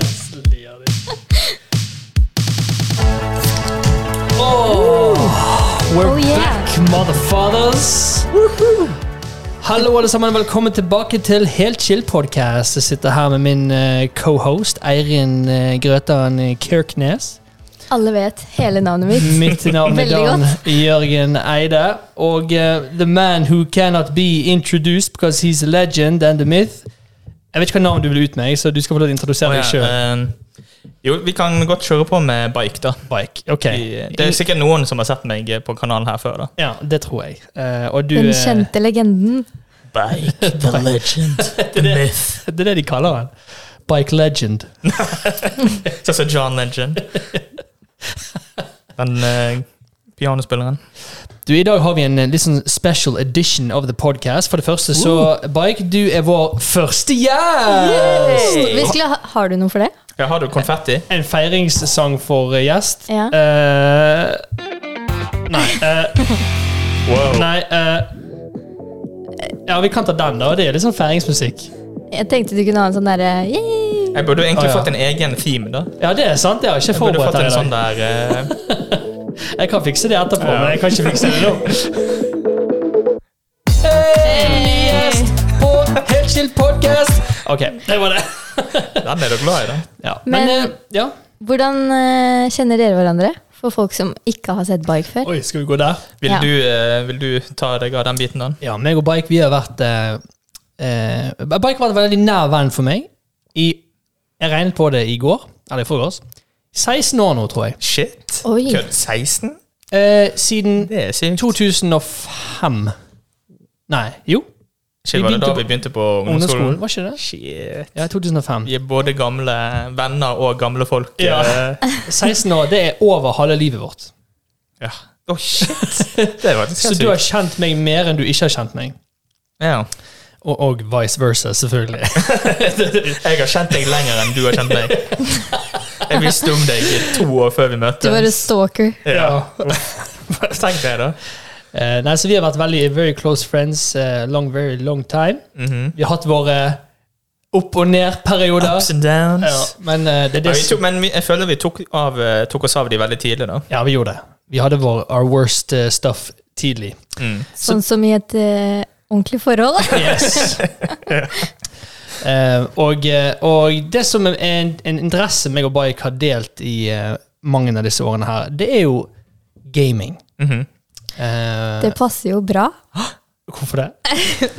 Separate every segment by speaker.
Speaker 1: Slia di. We're
Speaker 2: Oh, yeah.
Speaker 1: back, motherfathers. Hallo, alle sammen. Velkommen tilbake til Helt chill podcast. Jeg sitter her med min eh, co-host Eirin eh, Grøtan Kirknes.
Speaker 2: Alle vet hele navnet mitt.
Speaker 1: Mitt navn er
Speaker 2: Veldig
Speaker 1: Dan Jørgen Eide. Og eh, the man who cannot be introduced because he's a legend and a myth. Jeg vet ikke hva navn du vil ut med, så du skal få lov til å introdusere
Speaker 3: Å,
Speaker 1: deg sjøl.
Speaker 3: ja, eh, jo, vi kan godt kjøre på med bike, da.
Speaker 1: Bike. Ok.
Speaker 3: I- Det er sikkert noen som har sett meg på kanalen her før, da.
Speaker 1: Ja, det tror jeg. Eh, og du
Speaker 2: Den
Speaker 1: eh,
Speaker 2: kjente legenden.
Speaker 3: Bike, the legend, the myth.
Speaker 1: Det er det de kaller han. Bike legend.
Speaker 3: Sånn som John Legend. Den eh, pianospilleren.
Speaker 1: Du, I dag har vi en eh, litt sånn special edition of the podcast. For det første, så Bike, du er vår første gjest!
Speaker 2: Vi skulle ha, har du noe for det?
Speaker 3: Ja, har du konfetti?
Speaker 1: En feiringssang for eh, gjest.
Speaker 2: Ja.
Speaker 1: Eh, nei eh,
Speaker 3: Wow.
Speaker 1: Nei eh, Ja, vi kan ta den, da. Det er litt sånn feiringsmusikk.
Speaker 2: Jeg tenkte du kunne ha en sånn derre yeah.
Speaker 3: Jeg burde jo egentlig
Speaker 1: Å, ja.
Speaker 3: fått en egen theme, da.
Speaker 1: Ja, det er sant. Det har jeg ikke
Speaker 3: Jeg burde
Speaker 1: forberedt her
Speaker 3: fått
Speaker 1: i
Speaker 3: en
Speaker 1: dag.
Speaker 3: sånn der eh,
Speaker 1: Jeg kan fikse det etterpå,
Speaker 3: Ja.
Speaker 1: men jeg kan ikke fikse det nå. En ny gjest på Helt chill podcast. Ok, det var det.
Speaker 3: Den er du glad i, da.
Speaker 1: Ja. Men,
Speaker 2: Men-
Speaker 1: eh, ja.
Speaker 2: Hvordan eh, kjenner dere hverandre? For folk som ikke har sett Bike før.
Speaker 1: Oi, skal vi gå der?
Speaker 3: Vil,
Speaker 2: Ja.
Speaker 3: du, eh, vil du ta deg av den biten, da?
Speaker 1: Ja, meg og Bike, vi har vært eh, eh, Bike var en veldig nær venn for meg. I, jeg regnet på det i går, eller i forgårs. 16 år nå, tror jeg.
Speaker 3: Shit.
Speaker 2: Oi.
Speaker 3: Kødd. 16?
Speaker 1: Eh, siden
Speaker 3: Det er sykt.
Speaker 1: 2005 Nei, jo.
Speaker 3: Shit, var det da
Speaker 1: begynte
Speaker 3: vi begynte på
Speaker 1: Ungdomsskolen,
Speaker 3: ungdomsskolen?
Speaker 1: var ikke det?
Speaker 3: Shit.
Speaker 1: Ja, 2005.
Speaker 3: Vi er både gamle venner og gamle folk.
Speaker 1: Ja.
Speaker 3: eh,
Speaker 1: 16 år, det er over halve livet vårt.
Speaker 3: ja. Å, shit! Det er faktisk
Speaker 1: Så
Speaker 3: helt
Speaker 1: du har
Speaker 3: sykt.
Speaker 1: kjent meg mer enn du ikke har kjent meg.
Speaker 3: Ja.
Speaker 1: Og, og vice versa, selvfølgelig.
Speaker 3: Jeg har kjent deg lenger enn du har kjent meg. Jeg visste om deg i to år før vi møttes.
Speaker 2: Du var en stalker.
Speaker 3: Ja. Tenk det, da.
Speaker 1: Eh, nei, så Vi har vært veldig very close friends eh, long, very long time.
Speaker 3: Mhm.
Speaker 1: Vi har hatt våre opp- og ned-perioder.
Speaker 3: Ups and downs.
Speaker 1: Ja, men eh, det er
Speaker 3: Ja,
Speaker 1: det
Speaker 3: vi tok,
Speaker 1: som
Speaker 3: men vi, jeg føler vi tok, av, eh, tok oss av de veldig tidlig, da.
Speaker 1: Ja, vi gjorde det. Vi hadde vår our worst eh, stuff tidlig.
Speaker 3: Mm.
Speaker 2: Sånn som i et eh, ordentlig forhold.
Speaker 1: Yes. Eh, og, eh, og det som er en, en interesse meg og Baik har delt i eh, mange av disse årene her, det er jo gaming.
Speaker 3: Mhm.
Speaker 1: Eh,
Speaker 2: Det passer jo bra,
Speaker 1: hvorfor det?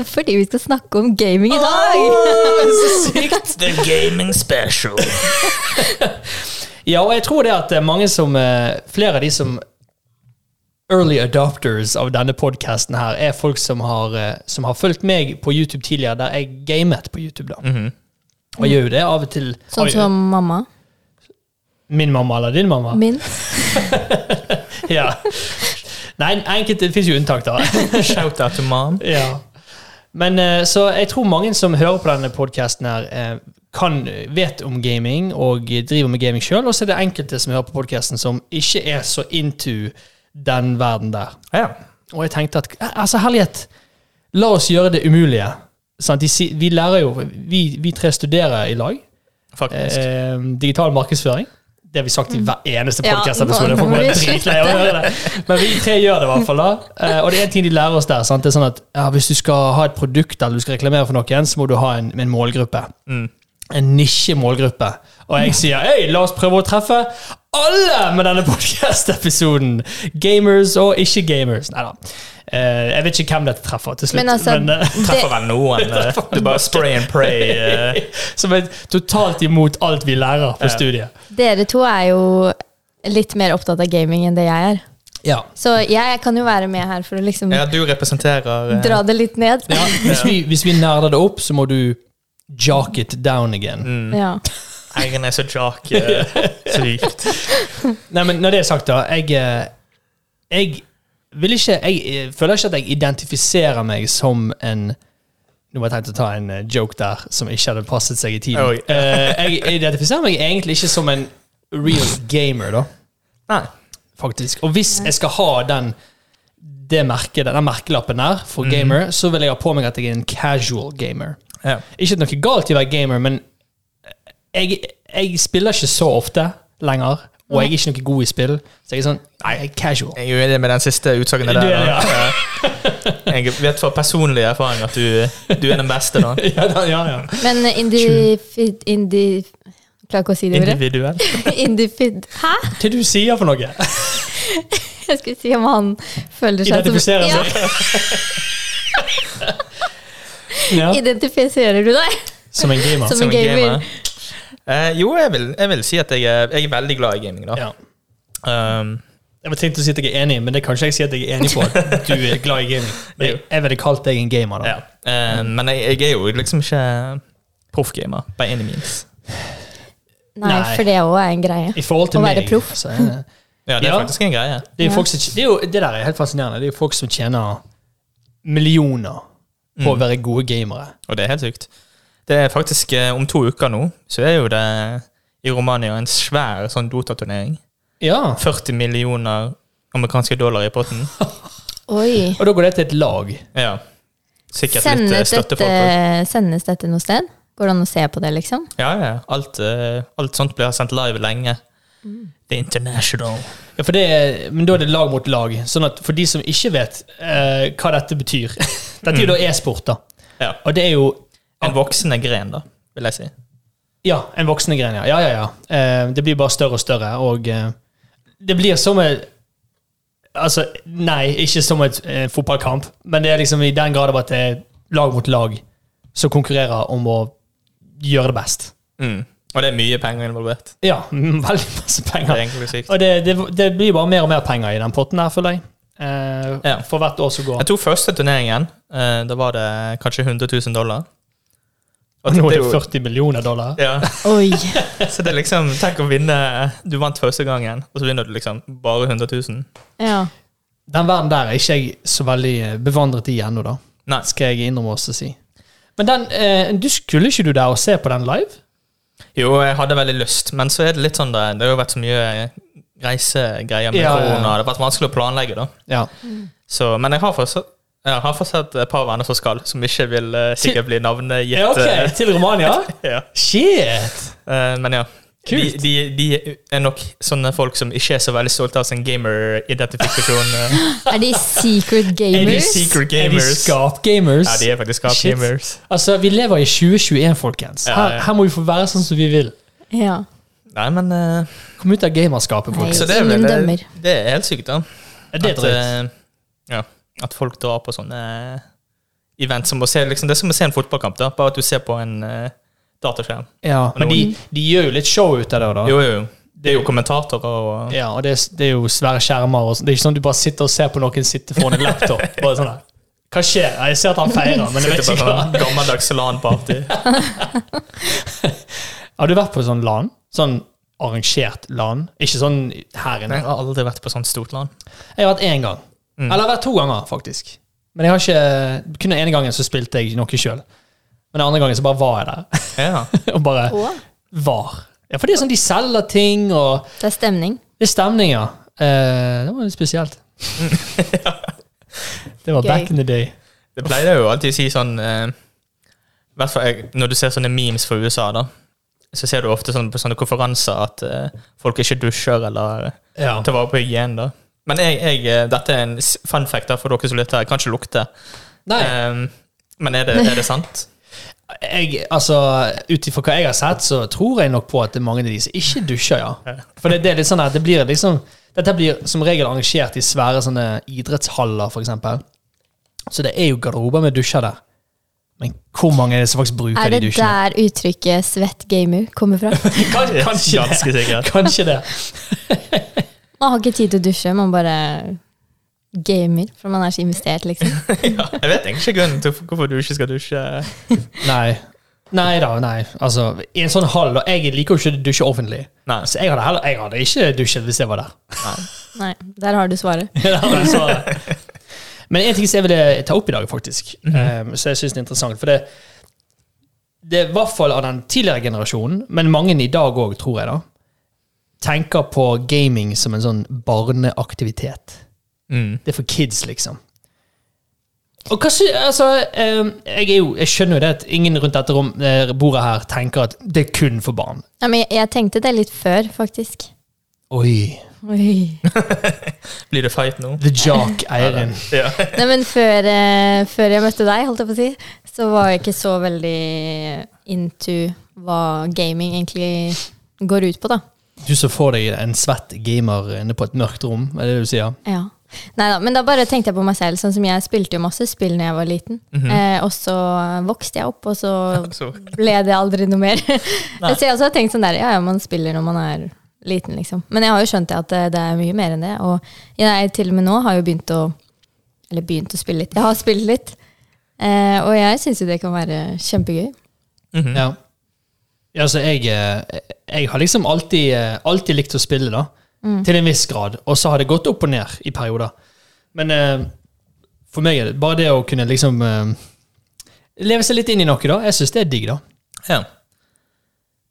Speaker 2: fordi vi skal snakke om gaming i dag.
Speaker 3: Sykt! The gaming special.
Speaker 1: Ja, og jeg tror det at det er mange som eh, Flere av de som Early adopters av denne podcasten her er folk som har, eh, som har fulgt meg på YouTube tidligere, der jeg gamet på YouTube. da. Og jeg gjør jo det av og til. Oi,
Speaker 2: Sånn som mamma
Speaker 1: Min mamma eller din mamma?
Speaker 2: min.
Speaker 1: Ja. Nei, enkelte det finnes jo unntak, da.
Speaker 3: Shout-out to mom.
Speaker 1: ja. Men eh, så jeg tror mange som hører på denne podkasten her, eh, kan, vet om gaming og driver med gaming sjøl, og så er det enkelte som hører på podkasten som ikke er så into den verden der.
Speaker 3: Ja.
Speaker 1: Og jeg tenkte at eh, altså herlighet, la oss gjøre det umulige. Sant? De, si- vi lærer jo, vi, vi tre studerer i lag.
Speaker 3: Faktisk.
Speaker 1: Eh, digital markedsføring. Det har vi sagt i hver eneste
Speaker 2: Mm. Ja,
Speaker 1: podkast-episode.
Speaker 2: nå-
Speaker 1: folk
Speaker 2: nå må
Speaker 1: bare
Speaker 2: vi
Speaker 1: dritlei av å høre det. Men vi tre gjør det i hvert fall. da. Eh, og det er en ting de lærer oss der. sant? Det er sånn at ja, Hvis du skal ha et produkt eller du skal reklamere for noen, så må du ha en, en målgruppe.
Speaker 3: Mm.
Speaker 1: En nisjemålgruppe. Og
Speaker 2: Mm.
Speaker 1: jeg sier hei, la oss prøve å treffe alle med denne podkast-episoden! Gamers og ikke-gamers. Nei da. Eh, jeg vet ikke hvem dette treffer til slutt.
Speaker 2: Men altså,
Speaker 1: eh,
Speaker 3: Treffer
Speaker 2: det,
Speaker 3: vel noen. eh, Du bare spray and pray. eh,
Speaker 1: som er totalt imot alt vi lærer på studiet.
Speaker 2: dere to er jo litt mer opptatt av gaming enn det jeg er.
Speaker 1: Ja,
Speaker 2: Så jeg kan jo være med her for å liksom
Speaker 3: Ja, du representerer eh,
Speaker 2: dra det litt ned.
Speaker 1: Ja, hvis vi, hvis vi nerder det opp, så må du jock it down again.
Speaker 2: Ja.
Speaker 3: Eieren er så jock. eh, Sykt.
Speaker 1: Nei, men Når det er sagt, da. Jeg, eh, jeg vil ikke Jeg eh, føler ikke at jeg identifiserer meg som en Nå var jeg tenkt å ta en eh, joke der som ikke hadde passet seg i tiden.
Speaker 3: Oi.
Speaker 1: Eh, jeg identifiserer meg egentlig ikke som en real gamer, da.
Speaker 3: Nei.
Speaker 1: faktisk. Og hvis jeg skal ha den det merket, den merkelappen der for gamer, så vil jeg ha på meg at jeg er en casual gamer.
Speaker 3: Ja.
Speaker 1: Ikke noe galt i å være gamer, men jeg, jeg spiller ikke så ofte lenger, og jeg er ikke noe god i spill. Så jeg er sånn nei, jeg er casual.
Speaker 3: Jeg er uenig med den siste utsagen der.
Speaker 1: Du er det,
Speaker 3: da. Jeg vet fra personlig erfaring at du, du er den beste, da.
Speaker 1: Ja, da, ja, ja.
Speaker 2: Men individ... Indi, klarer ikke å si det ordet.
Speaker 3: Individuell.
Speaker 2: Individ... Hæ?
Speaker 1: Hva du sier for noe?
Speaker 2: Jeg skulle si om han føler seg
Speaker 1: Identifiserer
Speaker 2: Ja,
Speaker 1: seg. Ja.
Speaker 2: identifiserer du deg?
Speaker 1: Som en gamer.
Speaker 2: Som en gamer.
Speaker 3: Eh, jo, jeg vil, jeg vil si at jeg er, jeg er veldig glad i gaming, da.
Speaker 1: Ja.
Speaker 3: Um,
Speaker 1: Jeg var tenkt å si at jeg er enig, men det kan ikke jeg si at jeg er enig på at du er glad i gaming. Men jeg- jeg ville kalt deg en gamer, da.
Speaker 3: ja. Eh, men jeg, jeg er jo liksom ikke proffgamer, by any means.
Speaker 2: Nei,
Speaker 1: Nei.
Speaker 2: for det òg er en greie.
Speaker 1: I forhold til
Speaker 2: Å
Speaker 1: meg
Speaker 2: være proff.
Speaker 1: Så, er det-
Speaker 3: Ja, det er
Speaker 1: Ja.
Speaker 3: faktisk en greie.
Speaker 1: det, er
Speaker 2: Ja.
Speaker 1: folk som, det, er jo, det der er helt fascinerende. Det er jo folk som tjener millioner på å være gode gamere.
Speaker 3: Og det er helt sykt. Det er faktisk eh, om to uker nå, så er jo det i Romania en svær sånn Dota-turnering.
Speaker 1: Ja,
Speaker 3: 40 millioner amerikanske dollar i potten.
Speaker 2: Oi.
Speaker 1: Og da går det til et lag.
Speaker 3: Ja. Sikkert litt eh,
Speaker 2: Sendes
Speaker 3: støtte
Speaker 2: dette,
Speaker 3: folk også.
Speaker 2: sendes dette noe sted? Går det an å se på det, liksom?
Speaker 3: Ja, ja. Alt, eh, alt sånt blir sendt live lenge. The International.
Speaker 1: Ja, for det er, men da er det lag mot lag. Sånn at For de som ikke vet eh, hva dette betyr Dette er jo da e-sport, da.
Speaker 3: Ja.
Speaker 1: Og det er jo
Speaker 3: En voksende gren, da, vil jeg si.
Speaker 1: Ja, en voksende greie. Ja, ja, ja. ja. Eh, det blir bare større og større, og eh, det blir som et Altså, nei, ikke som et eh, fotballkamp, men det er liksom i den grad av at det er lag mot lag som konkurrerer om å gjøre det best.
Speaker 3: Mm. Og det er mye penger involvert.
Speaker 1: Ja, mm, veldig masse
Speaker 3: Det er
Speaker 1: penger.
Speaker 3: egentlig sykt.
Speaker 1: Og det, det, det blir bare mer og mer penger i den potten her, føler jeg. Eh,
Speaker 3: Ja.
Speaker 1: For hvert år som går.
Speaker 3: Jeg tror første turneringen, eh, da var det kanskje 100 000 dollar.
Speaker 1: Og nå
Speaker 3: det
Speaker 1: er
Speaker 3: er
Speaker 1: det
Speaker 3: jo-
Speaker 1: 40 millioner dollar.
Speaker 3: Ja.
Speaker 2: Oi.
Speaker 3: Så det er liksom, tenk å vinne Du vant første gangen, og så vinner du liksom bare 100 000.
Speaker 2: Ja.
Speaker 1: Den verden der er ikke jeg så veldig eh, bevandret i ennå, da.
Speaker 3: Nei.
Speaker 1: Skal jeg innrømme oss å si. Men den, eh, du skulle ikke du der og se på den live?
Speaker 3: Jo, jeg hadde veldig lyst, men så er det litt sånn det, det har jo vært så mye reisegreier med
Speaker 1: Ja, ja, ja.
Speaker 3: korona. Det har vært vanskelig å planlegge, da.
Speaker 1: Ja.
Speaker 3: Så, men jeg har fortsatt jeg har fortsatt et par venner som skal, som ikke vil eh, sikkert bli navngitt.
Speaker 1: ja ok, til Romania?
Speaker 3: eh, ja.
Speaker 1: Shit!
Speaker 3: Eh, men ja. De,
Speaker 1: Kult.
Speaker 3: de, de er nok sånne folk som ikke er så veldig stolte av sin gamer-identifikasjon. eh.
Speaker 2: Er de secret
Speaker 1: Er de
Speaker 2: gamers?
Speaker 1: Er
Speaker 3: secret
Speaker 1: de
Speaker 3: gamers?
Speaker 1: skapgamers?
Speaker 3: Ja, de er faktisk av
Speaker 1: Shit.
Speaker 3: gamers.
Speaker 1: Altså, vi lever i 2021, folkens.
Speaker 3: Ja, ja.
Speaker 1: Her, her må vi få være sånn som vi vil.
Speaker 2: Ja.
Speaker 3: Nei, men eh,
Speaker 1: Kom ut av gamerskapet,
Speaker 2: Nei.
Speaker 1: folkens.
Speaker 3: Så det er,
Speaker 2: Ingen
Speaker 3: vel,
Speaker 2: dømmer.
Speaker 3: det er helt sykt, da.
Speaker 1: Ja, Det er
Speaker 3: at,
Speaker 1: drøyt.
Speaker 3: eh, ja, at folk drar på sånne event som å se liksom, Det er som å se en fotballkamp, da, bare at du ser på en eh, dataskjerm.
Speaker 1: Ja, men de, de gjør jo litt show ut av det, da.
Speaker 3: Jo, jo, jo. Det er jo kommentatorer og eh,
Speaker 1: Ja, og det er, det er jo svære skjermer. Og sånn. det er ikke sånn at du bare sitter og ser på noen sitte foran en laptop. Bare sånn der. Hva skjer? Ja, Jeg ser at han feirer, men jeg
Speaker 3: Sitter
Speaker 1: vet
Speaker 3: på
Speaker 1: ikke hva.
Speaker 3: sånn gammeldags LAN-party.
Speaker 1: Har du vært på sånn LAN? Sånn arrangert LAN? Ikke sånn her inne.
Speaker 3: Jeg har aldri vært på sånt stort LAN.
Speaker 1: Jeg har vært én gang.
Speaker 3: Mm.
Speaker 1: Eller jeg har vært to ganger, faktisk. Men jeg har ikke Kun den ene gangen så spilte jeg noe sjøl. Men den andre gangen så bare var jeg der.
Speaker 3: Ja.
Speaker 1: og bare
Speaker 2: Å,
Speaker 1: var. Ja, For det er sånn de selger ting, og
Speaker 2: det er stemning.
Speaker 1: det er stemning, ja. Eh, det var litt spesielt. det var
Speaker 2: Gøy.
Speaker 1: back in the day.
Speaker 3: Det pleier jeg jo alltid å si sånn eh, i hvert fall jeg- Når du ser sånne memes fra USA, da, så ser du ofte sånn, på sånne konferanser at eh, folk ikke dusjer eller
Speaker 1: Ja.
Speaker 3: ta vare på hygienen, da. Men jeg, jeg, eh, dette er en s- fun fact da, for dere som lytter. Jeg kan ikke lukte.
Speaker 1: Nei,
Speaker 3: Ehm, men er det, er det sant?
Speaker 1: jeg, altså, ut ifra hva jeg har sett, så tror jeg nok på at det er mange av de som ikke dusjer, ja. For det, det er litt sånn at det blir liksom Dette blir som regel arrangert i svære sånne idrettshaller, for eksempel. Så det er jo garderober med dusjer der. Men hvor mange er det som faktisk bruker
Speaker 2: Er det
Speaker 1: de dusjene?
Speaker 2: der uttrykket 'svett gamer' kommer fra?
Speaker 1: Kan, kanskje det.
Speaker 3: Ganske sikkert.
Speaker 1: Kanskje det.
Speaker 2: Man har ikke tid til å dusje, man bare gamer. For man er så investert, liksom.
Speaker 3: Ja, jeg vet egentlig ikke grunnen til hvorfor du ikke skal dusje.
Speaker 1: Nei. Nei da, nei. Altså, i en sånn hall da, Jeg liker jo ikke å dusje offentlig.
Speaker 3: Nei.
Speaker 1: Så jeg hadde, heller, jeg hadde ikke dusjet hvis jeg var der.
Speaker 2: Nei, der har du svaret.
Speaker 1: Ja, men så- Men en ting som jeg ville ta opp i dag, faktisk, eh, så jeg syns det er interessant. For det, det er i hvert fall av den tidligere generasjonen, men mange i dag òg, tror jeg, da, tenker på gaming som en sånn barneaktivitet.
Speaker 3: Mm.
Speaker 1: Det er for kids, liksom. Og hva sy- altså, eh, jeg, er jo, jeg skjønner jo det at ingen rundt dette rom, eh, bordet her tenker at det er kun for barn.
Speaker 2: Ja, men jeg, jeg tenkte det litt før, faktisk.
Speaker 1: Oi.
Speaker 2: Oi.
Speaker 3: Blir det fight nå?
Speaker 1: The jock, Eirin.
Speaker 3: Ja.
Speaker 2: Nei, men før, eh, før jeg møtte deg, holdt jeg på å si, så var jeg ikke så veldig into hva gaming egentlig går ut på, da.
Speaker 1: Du så for deg en svett gamer inne på et mørkt rom, er det det du sier?
Speaker 2: Ja. Neida, men da bare tenkte jeg på meg selv. Sånn som Jeg spilte jo masse spill når jeg var liten. eh, og så vokste jeg opp, og så
Speaker 3: Så,
Speaker 2: ble det aldri noe mer. så jeg også har tenkt sånn der, ja, ja, man spiller når man er liten, liksom. Men jeg har jo skjønt det at det, det er mye mer enn det. Og jeg til og med nå har jo begynt å Eller begynt å spille litt. Jeg har spilt litt. Eh, og jeg syns jo det kan være kjempegøy.
Speaker 3: mhm.
Speaker 1: Ja. Ja, altså, jeg, eh, jeg har liksom alltid, eh, alltid likt å spille, da. Til en viss grad. Og så har det gått opp og ned i perioder. Men eh, for meg er det bare det å kunne liksom eh, Leve seg litt inn i noe, da. Jeg syns det er digg, da.
Speaker 3: ja.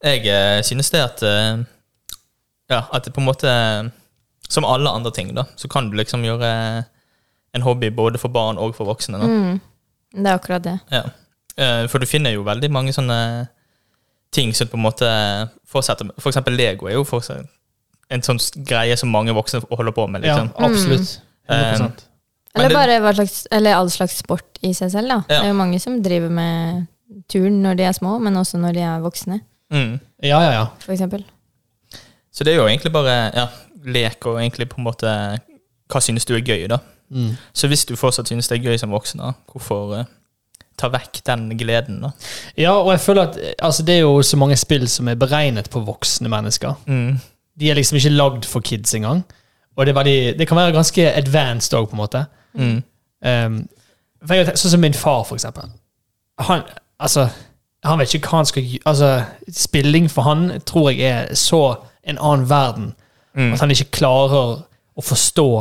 Speaker 3: Jeg eh, synes det at eh, Ja, at det på en måte eh, Som alle andre ting, da, så kan du liksom gjøre en hobby både for barn og for voksne. Da.
Speaker 2: Mm. Det er akkurat det.
Speaker 3: Ja. Eh, For du finner jo veldig mange sånne ting som på en måte fortsetter med. For eksempel Lego er jo fortsatt en sånn greie som mange voksne holder på med. liksom.
Speaker 1: Ja, absolutt. 100
Speaker 3: Men
Speaker 2: Eller
Speaker 3: det-
Speaker 2: bare hva slags, eller all slags sport i seg selv. da.
Speaker 3: Ja.
Speaker 2: Det er jo mange som driver med turn når de er små, men også når de er voksne.
Speaker 3: Mm.
Speaker 1: Ja, ja, ja.
Speaker 2: For eksempel.
Speaker 3: Så det er jo egentlig bare ja, lek og egentlig på en måte hva synes du er gøy, da.
Speaker 1: Mm.
Speaker 3: Så hvis du fortsatt synes det er gøy som voksen, da, hvorfor eh, ta vekk den gleden, da?
Speaker 1: Ja, og jeg føler at eh, altså, det er jo så mange spill som er beregnet på voksne mennesker.
Speaker 3: Mm.
Speaker 1: De er liksom ikke lagd for kids engang. Og det, er veldig, det kan være ganske advanced òg, på en måte.
Speaker 3: Mm.
Speaker 1: Um, for jeg, har tenkt- sånn som min far, for eksempel. Han, altså, han vet ikke hva han skal gjøre. Altså, spilling for han tror jeg er så en annen verden
Speaker 3: Mm.
Speaker 1: at han ikke klarer å forstå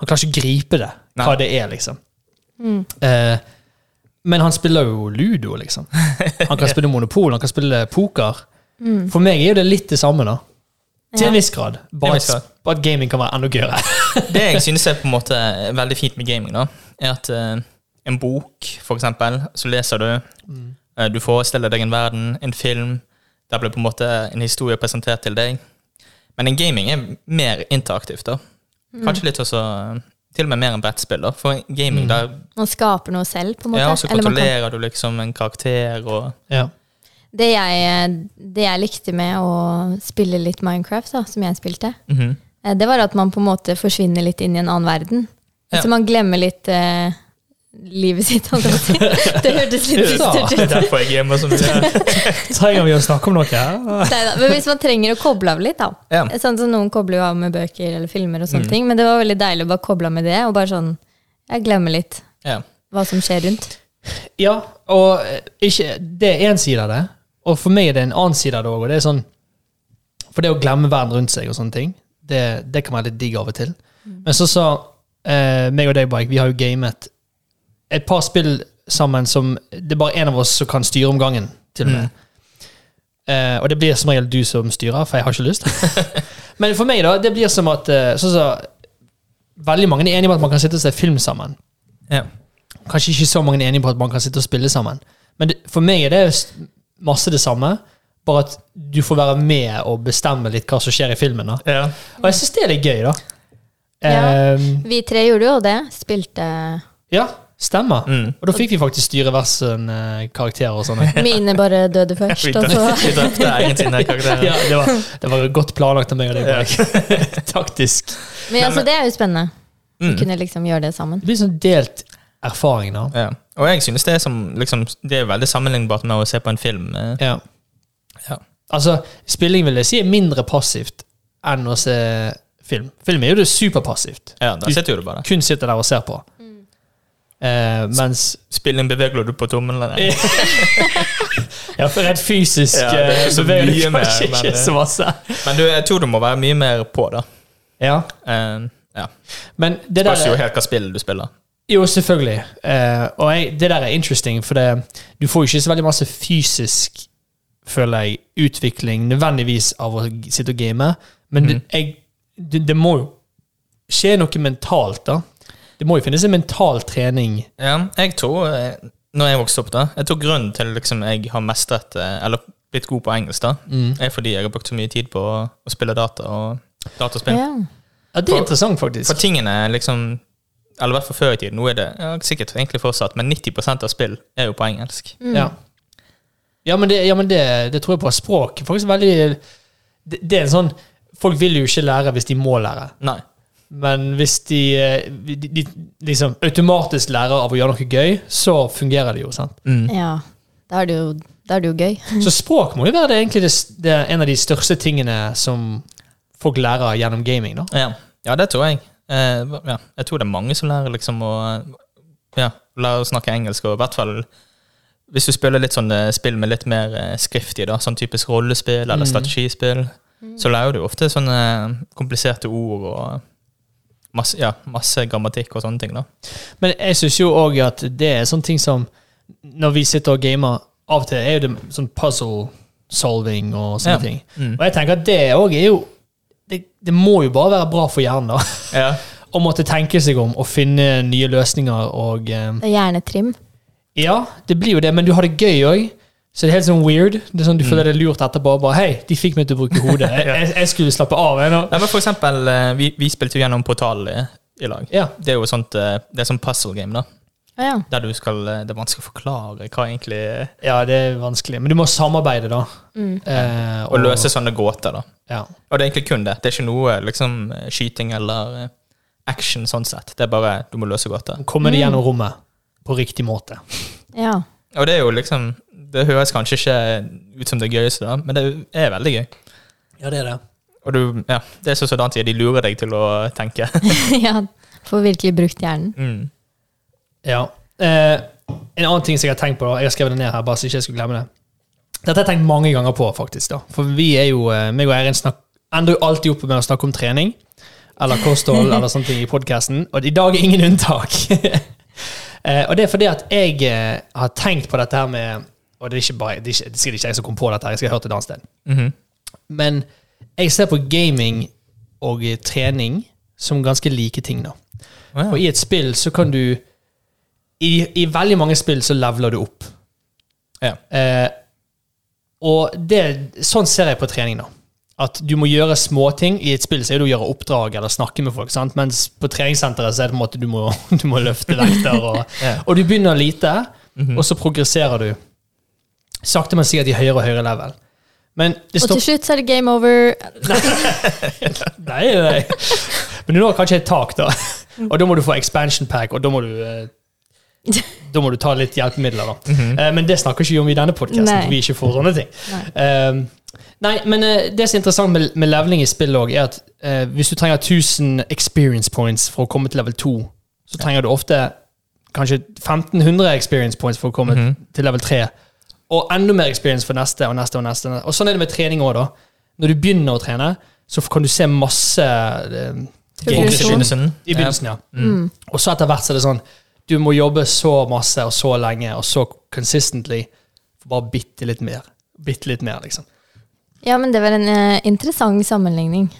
Speaker 1: Han klarer ikke å gripe det, hva
Speaker 3: Nei.
Speaker 1: det er, liksom.
Speaker 2: Mm.
Speaker 1: Eh, men han spiller jo ludo, liksom. Han kan spille monopol, han kan spille poker.
Speaker 2: Mm.
Speaker 1: For meg er jo det litt det samme, da. Til
Speaker 2: Ja.
Speaker 1: en viss grad.
Speaker 3: Til en
Speaker 1: Bare
Speaker 3: viss grad.
Speaker 1: at, bare at gaming kan være enda gøyere.
Speaker 3: Det jeg synes er på en måte veldig fint med gaming, da, er at eh, en bok, for eksempel, så leser du, eh, du forestiller deg en verden, en film, der blir på en måte en historie presentert til deg. Men en gaming er mer interaktivt, da.
Speaker 2: Mm.
Speaker 3: Kanskje litt også eh, Til og med mer enn brettspill, da. For en gaming, der
Speaker 2: Man skaper noe selv, på en Mm. måte.
Speaker 3: ja, så
Speaker 2: Eller man kan-
Speaker 3: kontrollerer du liksom en karakter og
Speaker 1: Ja.
Speaker 2: det, jeg, det jeg likte med å spille litt Minecraft, da, som jeg spilte,
Speaker 3: Mhm.
Speaker 2: eh, det var at man på en måte forsvinner litt inn i en annen verden.
Speaker 3: Ja.
Speaker 2: Så man glemmer litt eh, livet sitt, holdt jeg på å si. Det hørtes litt
Speaker 1: Ja.
Speaker 2: dystert ut.
Speaker 3: Det er derfor jeg gamer så mye.
Speaker 1: Trenger vi å snakke om noe her?
Speaker 2: Neida, men hvis man trenger å koble av litt, da.
Speaker 3: Ja. Mm.
Speaker 2: Sånn som Noen kobler jo av med bøker eller filmer, og sånne ting, men det var veldig deilig å bare koble av med det. Og bare sånn, jeg glemmer litt
Speaker 3: Ja.
Speaker 2: hva som skjer rundt.
Speaker 1: Ja, og eh, ikke, det er én side av det, og for meg er det en annen side av det òg. Og det er sånn, for det å glemme verden rundt seg og sånne ting, det, det kan være litt digg av og til. Men så sa eh, meg og deg, Bike, vi har jo gamet et par spill sammen som det er bare én av oss som kan styre om gangen, til og med. Eh, og det blir som regel du som styrer, for jeg har ikke lyst. Men for meg, da, det blir som at eh, sånn som Veldig mange er enige om at man kan sitte og se film sammen.
Speaker 3: Ja.
Speaker 1: Kanskje ikke så mange er enige på at man kan sitte og spille sammen. Men det, for meg er det s- masse det samme, bare at du får være med og bestemme litt hva som skjer i filmen. da.
Speaker 3: Ja.
Speaker 1: Og jeg syns det er litt gøy, da.
Speaker 2: Ja.
Speaker 1: Ja,
Speaker 2: Vi tre gjorde jo det. Spilte
Speaker 1: ja stemmer.
Speaker 3: Mm.
Speaker 1: Og da fikk vi faktisk styre hver sin eh, karakter og sånn.
Speaker 2: Mine bare døde først,
Speaker 3: Vi
Speaker 2: og så
Speaker 3: drepte- vi drepte egen sine karakterer.
Speaker 1: Ja, det, var, det var godt planlagt av meg og deg. Mark. Taktisk.
Speaker 2: Men altså, det er jo spennende. Vi
Speaker 3: Mm.
Speaker 2: kunne liksom gjøre det sammen.
Speaker 1: Det blir sånn delt erfaring, da.
Speaker 3: Ja. Og jeg synes det er som liksom, Det er veldig sammenlignbart med å se på en film. eh.
Speaker 1: Ja.
Speaker 3: Ja.
Speaker 1: Altså, spilling vil jeg si er mindre passivt enn å se film. Film er jo det superpassivt.
Speaker 3: Ja, da sitter jo du bare der.
Speaker 1: kun sitter der og ser på.
Speaker 3: Mm.
Speaker 1: Eh, mens
Speaker 3: Spilling bevegler du på tommelen.
Speaker 1: Ja. Ja, for rent fysisk
Speaker 3: Ja, det er
Speaker 1: eh,
Speaker 3: så
Speaker 1: beveger
Speaker 3: mye
Speaker 1: det kanskje
Speaker 3: mer, men eh,
Speaker 1: ikke
Speaker 3: det-
Speaker 1: så masse.
Speaker 3: Men du, jeg tror du må være mye mer på, da.
Speaker 1: Ja,
Speaker 3: Eh, ja.
Speaker 1: men det
Speaker 3: Spørs jo
Speaker 1: der
Speaker 3: helt hva spill du spiller.
Speaker 1: Jo, selvfølgelig. Eh, og jeg, det der er interesting, for det, du får jo ikke så veldig masse fysisk, føler jeg, utvikling nødvendigvis av å g- sitte og
Speaker 3: Mm.
Speaker 1: game, men det, jeg, det, det må jo skje noe mentalt, da. Det må jo finnes en mental trening.
Speaker 3: Ja, jeg tror, eh, når jeg vokste opp da, jeg tror grunnen til liksom jeg har mestret, eh, eller blitt god på engelsk da, er fordi jeg har brukt så mye tid på å, å spille data og dataspill.
Speaker 2: Ja.
Speaker 1: Ja, Det
Speaker 3: For-
Speaker 1: er interessant,
Speaker 3: For
Speaker 1: faktisk.
Speaker 3: tingene liksom, eller i hvert fall før i tiden, nå er det ja, sikkert egentlig fortsatt, men 90% av spill er jo på engelsk.
Speaker 2: Mm.
Speaker 1: Ja. Ja, men, det, ja, men det, det tror jeg på. Språk er faktisk veldig det, det er en sånn Folk vil jo ikke lære hvis de må lære.
Speaker 3: Nei.
Speaker 1: Men hvis de, eh, de, de liksom automatisk lærer av å gjøre noe gøy, så fungerer det jo. sant?
Speaker 2: Ja. Da er det jo, da er det jo gøy.
Speaker 1: Så språk må jo være det, egentlig det, s- det er en av de største tingene som folk lærer gjennom gaming. da.
Speaker 3: Ja, ja det tror jeg. Eh, ja, jeg tror det er mange som lærer liksom å ja, lære å snakke engelsk, og i hvert fall hvis du spiller litt sånn eh, spill med litt mer eh, skrift i, da, sånn typisk rollespill eller strategispill, så lærer du ofte sånne eh, kompliserte ord og masse, ja, masse grammatikk og sånne ting. da.
Speaker 1: Men jeg syns jo òg at det er sånne ting som Når vi sitter og gamer, av og til er jo det sånn puzzle solving og sånne
Speaker 3: Ja.
Speaker 1: ting.
Speaker 3: Mm.
Speaker 1: Og jeg tenker at det òg er jo det, det må jo bare være bra for hjernen, da.
Speaker 3: Ja.
Speaker 1: Å måtte tenke seg om og finne nye løsninger og eh,
Speaker 2: Det er hjernetrim.
Speaker 1: Ja, det blir jo det, men du har det gøy òg. Så det er helt sånn weird. Det er sånn Du føler deg lurt etterpå. Bare, Hei, de fikk meg til å bruke hodet. Jeg, jeg, jeg skulle slappe av. Jeg, nå.
Speaker 3: Nei, men for eksempel, eh, vi, vi spilte jo gjennom Portal i, i lag.
Speaker 1: Ja.
Speaker 3: Det er jo sånt, eh, det er sånn puzzle game, da.
Speaker 2: Å ja.
Speaker 3: Der du skal, eh, det er vanskelig å forklare hva egentlig
Speaker 1: ja, det er vanskelig. Men du må samarbeide, da. Eh,
Speaker 3: Å løse sånne gåter, da.
Speaker 1: Ja.
Speaker 3: Og det er egentlig kun det. Det er ikke noe liksom, skyting eller eh, action sånn sett. Det er bare du må løse gåter.
Speaker 1: Komme deg gjennom rommet på riktig måte.
Speaker 2: ja.
Speaker 3: Og det er jo liksom Det høres kanskje ikke ut som det gøyeste, da, men det er veldig gøy.
Speaker 1: Ja, det er det.
Speaker 3: Og du, ja, det er sånn som Dan sier, de lurer deg til å tenke.
Speaker 2: ja. Får virkelig brukt hjernen.
Speaker 3: Mm.
Speaker 1: Ja. Eh, en annen ting som jeg har tenkt på, da, jeg har skrevet det ned her, bare så ikke jeg skulle glemme det. Dette har jeg tenkt mange ganger på, faktisk. da. For vi er jo, eh, meg og Eirin snak- ender jo alltid opp med å snakke om trening. Eller kosthold eller sånne ting i podkasten. Og i dag er ingen unntak. eh, og det er fordi at jeg eh, har tenkt på dette her med Og det er ikke bare, det er ikke, det er sikkert ikke jeg som kom på dette, her, jeg skal ha hørt det et annet sted.
Speaker 3: Mhm.
Speaker 1: Men jeg ser på gaming og eh, trening som ganske like ting, da.
Speaker 3: Wow.
Speaker 1: Og i et spill så kan du I, i veldig mange spill så leveler du opp.
Speaker 3: Ja.
Speaker 1: Eh, og det, sånn ser jeg på trening, da. At du må gjøre småting. I et spill så er det å gjøre oppdrag eller snakke med folk. sant? Mens på treningssenteret så er det på en måte du må, du må løfte vekter. Og,
Speaker 3: Ja. Mhm.
Speaker 1: og du begynner lite, og så progresserer du sakte, men sikkert i høyere og høyere level. Men det
Speaker 2: Og
Speaker 1: stopper
Speaker 2: til slutt så er det game over.
Speaker 1: Nei, nei. Men du når kanskje et tak, da.
Speaker 2: Mm.
Speaker 1: Og da må du få expansion pack, og da må du eh, da må du ta litt hjelpemidler, da. Eh, Men det snakker ikke vi om i denne podkasten,
Speaker 2: Mhm. Nei.
Speaker 1: for vi er ikke for sånne ting.
Speaker 2: Nei.
Speaker 1: Ehm, nei, men eh, det som er interessant med, med leveling i spill òg, er at eh, hvis du trenger 1000 experience points for å komme til level 2, så trenger du ofte kanskje 1500 experience points for å komme til level 3. Og enda mer experience for neste og neste og neste. Og sånn er det med trening òg, da. Når du begynner å trene, så kan du se masse eh,
Speaker 2: Progresjon.
Speaker 1: i begynnelsen, ja.
Speaker 2: Mm.
Speaker 1: Og så etter hvert så er det sånn Du må jobbe så masse og så lenge og så consistently for bare bitte litt mer. Bitte litt mer, liksom.
Speaker 2: Ja, men det var en eh, interessant sammenligning.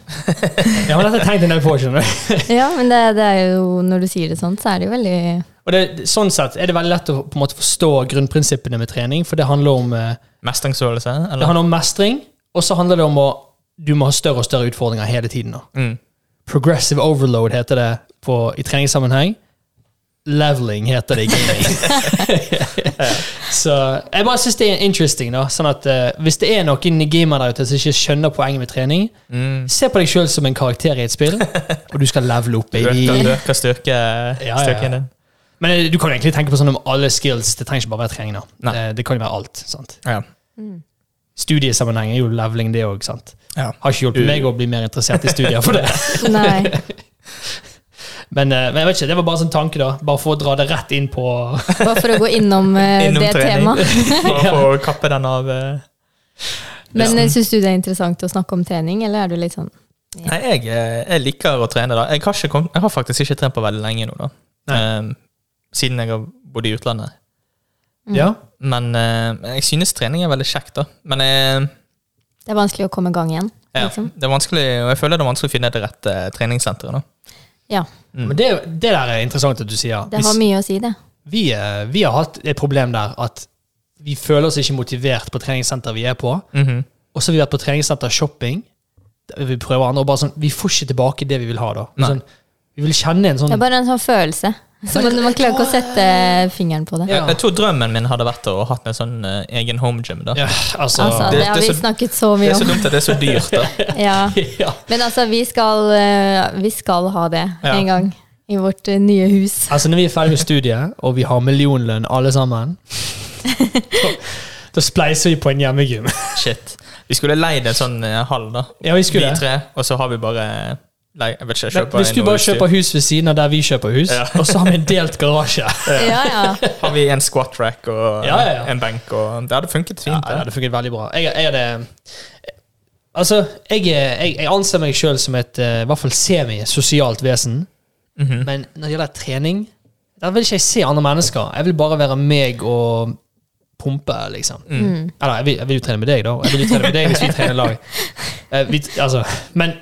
Speaker 1: Ja, men dette tenkte jeg en del på, skjønner du.
Speaker 2: Ja, men det, det er jo, når du sier det sånn, så er det jo veldig
Speaker 1: Og det, sånn sett er det veldig lett å på en måte forstå grunnprinsippene med trening, for det handler om, eh,
Speaker 3: Mestringsfølelse,
Speaker 1: det
Speaker 3: eller?
Speaker 1: handler om mestring, og så handler det om å du må ha større og større utfordringer hele tiden. da.
Speaker 3: Mm.
Speaker 1: Progressive overload heter det på, i treningssammenheng. Leveling heter det i gaming. så jeg bare syns det er interesting. da, sånn at eh, Hvis det er noen gamer der ute som ikke skjønner poenget med trening,
Speaker 3: Mm.
Speaker 1: se på deg sjøl som en karakter i et spill, og du skal levele opp.
Speaker 3: Du
Speaker 1: baby.
Speaker 3: øker, du øker styrke,
Speaker 1: ja.
Speaker 3: styrken din.
Speaker 1: Men eh, du kan jo egentlig tenke på sånn om alle skills. Det trenger ikke bare være trening. da.
Speaker 3: Nei.
Speaker 1: Eh, Det kan jo være alt. sant?
Speaker 3: Ja.
Speaker 1: Studiesammenheng er jo leveling, det òg. Har
Speaker 3: Ja.
Speaker 1: ikke hjulpet
Speaker 3: Du-
Speaker 1: meg å bli mer interessert i studier for det.
Speaker 2: Nei.
Speaker 1: Men, eh, men jeg vet ikke, det var bare en sånn tanke, da. Bare for å dra det rett inn på
Speaker 2: Bare for å gå innom, eh,
Speaker 3: Innom
Speaker 2: det
Speaker 3: trening.
Speaker 2: temaet.
Speaker 3: For å få kappe den av eh,
Speaker 2: Men ja. syns du det er interessant å snakke om trening, eller er du litt sånn
Speaker 3: Nei, jeg, eh, jeg liker å trene. da. Jeg har, ikke kom, jeg har faktisk ikke trent på veldig lenge nå, da.
Speaker 1: Nei.
Speaker 3: Ehm, siden jeg har bodd i utlandet. Mm.
Speaker 1: Ja.
Speaker 3: Men eh, jeg synes trening er veldig kjekt, da. Men eh,
Speaker 2: Det er vanskelig å komme i gang igjen.
Speaker 3: ja,
Speaker 2: Liksom.
Speaker 3: det er vanskelig, og jeg føler det er vanskelig å finne det rette eh, treningssenteret. Mm. da.
Speaker 2: Ja,
Speaker 1: Men det, det der er interessant at du sier.
Speaker 2: det har
Speaker 1: Hvis-
Speaker 2: mye å si, det.
Speaker 1: vi, eh, vi har hatt et problem der at vi føler oss ikke motivert på treningssenter vi er på.
Speaker 3: Mhm.
Speaker 1: Og så har vi vært på treningssenter shopping. der Vi prøver andre, og bare sånn, vi får ikke tilbake det vi vil ha. da.
Speaker 3: Nei.
Speaker 1: Sånn, vi vil kjenne en
Speaker 2: Det
Speaker 1: sånn
Speaker 2: er bare en sånn følelse. Så man, man klarer ikke å sette fingeren på det.
Speaker 1: Ja.
Speaker 3: Jeg, jeg tror drømmen min hadde vært å ha en sånn eh, egen home gym. da.
Speaker 1: ja, altså,
Speaker 2: Altså,
Speaker 3: det-
Speaker 2: det har
Speaker 3: det er
Speaker 2: vi
Speaker 3: så-
Speaker 2: snakket så
Speaker 3: Det
Speaker 2: mye
Speaker 3: er så
Speaker 2: om.
Speaker 3: dumt at det er så dyrt. da.
Speaker 2: Ja.
Speaker 1: ja.
Speaker 2: Men altså, vi skal, eh, vi skal ha det
Speaker 3: Ja.
Speaker 2: en gang i vårt eh, nye hus.
Speaker 1: altså, når vi er ferdig med studiet, og vi har millionlønn alle sammen, da, da spleiser vi på en hjemmegym.
Speaker 3: Shit. Vi skulle leid en sånn eh, hall, da.
Speaker 1: Ja, vi
Speaker 3: Vi
Speaker 1: skulle det.
Speaker 3: tre, og så har vi bare eh, lei, jeg vet ikke, jeg
Speaker 1: Men
Speaker 3: kjøper
Speaker 1: Hvis du
Speaker 3: en
Speaker 1: bare
Speaker 3: utstyr.
Speaker 1: kjøper hus ved siden av der vi kjøper hus,
Speaker 3: Ja.
Speaker 1: og så har vi en delt garasje
Speaker 2: Ja, ja.
Speaker 3: Har vi en squat rack og
Speaker 1: Ja, ja, ja.
Speaker 3: en benk og Det hadde funket
Speaker 1: Ja,
Speaker 3: fint.
Speaker 1: det
Speaker 3: det.
Speaker 1: hadde funket veldig bra. Jeg, jeg, hadde, altså, jeg, er- jeg, jeg anser meg sjøl som et eh, i hvert fall semisosialt vesen,
Speaker 3: Mhm.
Speaker 1: men når det gjelder trening, der vil ikke jeg se andre mennesker. Jeg vil bare være meg og pumpe, liksom.
Speaker 2: Mm.
Speaker 1: Eller jeg vil, jeg vil jo trene med deg, da. Jeg vil jo trene med deg hvis vi trener lag. Eh, vi, altså, men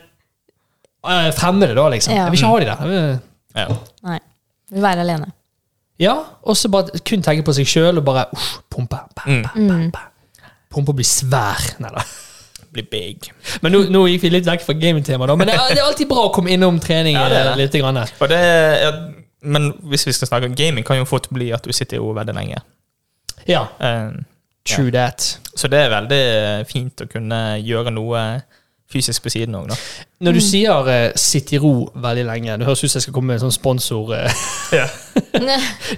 Speaker 1: eh, fremmede, da, liksom.
Speaker 2: Ja.
Speaker 1: Jeg vil ikke ha de der. Jeg vil-
Speaker 3: Ja.
Speaker 2: Nei. Vil være alene.
Speaker 1: Ja, og så bare kun tenke på seg sjøl og bare uff, pumpe. Bam,
Speaker 3: Mm.
Speaker 1: bam, bam, bam. Pumpe og bli svær. Nei da.
Speaker 3: Bli big.
Speaker 1: Men nå, nå gikk vi litt vekk fra gamingtema, da. Men det er, det er alltid bra å komme innom trening
Speaker 3: Ja, det er det.
Speaker 1: eh, litt. Grann. her.
Speaker 3: Og det, ja, men hvis vi skal snakke om gaming, kan jo fort bli at du sitter i ro veldig lenge.
Speaker 1: Ja,
Speaker 3: Eh,
Speaker 1: true that.
Speaker 3: Så det er veldig fint å kunne gjøre noe fysisk på siden òg, da.
Speaker 1: Når du sier eh, 'sitt i ro' veldig lenge Det høres ut som jeg skal komme med en sånn sponsor. eh,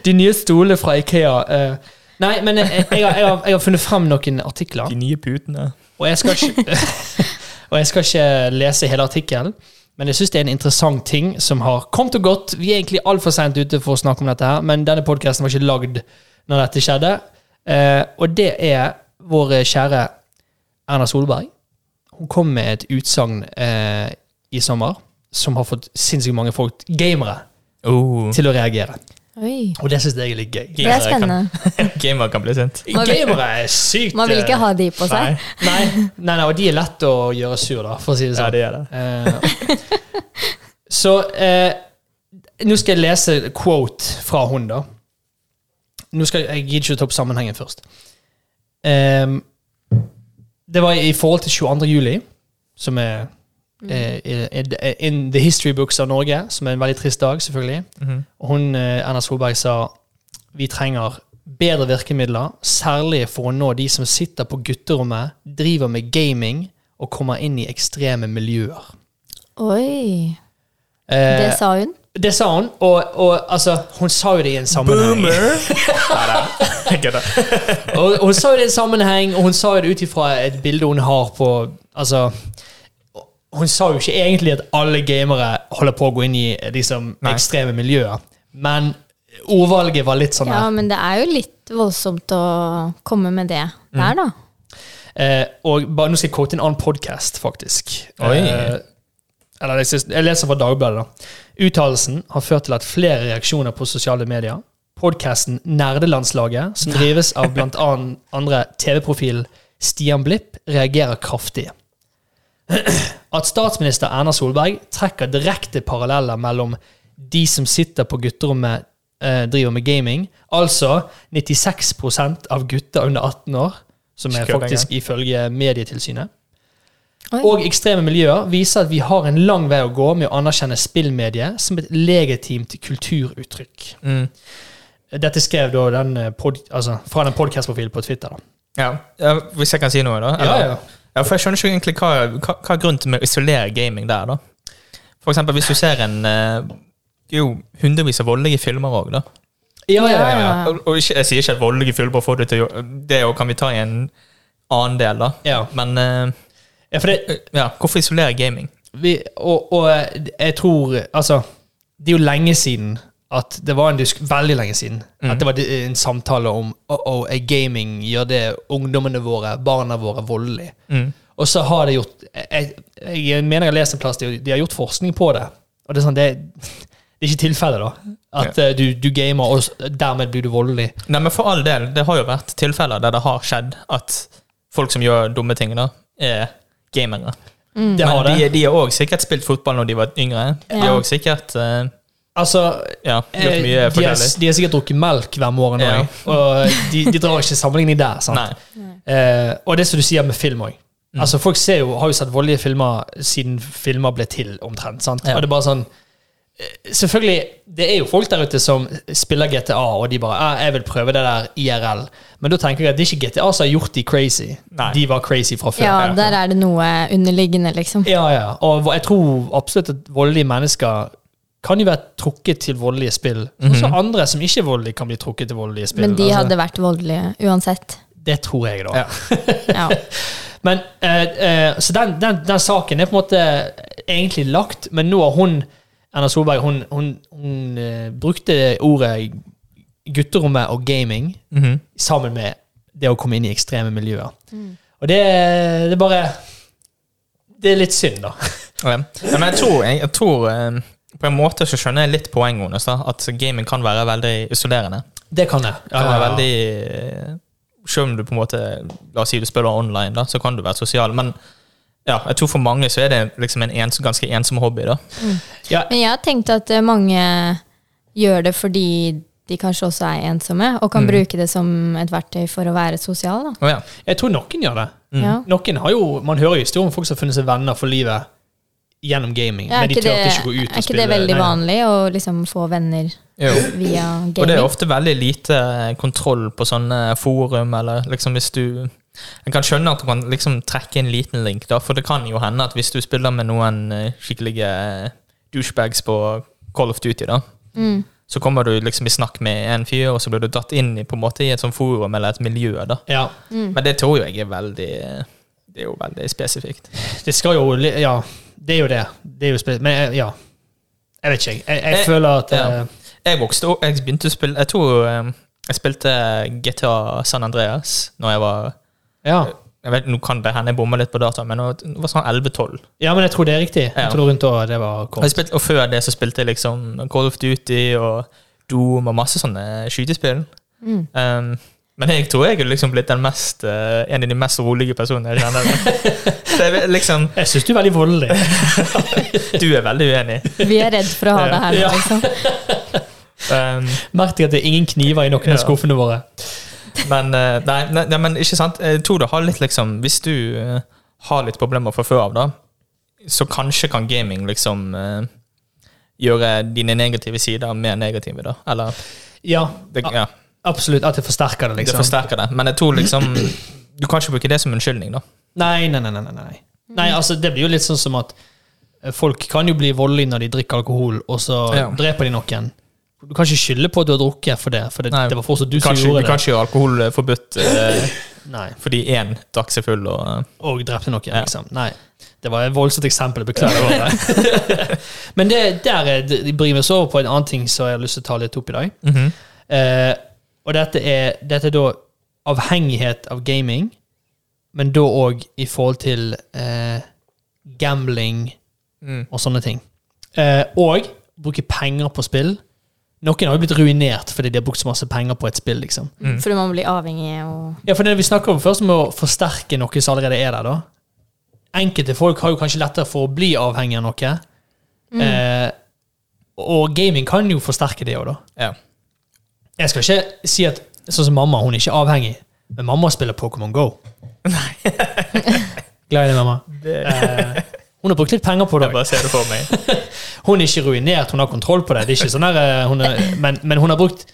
Speaker 1: de nye stolene fra Ikea. eh. nei, men jeg, jeg, har, jeg, har, jeg har funnet frem noen artikler.
Speaker 3: De nye putene.
Speaker 1: Og jeg skal ikke, og jeg skal ikke lese hele artikkelen, men jeg syns det er en interessant ting som har kommet og gått. Vi er egentlig altfor seint ute for å snakke om dette, her, men denne podkasten var ikke lagd når dette skjedde. Eh, og det er vår kjære Erna Solberg. Hun kom med et utsagn eh, i sommer som har fått sinnssykt mange folk, gamere,
Speaker 3: Oh.
Speaker 1: til å reagere.
Speaker 2: Oi.
Speaker 1: Og det syns jeg er litt gøy.
Speaker 2: Det er spennende.
Speaker 3: Gamer kan bli sint.
Speaker 2: Man vil-
Speaker 1: Gamere er sykt
Speaker 2: Man vil ikke ha de på seg.
Speaker 1: eh, nei, nei, nei, og de er lett å gjøre sur, da, for å si det sånn.
Speaker 3: Ja, det er det.
Speaker 1: Eh, Så eh, Nå skal jeg lese quote fra hun, da. Nå skal jeg, jeg gidder ikke å ta opp sammenhengen først. Ehm, det var i forhold til 22. juli, som er eh, er- er in the history books av Norge, som er en veldig trist dag, selvfølgelig.
Speaker 3: Mhm.
Speaker 1: Og hun, eh, Erna Solberg, sa vi trenger bedre virkemidler, særlig for å nå de som sitter på gutterommet, driver med gaming og kommer inn i ekstreme miljøer.
Speaker 2: Oi.
Speaker 1: Eh,
Speaker 2: Det sa hun.
Speaker 1: det sa hun, og, og altså, hun sa jo det i en sammenheng.
Speaker 3: Jeg kødder.
Speaker 1: Og hun sa jo det i en sammenheng, og hun sa jo det ut ifra et bilde hun har på Altså Hun sa jo ikke egentlig at alle gamere holder på å gå inn i liksom,
Speaker 3: Nei.
Speaker 1: ekstreme miljøer, men ordvalget var litt sånn
Speaker 2: Ja,
Speaker 1: her.
Speaker 2: men det er jo litt voldsomt å komme med det
Speaker 3: Mm.
Speaker 2: der, da.
Speaker 1: Eh, og bare, nå skal jeg quote en annen podcast, faktisk.
Speaker 3: Oi.
Speaker 1: Eh, eller jeg, synes, jeg leser fra Dagbladet, da. Uttalelsen har ført til at flere reaksjoner på sosiale medier. Podcasten Nerdelandslaget, som drives av blant annet andre TV-profilen Stian Blipp, reagerer kraftig. At statsminister Erna Solberg trekker direkte paralleller mellom de som sitter på gutterommet, eh, driver med gaming, altså 96 av gutter under 18 år, som er
Speaker 3: Ikke kødd
Speaker 1: faktisk ifølge Medietilsynet,
Speaker 2: Oi.
Speaker 1: og ekstreme miljøer, viser at vi har en lang vei å gå med å anerkjenne spillmediet som et legitimt kulturuttrykk.
Speaker 3: Mm.
Speaker 1: Dette skrev da den eh, pod, altså, fra den podcastprofilen på Twitter. Da.
Speaker 3: Ja. ja, Hvis jeg kan si noe, da?
Speaker 1: Ja,
Speaker 3: Eller-
Speaker 1: ja.
Speaker 3: Ja, for Jeg skjønner ikke egentlig hva, hva, hva er grunnen til å isolere gaming der, da. For eksempel hvis du ser en eh, Det er jo hundrevis av voldelige filmer òg, da.
Speaker 1: Ja, ja, ja.
Speaker 2: Ja.
Speaker 3: Og, og ikke, jeg sier ikke at voldelige filmer får det til å gjøre Det også kan vi ta i en annen del, da.
Speaker 1: Ja.
Speaker 3: Men eh,
Speaker 1: ja for det,
Speaker 3: ja, hvorfor isolere gaming?
Speaker 1: vi, og, og eh, jeg tror Altså, det er jo lenge siden at det var en disk, Veldig lenge siden.
Speaker 3: Mm.
Speaker 1: At det var de- en samtale om oh, oh, er gaming gjør det ungdommene våre, barna våre, voldelig.
Speaker 3: Mm.
Speaker 1: Og så har det gjort Jeg, jeg, jeg mener jeg har lest en plass de, de har gjort forskning på det. Og det er sånn, det, det er ikke tilfellet, da. At eh, du, du gamer, og s- dermed blir du voldelig.
Speaker 3: Nei, men for all del, det har jo vært tilfeller der det har skjedd at folk som gjør dumme ting, da, er gamere.
Speaker 1: Det har
Speaker 3: Men
Speaker 1: det.
Speaker 3: de, de har òg sikkert spilt fotball når de var yngre. De har
Speaker 2: Ja.
Speaker 3: òg sikkert eh,
Speaker 1: Altså,
Speaker 3: ja, gjort
Speaker 1: Eh,
Speaker 3: mye
Speaker 1: de, har,
Speaker 3: forskjellig.
Speaker 1: de har sikkert drukket melk hver morgen
Speaker 3: Ja.
Speaker 1: også, og eh, de, de drar ikke sammenligning der.
Speaker 3: Nei.
Speaker 1: sant?
Speaker 2: Mm.
Speaker 1: Eh, og det som du sier med film òg.
Speaker 3: Mm.
Speaker 1: Altså, folk ser jo, har jo sett voldelige filmer siden filmer ble til, omtrent. sant?
Speaker 3: Ja.
Speaker 1: Og det er bare sånn, eh, Selvfølgelig, det er jo folk der ute som spiller GTA, og de bare «Ah, 'Jeg vil prøve det der IRL'. Men da tenker jeg at det er ikke GTA som har gjort de crazy.
Speaker 3: Nei.
Speaker 1: De var crazy fra før.
Speaker 2: Ja, der er det noe underliggende, liksom.
Speaker 1: Ja, ja. Og jeg tror absolutt at voldelige mennesker kan jo være trukket til voldelige spill. Også
Speaker 3: Mhm.
Speaker 1: andre som ikke er voldelige, kan bli trukket til voldelige spill.
Speaker 2: Men de
Speaker 1: Altså,
Speaker 2: hadde vært voldelige uansett.
Speaker 1: Det tror jeg, da.
Speaker 3: Ja.
Speaker 2: Ja.
Speaker 1: Men, eh, eh, så den, den, den saken er på en måte egentlig lagt, men nå har hun, Erna Solberg, hun, hun, hun eh, brukte ordet gutterommet og gaming
Speaker 3: Mhm.
Speaker 1: sammen med det å komme inn i ekstreme miljøer.
Speaker 2: Mm.
Speaker 1: Og det, det er bare Det er litt synd, da.
Speaker 3: Ja. Ja, men jeg tror, jeg, jeg tror eh, På en måte så skjønner jeg litt poenget hennes. da, At gaming kan være veldig isolerende.
Speaker 1: Det kan jeg.
Speaker 3: Kan være veldig eh, Selv om du på en måte La oss si du spiller online, da, så kan du være sosial. Men ja, jeg tror for mange så er det liksom en ens, ganske ensom hobby. da.
Speaker 1: Ja,
Speaker 2: Men jeg har tenkt at eh, mange gjør det fordi de kanskje også er ensomme,
Speaker 1: Mm.
Speaker 2: og kan bruke det som et verktøy for å være sosial. Da.
Speaker 3: Å ja.
Speaker 1: jeg tror noen gjør det.
Speaker 2: Ja.
Speaker 1: Noen har jo, Man hører jo historier om folk som har funnet seg venner for livet gjennom gaming.
Speaker 2: Ja,
Speaker 1: men de
Speaker 2: ikke
Speaker 1: tør
Speaker 2: det,
Speaker 1: ikke gå ut og
Speaker 2: er ikke
Speaker 1: spille.
Speaker 2: det veldig
Speaker 1: Nei, nei.
Speaker 2: vanlig å liksom få venner
Speaker 3: Jo.
Speaker 2: via
Speaker 3: Og det
Speaker 2: gaming?
Speaker 3: er ofte veldig lite kontroll på sånne forum, eller liksom hvis du Jeg kan skjønne at du kan liksom trekke en liten link, da, for det kan jo hende at hvis du spiller med noen eh, skikkelige douchebags på Call of Duty, da,
Speaker 2: Mm.
Speaker 3: så kommer du liksom i snakk med en fyr, og så blir du datt inn i, på en måte, i et sånt forum eller et miljø, da.
Speaker 1: Ja,
Speaker 3: Men det tror jo jeg er veldig eh, Det er jo veldig spesifikt.
Speaker 1: det skal jo li- Ja, det er jo det. Det er jo spe- Men eh, ja. Jeg vet ikke, jeg. Jeg, jeg
Speaker 3: Eh,
Speaker 1: føler at
Speaker 3: ja.
Speaker 1: eh,
Speaker 3: Jeg vokste opp Jeg begynte å spille Jeg tror eh, jeg spilte GTA San Andreas når jeg var
Speaker 1: ja.
Speaker 3: jeg vet, Nå kan det hende jeg bommer litt på data, men nå- det var sånn 11-12.
Speaker 1: ja, men jeg tror det er riktig.
Speaker 3: Ja. Altså-
Speaker 1: Jeg tror rundt da det var
Speaker 3: Og, jeg
Speaker 1: kommet.
Speaker 3: spilte- og før det så spilte jeg liksom Call of Duty og Doom og masse sånne skytespill.
Speaker 2: Mm.
Speaker 3: Um, men jeg tror jeg er liksom blitt den mest, eh, en av de mest rolige personene jeg kjenner. så jeg, vet liksom,
Speaker 1: Jeg syns du er veldig voldelig.
Speaker 3: du er veldig uenig.
Speaker 2: Vi er redd for å ha det her.
Speaker 1: Ja.
Speaker 2: Liksom.
Speaker 3: Um,
Speaker 1: Merk deg at det er ingen kniver i noen
Speaker 3: Ja.
Speaker 1: av skuffene våre.
Speaker 3: men, eh, nei, nei, nei, men ikke sant. Jeg tror det har litt liksom Hvis du eh, har litt problemer fra før av, da, så kanskje kan gaming liksom eh, gjøre dine negative sider mer negative, da. Eller
Speaker 1: Ja,
Speaker 3: det,
Speaker 1: a-
Speaker 3: ja.
Speaker 1: absolutt. At det forsterker det,
Speaker 3: Det
Speaker 1: liksom.
Speaker 3: forsterker det. Men jeg tror liksom Du kan ikke bruke det som unnskyldning, da.
Speaker 1: Nei, nei, nei. nei, nei, nei. Nei, altså Det blir jo litt sånn som at eh, folk kan jo bli voldelige når de drikker alkohol, og så
Speaker 3: Ja.
Speaker 1: dreper de noen. Du kan ikke skylde på at du har drukket for det, for det,
Speaker 3: Nei.
Speaker 1: det var fortsatt du
Speaker 3: Du
Speaker 1: som
Speaker 3: kan ikke, du
Speaker 1: gjorde
Speaker 3: kan
Speaker 1: det.
Speaker 3: ikke gjøre alkohol eh, forbudt eh,
Speaker 1: Nei,
Speaker 3: fordi én drakk seg full og eh,
Speaker 1: Og drepte noen,
Speaker 3: Ja.
Speaker 1: liksom. Nei. Det var et voldsomt eksempel. Beklager. Men det, der er- det bringer vi oss over på en annen ting som jeg har lyst til å ta litt opp i dag.
Speaker 3: mhm.
Speaker 1: Eh, og dette er, dette er da avhengighet av gaming, men da òg i forhold til eh, gambling
Speaker 3: Mm.
Speaker 1: og sånne ting. Eh, og bruke penger på spill. Noen har jo blitt ruinert fordi de har brukt så masse penger på et spill. liksom.
Speaker 2: Mm. Fordi man blir avhengig og
Speaker 1: Ja, for det vi snakker om først, med å forsterke noe som allerede er der. da. Enkelte folk har jo kanskje lettere for å bli avhengig av noe. Eh, og gaming kan jo forsterke det òg, da.
Speaker 3: Ja.
Speaker 1: Jeg skal ikke si at sånn som mamma, hun er ikke avhengig, men mamma spiller Pokémon Go. Glad i deg, mamma. Eh, hun har brukt litt penger på det.
Speaker 3: Jeg bare ser det for meg.
Speaker 1: Hun er ikke ruinert, hun har kontroll på det. det er ikke sånn der, eh, hun er, men, men hun har brukt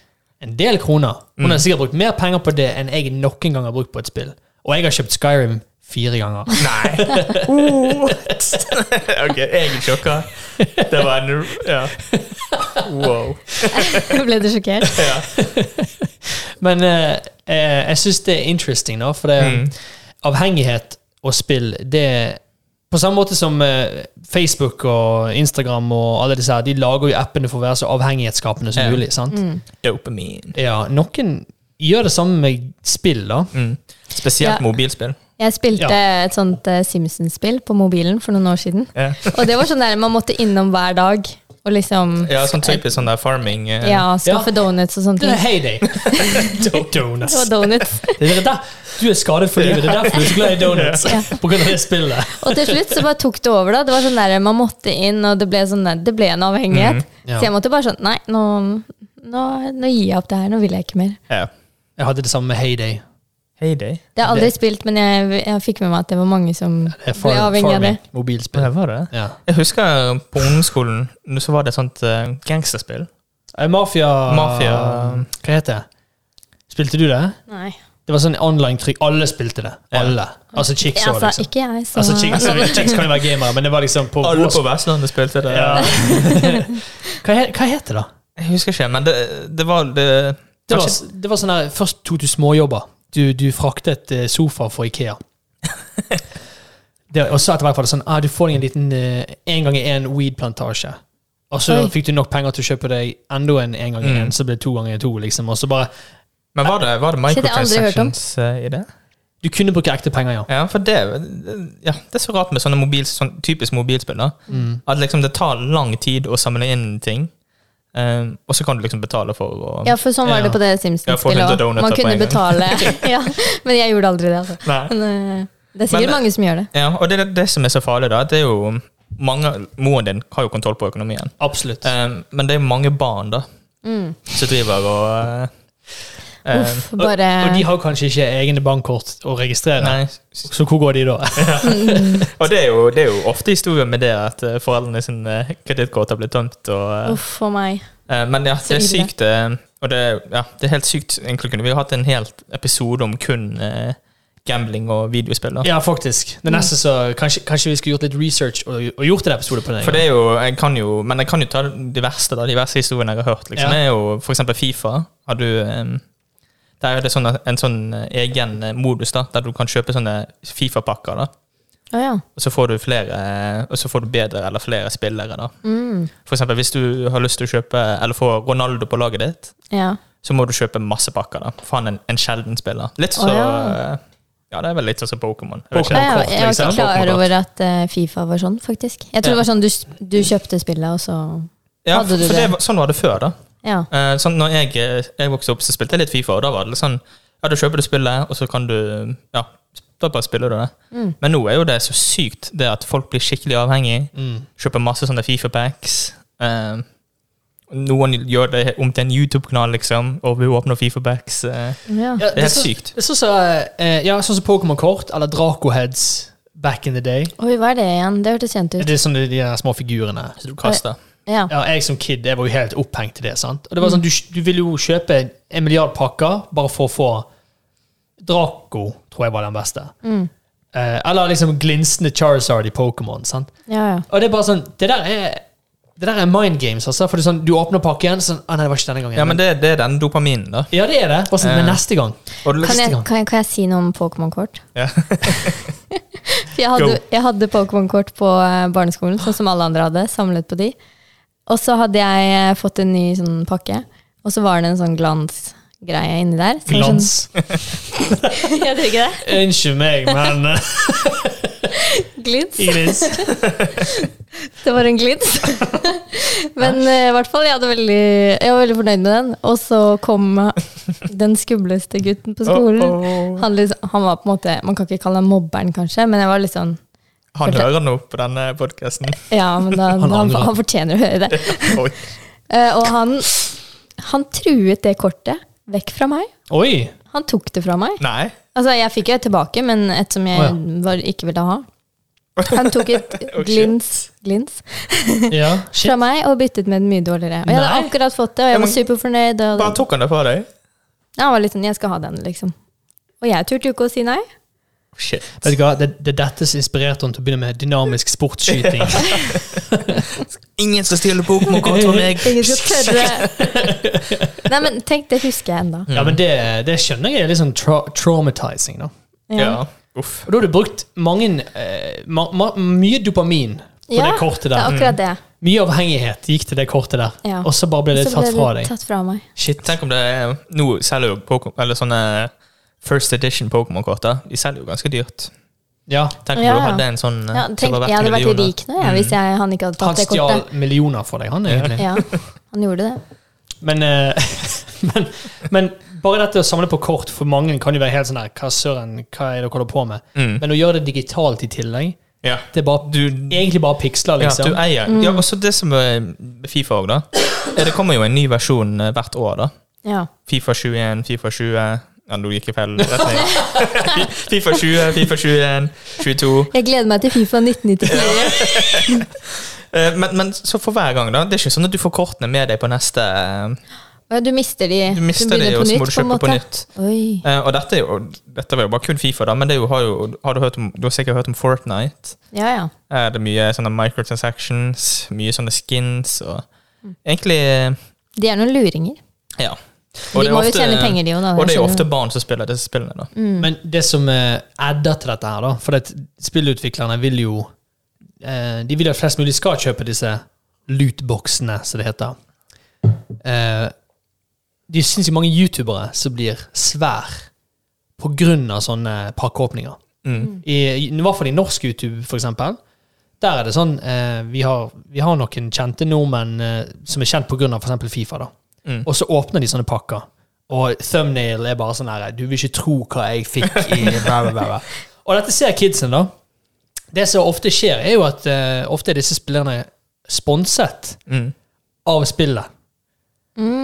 Speaker 1: en del kroner. Hun
Speaker 3: Mm.
Speaker 1: har sikkert brukt mer penger på det enn jeg noen gang har brukt på et spill. Og jeg har kjøpt Skyrim fire ganger.
Speaker 3: Nei. ok, jeg er sjokka. Det var en Ja. Wow.
Speaker 2: Ble du sjokkert?
Speaker 3: Ja.
Speaker 1: Men eh, eh, jeg syns det er interesting, da, for det,
Speaker 3: Mm.
Speaker 1: avhengighet og spill, det er På samme måte som eh, Facebook og Instagram og alle disse her, de lager jo appene for å være så avhengighetsskapende som
Speaker 3: Ja.
Speaker 1: mulig. sant?
Speaker 3: Dopamin.
Speaker 1: Ja, Noen gjør det samme med spill, da.
Speaker 3: Mm. Spesielt
Speaker 2: Ja.
Speaker 3: mobilspill.
Speaker 2: Jeg spilte et sånt eh, Simpsons-spill på mobilen for noen år siden.
Speaker 3: Ja.
Speaker 2: Og det var sånn der man måtte innom hver dag. Og liksom
Speaker 3: Ja, sånn typisk sånn der farming. eh,
Speaker 2: Ja, skaffe donuts og sånne
Speaker 1: Det er
Speaker 2: ting.
Speaker 1: heyday. Donuts.
Speaker 2: Og donuts.
Speaker 1: Det er der, du er skadet for livet. Det er derfor du er så glad i donuts.
Speaker 2: Ja.
Speaker 1: På grunn av det spillet.
Speaker 2: Og til slutt så bare tok det over, da. Det var sånn der, Man måtte inn, og det ble, sånn der, det ble en avhengighet.
Speaker 1: ja.
Speaker 2: Så jeg måtte bare sånn Nei, nå, nå, nå gir jeg opp det her. Nå vil jeg ikke mer.
Speaker 3: Ja.
Speaker 1: Jeg hadde det samme med heyday.
Speaker 3: Heyday?
Speaker 2: Det har jeg aldri spilt, men jeg, jeg fikk med meg at det var mange som
Speaker 1: Det er far,
Speaker 2: ble avhengig av det.
Speaker 1: farming. Mobilspill.
Speaker 3: var det?
Speaker 1: Ja.
Speaker 3: Jeg husker på ungdomsskolen så var det et sånt eh, gangsterspill.
Speaker 1: Eh, Mafia
Speaker 3: Mafia.
Speaker 1: Hva heter det? Spilte du det?
Speaker 2: Nei.
Speaker 1: Det var sånn online-trykk. Alle spilte det.
Speaker 3: Ja.
Speaker 1: Alle. Altså chicks
Speaker 2: Altså,
Speaker 1: òg, liksom.
Speaker 2: ikke jeg. Så,
Speaker 1: Altså, chicks, chicks kan jo være gamere, men det var liksom på
Speaker 3: Alle på Vestlandet spilte det.
Speaker 1: Ja. hva, he- hva heter det, da?
Speaker 3: Jeg husker ikke, men det, det var det,
Speaker 1: Det var,
Speaker 3: kanskje-
Speaker 1: det var sånn her, Først tok du småjobber. Du, du fraktet eh, sofaer fra Ikea. Det, og så etter hvert var det sånn ah, Du får deg en liten eh, en gang i en weed-plantasje. Og så
Speaker 2: Oi.
Speaker 1: fikk du nok penger til å kjøpe deg enda en en gang i en,
Speaker 3: Mm.
Speaker 1: så ble det to ganger to. liksom. Og så bare,
Speaker 3: Men var det, var det
Speaker 2: Shit, jeg har aldri hørt om.
Speaker 3: microtransactions eh, i det?
Speaker 1: Du kunne bruke ekte penger, ja.
Speaker 3: Ja, for det, ja, det er så rart med sånne mobil, sånn typisk mobilspill. da.
Speaker 1: Mm.
Speaker 3: At liksom det tar lang tid å samle inn ting, eh, og så kan du liksom betale for å
Speaker 2: ja, for sånn var det
Speaker 1: Ja.
Speaker 2: på det
Speaker 3: Ja, få hundre
Speaker 2: Simpsons-spillet òg.
Speaker 3: donuter
Speaker 2: Man
Speaker 3: på
Speaker 2: kunne
Speaker 3: en gang.
Speaker 2: betale. ja, men jeg gjorde aldri det, altså.
Speaker 3: Nei.
Speaker 2: Men, eh, det er sikkert
Speaker 3: Men-
Speaker 2: mange som gjør det.
Speaker 3: Ja, og det er det- det som er så farlig, da. at Det er jo mange, Moren din har jo kontroll på økonomien,
Speaker 1: Absolutt.
Speaker 3: Eh, men det er jo mange barn da,
Speaker 2: Mm.
Speaker 3: som driver og eh, eh,
Speaker 2: Uff, bare
Speaker 1: og de har kanskje ikke egne bankkort å registrere,
Speaker 3: Nei.
Speaker 1: så hvor går de da?
Speaker 3: Og det er, jo, det er jo ofte historien med det at eh, foreldrene sine kredittkort har blitt tømt. og... eh,
Speaker 2: Uff for meg.
Speaker 3: Eh, Men ja, det er
Speaker 2: ille.
Speaker 3: sykt eh, Og det, er- ja, det er helt sykt egentlig. kunne Vi har hatt en hel episode om kun eh, gambling og videospill. Da.
Speaker 1: Ja, faktisk. Det neste så, kanskje, kanskje vi skulle gjort litt research og, og gjort en episode på det. en
Speaker 3: For
Speaker 1: gang.
Speaker 3: det er jo, jeg kan jo Men jeg kan jo ta de verste da, de verste historiene jeg har hørt. Liksom.
Speaker 1: Ja.
Speaker 3: Det er jo for eksempel Fifa. Har du eh, Der er det sånn, en sånn eh, egen eh, modus da der du kan kjøpe sånne Fifa-pakker. da
Speaker 2: Å ja.
Speaker 3: Og så får du flere eh, Og så får du bedre eller flere spillere. da
Speaker 2: Mm.
Speaker 3: For eksempel hvis du har lyst til å kjøpe Eller få Ronaldo på laget ditt,
Speaker 2: ja.
Speaker 3: så må du kjøpe masse pakker. da For han er en, en sjelden spiller. Litt så
Speaker 2: Å, ja.
Speaker 3: Ja, det er vel litt sånn som Pokémon. Jeg vet
Speaker 1: Pokémon.
Speaker 2: Ja,
Speaker 1: kort,
Speaker 2: ja,
Speaker 3: ikke.
Speaker 2: jeg var ikke
Speaker 1: liksom.
Speaker 2: klar
Speaker 3: Pokémon-kort.
Speaker 2: over at eh, Fifa var sånn, faktisk. Jeg tror
Speaker 3: Ja.
Speaker 2: det var sånn du, s- du kjøpte spillet, og så
Speaker 3: Ja,
Speaker 2: Hadde
Speaker 3: for
Speaker 2: du
Speaker 3: det?
Speaker 2: det?
Speaker 3: var- sånn var det før, da.
Speaker 2: Ja.
Speaker 3: Eh, Sånn når jeg, eh, jeg vokste opp, så spilte jeg litt Fifa, og da var det litt sånn Ja, du kjøper du spillet, og så kan du Ja, da bare spiller du det.
Speaker 2: Mm.
Speaker 3: Men nå er jo det så sykt, det at folk blir skikkelig avhengig.
Speaker 1: Mm.
Speaker 3: Kjøper masse sånne Fifa-packs. Eh, noen gjør det om til en YouTube-kanal, liksom, og vi åpner Fifa-packs. Eh,
Speaker 2: ja.
Speaker 1: Ja,
Speaker 3: det er helt
Speaker 1: så-
Speaker 3: sykt.
Speaker 1: Det er sånn som eh, ja, sånn som Pokémon-kort eller Dracoheads back in the day.
Speaker 2: Oi, hva er det igjen? Det hørtes kjent
Speaker 1: Det
Speaker 2: ut.
Speaker 1: er sånn de, de her små figurene.
Speaker 3: Så du kaster.
Speaker 2: Ja.
Speaker 1: Ja, jeg som kid jeg var jo helt opphengt i det. sant? Og det
Speaker 2: Mm.
Speaker 1: var sånn, Du, du ville jo kjøpe en milliard pakker bare for å få Draco, tror jeg var den beste.
Speaker 2: Mm.
Speaker 1: Eh, eller liksom glinsende Charizard i Pokémon. sant?
Speaker 2: ja, ja.
Speaker 1: Og det er bare sånn, det der er, det der er mind games, altså. For det er sånn, du åpner pakken, sånn ah, nei, det var ikke denne gangen.
Speaker 3: Ja, men det, det er den dopaminen, da.
Speaker 1: ja, det er det. Bare sånn, men
Speaker 3: Eh.
Speaker 1: neste gang.
Speaker 3: Og det,
Speaker 2: Kan jeg,
Speaker 1: gang.
Speaker 2: kan, jeg, kan jeg si noe om Pokémon-kort?
Speaker 3: Ja.
Speaker 2: For jeg hadde, jeg hadde Pokémon-kort på eh, barneskolen, sånn som alle andre hadde. Samlet på de. Og så hadde jeg eh, fått en ny sånn pakke, og så var det en sånn glansgreie inni der. som var
Speaker 1: Glans.
Speaker 2: Sånn, jeg tror ikke det.
Speaker 1: Unnskyld meg, men eh,
Speaker 2: Glins.
Speaker 1: Iris.
Speaker 2: Det var en glins. Men eh, i hvert fall, jeg, hadde veldig, jeg var veldig fornøyd med den. Og så kom den skumleste gutten på skolen. Han, liksom, han var på en måte, Man kan ikke kalle ham mobberen, kanskje, men jeg var litt sånn
Speaker 3: Han hører nå på denne podkasten.
Speaker 2: Ja, men da,
Speaker 1: Han
Speaker 2: han, han,
Speaker 1: angrer.
Speaker 2: fortjener å høre det. Eh, og han, han truet det kortet vekk fra meg.
Speaker 1: Oi!
Speaker 2: Han tok det fra meg.
Speaker 3: Nei.
Speaker 2: Altså, jeg fikk jo et tilbake, men et som jeg
Speaker 1: Å, ja.
Speaker 2: var, ikke ville ha. Han tok et
Speaker 3: Oh, shit.
Speaker 2: glins, glins
Speaker 1: Ja, shit.
Speaker 2: fra meg og byttet med den mye dårligere. Og jeg hadde
Speaker 1: Nei.
Speaker 2: akkurat fått det, og
Speaker 3: Ja,
Speaker 2: jeg
Speaker 3: men-
Speaker 2: var superfornøyd. Og
Speaker 3: Bare tok han det fra deg?
Speaker 2: Ja, han var litt sånn 'jeg skal ha den', liksom. Og jeg turte jo ikke å si nei.
Speaker 3: Oh, Shit.
Speaker 1: Vet du hva, det, det er dette som inspirerte henne til å begynne med dynamisk sportsskyting.
Speaker 3: Ingen skal stjele Pokémon-kort fra meg!
Speaker 2: Ingen skal tørre Nei, men tenk, det husker jeg ennå.
Speaker 1: Ja, men det, det skjønner jeg er litt sånn tra traumatizing, da.
Speaker 3: Ja. Uff.
Speaker 1: Og da har du brukt mange eh, ma ma mye dopamin på
Speaker 2: Ja,
Speaker 1: det kortet
Speaker 2: Det er
Speaker 1: der.
Speaker 2: akkurat
Speaker 3: Mm.
Speaker 2: det.
Speaker 1: Mye avhengighet gikk til det kortet der,
Speaker 2: Ja.
Speaker 1: og så bare ble det
Speaker 2: Så
Speaker 1: tatt
Speaker 2: ble
Speaker 1: fra
Speaker 2: det
Speaker 1: deg.
Speaker 2: tatt fra meg.
Speaker 1: Shit.
Speaker 3: Tenk om det er Nå selger jo Pokémon Eller sånne First Edition Pokémon-kort. da. De selger jo ganske dyrt.
Speaker 1: Ja.
Speaker 3: Tenk om
Speaker 2: Ja,
Speaker 3: du
Speaker 2: ja.
Speaker 3: hadde en sånn eh,
Speaker 2: Ja,
Speaker 3: som
Speaker 2: tenk,
Speaker 3: var verdt
Speaker 2: jeg hadde vært
Speaker 3: millioner.
Speaker 2: rik nå jeg, hvis jeg, han ikke hadde
Speaker 1: Han
Speaker 2: tatt det
Speaker 1: stjal
Speaker 2: kortet.
Speaker 1: millioner for deg, han egentlig.
Speaker 2: Ja, han gjorde det.
Speaker 1: Men, eh, men, men bare dette å samle på kort for mange kan jo være helt sånn her Hva søren, hva er det dere holder på med?
Speaker 3: Mm.
Speaker 1: Men å gjøre det digitalt i tillegg,
Speaker 3: Ja.
Speaker 1: det er bare, egentlig bare piksler,
Speaker 3: Ja,
Speaker 1: liksom.
Speaker 3: du eier.
Speaker 2: Mm.
Speaker 3: Ja, også det som er med Fifa òg, da. Eh, Det kommer jo en ny versjon eh, hvert år, da.
Speaker 2: Ja.
Speaker 3: Fifa 21, Fifa 20 Ja, nå gikk jeg feil retning. Fifa 20, Fifa 21, 22
Speaker 2: Jeg gleder meg til Fifa 1994.
Speaker 3: Eh, men, men så for hver gang, da. Det er ikke sånn at du får kortene med deg på neste eh,
Speaker 2: Ja, Du mister de.
Speaker 3: Du mister
Speaker 2: begynner
Speaker 3: de,
Speaker 2: på
Speaker 3: og så
Speaker 2: nytt,
Speaker 3: må du
Speaker 2: en
Speaker 3: kjøpe på
Speaker 2: måte.
Speaker 3: nytt.
Speaker 2: Oi.
Speaker 3: Eh, og dette, er jo, dette var jo bare kun Fifa, da, men det er jo, har, jo, har du, hørt om, du har sikkert hørt om Fortnite.
Speaker 2: Ja, ja.
Speaker 3: Eh, det er mye sånne microtransactions, mye sånne skins og
Speaker 2: Mm.
Speaker 3: Egentlig eh,
Speaker 2: De er noen luringer.
Speaker 3: Ja.
Speaker 2: De må jo tjene penger, de jo. da.
Speaker 3: Og det er jo
Speaker 2: Jeg
Speaker 3: ofte
Speaker 2: skjønner. Mm.
Speaker 3: barn som spiller disse spillene, da.
Speaker 1: Men det som eh, adder til dette her, da For at spillutviklerne vil jo eh, De vil at flest mulig skal kjøpe disse lootboxene, som det heter. Eh, de syns jo mange youtubere som blir svær på grunn av sånne pakkeåpninger.
Speaker 3: Mm.
Speaker 1: I, i hvert fall i norsk YouTube, for eksempel. Der er det sånn eh, vi, har, vi har noen kjente nordmenn eh, som er kjent på grunn av for eksempel Fifa, da.
Speaker 3: Mm.
Speaker 1: Og så åpner de sånne pakker. Og thumbnail er bare sånn her Du vil ikke tro hva jeg fikk i bla, bla, bla, bla. Og dette ser kidsen, da. Det som ofte skjer, er jo at eh, ofte er disse spillerne sponset
Speaker 3: Mm.
Speaker 1: av spillet.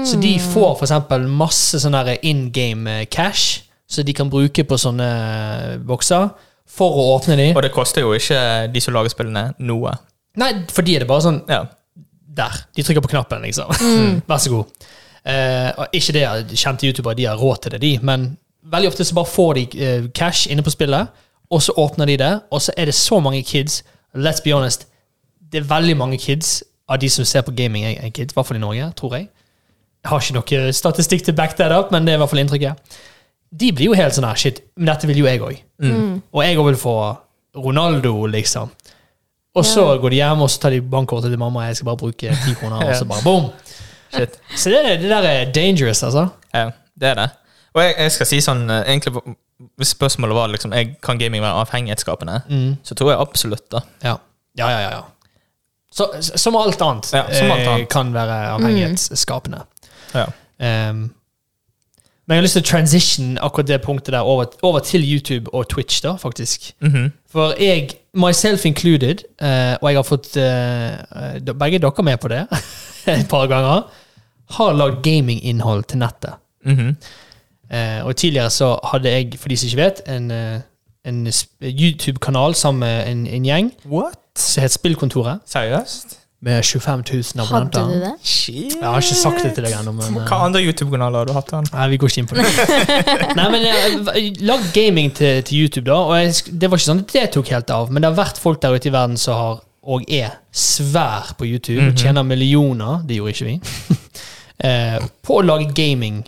Speaker 1: Så de får for eksempel masse sånn her in game cash som de kan bruke på sånne eh, bokser for å åpne de.
Speaker 3: Og det koster jo ikke de som lager spillene, noe.
Speaker 1: Nei, fordi det er bare sånn
Speaker 3: Ja.
Speaker 1: Der. De trykker på knappen, liksom. Vær så god. Eh, og ikke det at kjente youtubere de har råd til det, de, men veldig ofte så bare får de eh, cash inne på spillet, og så åpner de det, og så er det så mange kids Let's be honest, det er veldig mange kids av de som ser på gaming, er er kids, i hvert fall i Norge, tror jeg. Jeg har ikke noe statistikk til å back that up, men det er i hvert fall inntrykket. De blir jo helt sånn her, shit, men dette vil jo jeg òg. Og jeg òg vil få Ronaldo, liksom. Og så går de hjem og så tar de bankkortet til mamma, jeg skal bare bruke ti kroner, og så bare boom.
Speaker 3: Shit.
Speaker 1: Så det, det der er dangerous, altså.
Speaker 3: Ja, det er det. Og jeg, jeg skal si sånn eh, Egentlig hvis spørsmålet var liksom, jeg, kan gaming være avhengighetsskapende, så tror jeg absolutt da.
Speaker 1: Ja, ja, ja. ja, ja. Så, s- som alt annet,
Speaker 3: Ja, som alt
Speaker 1: eh,
Speaker 3: annet. Mm.
Speaker 1: kan være avhengighetsskapende.
Speaker 3: Ja.
Speaker 1: Um, men jeg har lyst til å transition akkurat det punktet der over, over til YouTube og Twitch, da, faktisk.
Speaker 3: Mhm.
Speaker 1: For jeg, myself included, eh, og jeg har fått eh, eh, begge dere med på det et par ganger, har lagd gaminginnhold til nettet.
Speaker 3: Mhm.
Speaker 1: Eh, og tidligere så hadde jeg, for de som ikke vet, en, eh, en sp- YouTube-kanal sammen med en, en gjeng som het Spillkontoret,
Speaker 3: Seriøst?
Speaker 1: med 25 000
Speaker 2: Hadde
Speaker 1: abonnenter.
Speaker 2: du det?
Speaker 3: Shit.
Speaker 1: Jeg har ikke sagt det til deg ennå, men
Speaker 3: Hva andre YouTube-kanaler har du hatt? Han?
Speaker 1: Nei, vi går ikke inn på det. Nei, men eh, Lag gaming til, til YouTube, da. Og jeg, sk- det var ikke sånn at det tok helt av, men det har vært folk der ute i verden som har og er svær på YouTube og tjener millioner, det gjorde ikke vi, eh, på å lage gaming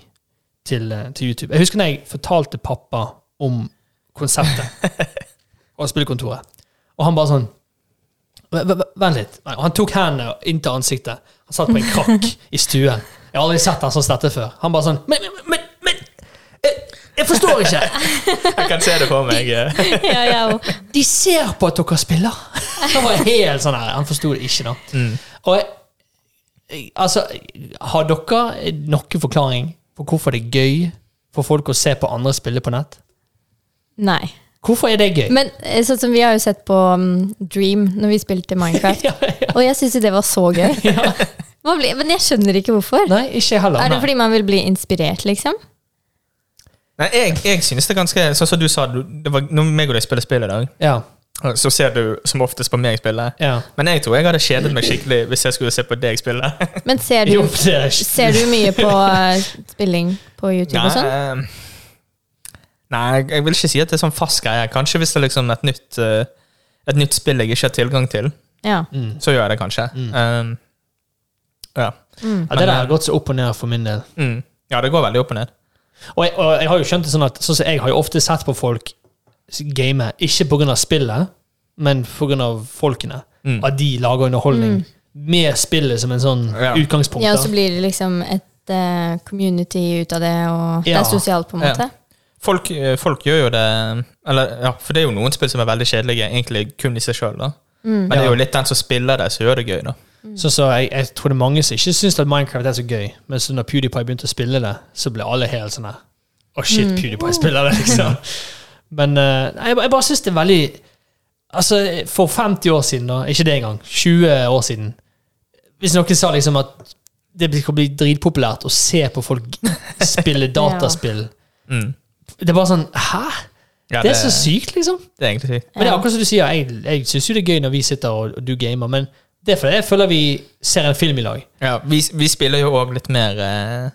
Speaker 1: til, eh, til YouTube. Jeg husker når jeg fortalte pappa om konseptet og spillekontoret, og han bare sånn "V- v- v- Vent litt. Nei, og Han tok hendene inntil ansiktet. Han satt på en krakk i stuen. Jeg har aldri sett han sånn som dette før. Han bare sånn Men, men, men, men jeg, jeg forstår ikke!
Speaker 3: Jeg kan se det for meg. eh.
Speaker 2: Ja, ja, og-
Speaker 1: De ser på at dere spiller. Han var helt sånn her. Han forsto det ikke, da. Og jeg, jeg- altså, har dere noen forklaring på hvorfor det er gøy for folk å se på andre spille på nett?
Speaker 2: Nei.
Speaker 1: Hvorfor er det gøy?
Speaker 2: Men eh, sånn som vi har jo sett på um, Dream når vi spilte Minecraft,
Speaker 1: Ja, ja.
Speaker 2: og jeg syns jo det var så gøy. Hva blir- Men jeg skjønner ikke hvorfor.
Speaker 1: Nei, ikke jeg heller.
Speaker 2: Er det
Speaker 1: Nei.
Speaker 2: fordi man vil bli inspirert, liksom?
Speaker 3: Nei, jeg, jeg synes det er ganske Sånn som du sa, du, det var, når meg og deg spiller spill i dag,
Speaker 1: Ja,
Speaker 3: så ser du som oftest på meg spille.
Speaker 1: ja.
Speaker 3: Men jeg tror jeg hadde kjedet meg skikkelig hvis jeg skulle se på deg spille.
Speaker 2: Men ser
Speaker 1: Jo,
Speaker 2: du,
Speaker 1: det er ikke
Speaker 2: ser du mye på eh, spilling på YouTube og sånn?
Speaker 3: Nei, eh, Nei, jeg vil ikke si at det er sånn fast greie. Kanskje hvis det er liksom et nytt, eh, et nytt spill jeg ikke har tilgang til,
Speaker 2: Ja.
Speaker 1: Mm.
Speaker 3: så gjør jeg det kanskje. Um, ja.
Speaker 1: ja, Det der har gått så opp og ned for min del.
Speaker 3: Mm. ja, det går veldig opp og ned.
Speaker 1: Og jeg, og jeg har jo skjønt det sånn at sånn som jeg har jo ofte sett på folk game, ikke pga. spillet, men pga. folkene.
Speaker 3: Mm.
Speaker 1: At de lager underholdning med spillet som en sånn
Speaker 3: Ja.
Speaker 1: utgangspunkt.
Speaker 2: ja,
Speaker 1: da.
Speaker 2: og så blir det liksom et eh, community ut av det, og det
Speaker 1: Ja.
Speaker 2: er sosialt, på en måte.
Speaker 3: Folk, eh, folk gjør jo det Eller ja, For det er jo noen spill som er veldig kjedelige, egentlig kun i seg sjøl.
Speaker 1: Mm.
Speaker 3: Men det er jo litt den som spiller det, som gjør det gøy. da
Speaker 1: Så, så jeg, jeg tror det er mange som ikke syns at Minecraft er så gøy, men så når PewDiePie begynte å spille det, så ble alle helt sånn her Å, shit, PewDiePie spiller det, liksom. Men eh, nei, jeg, ba- jeg bare syns det er veldig Altså, for 50 år siden, da, ikke det engang, 20 år siden Hvis noen sa liksom at det blir- kan bli dritpopulært å se på folk spille dataspill
Speaker 3: Mm.
Speaker 1: Det er bare sånn Hæ?
Speaker 3: Ja,
Speaker 1: Det er så sykt, liksom.
Speaker 3: det er egentlig sykt.
Speaker 1: Men det er akkurat som du sier, jeg, jeg syns jo det er gøy når vi sitter og, og du gamer, men det er fordi jeg føler vi ser en film i lag.
Speaker 3: Ja, vi, vi spiller jo òg litt mer eh,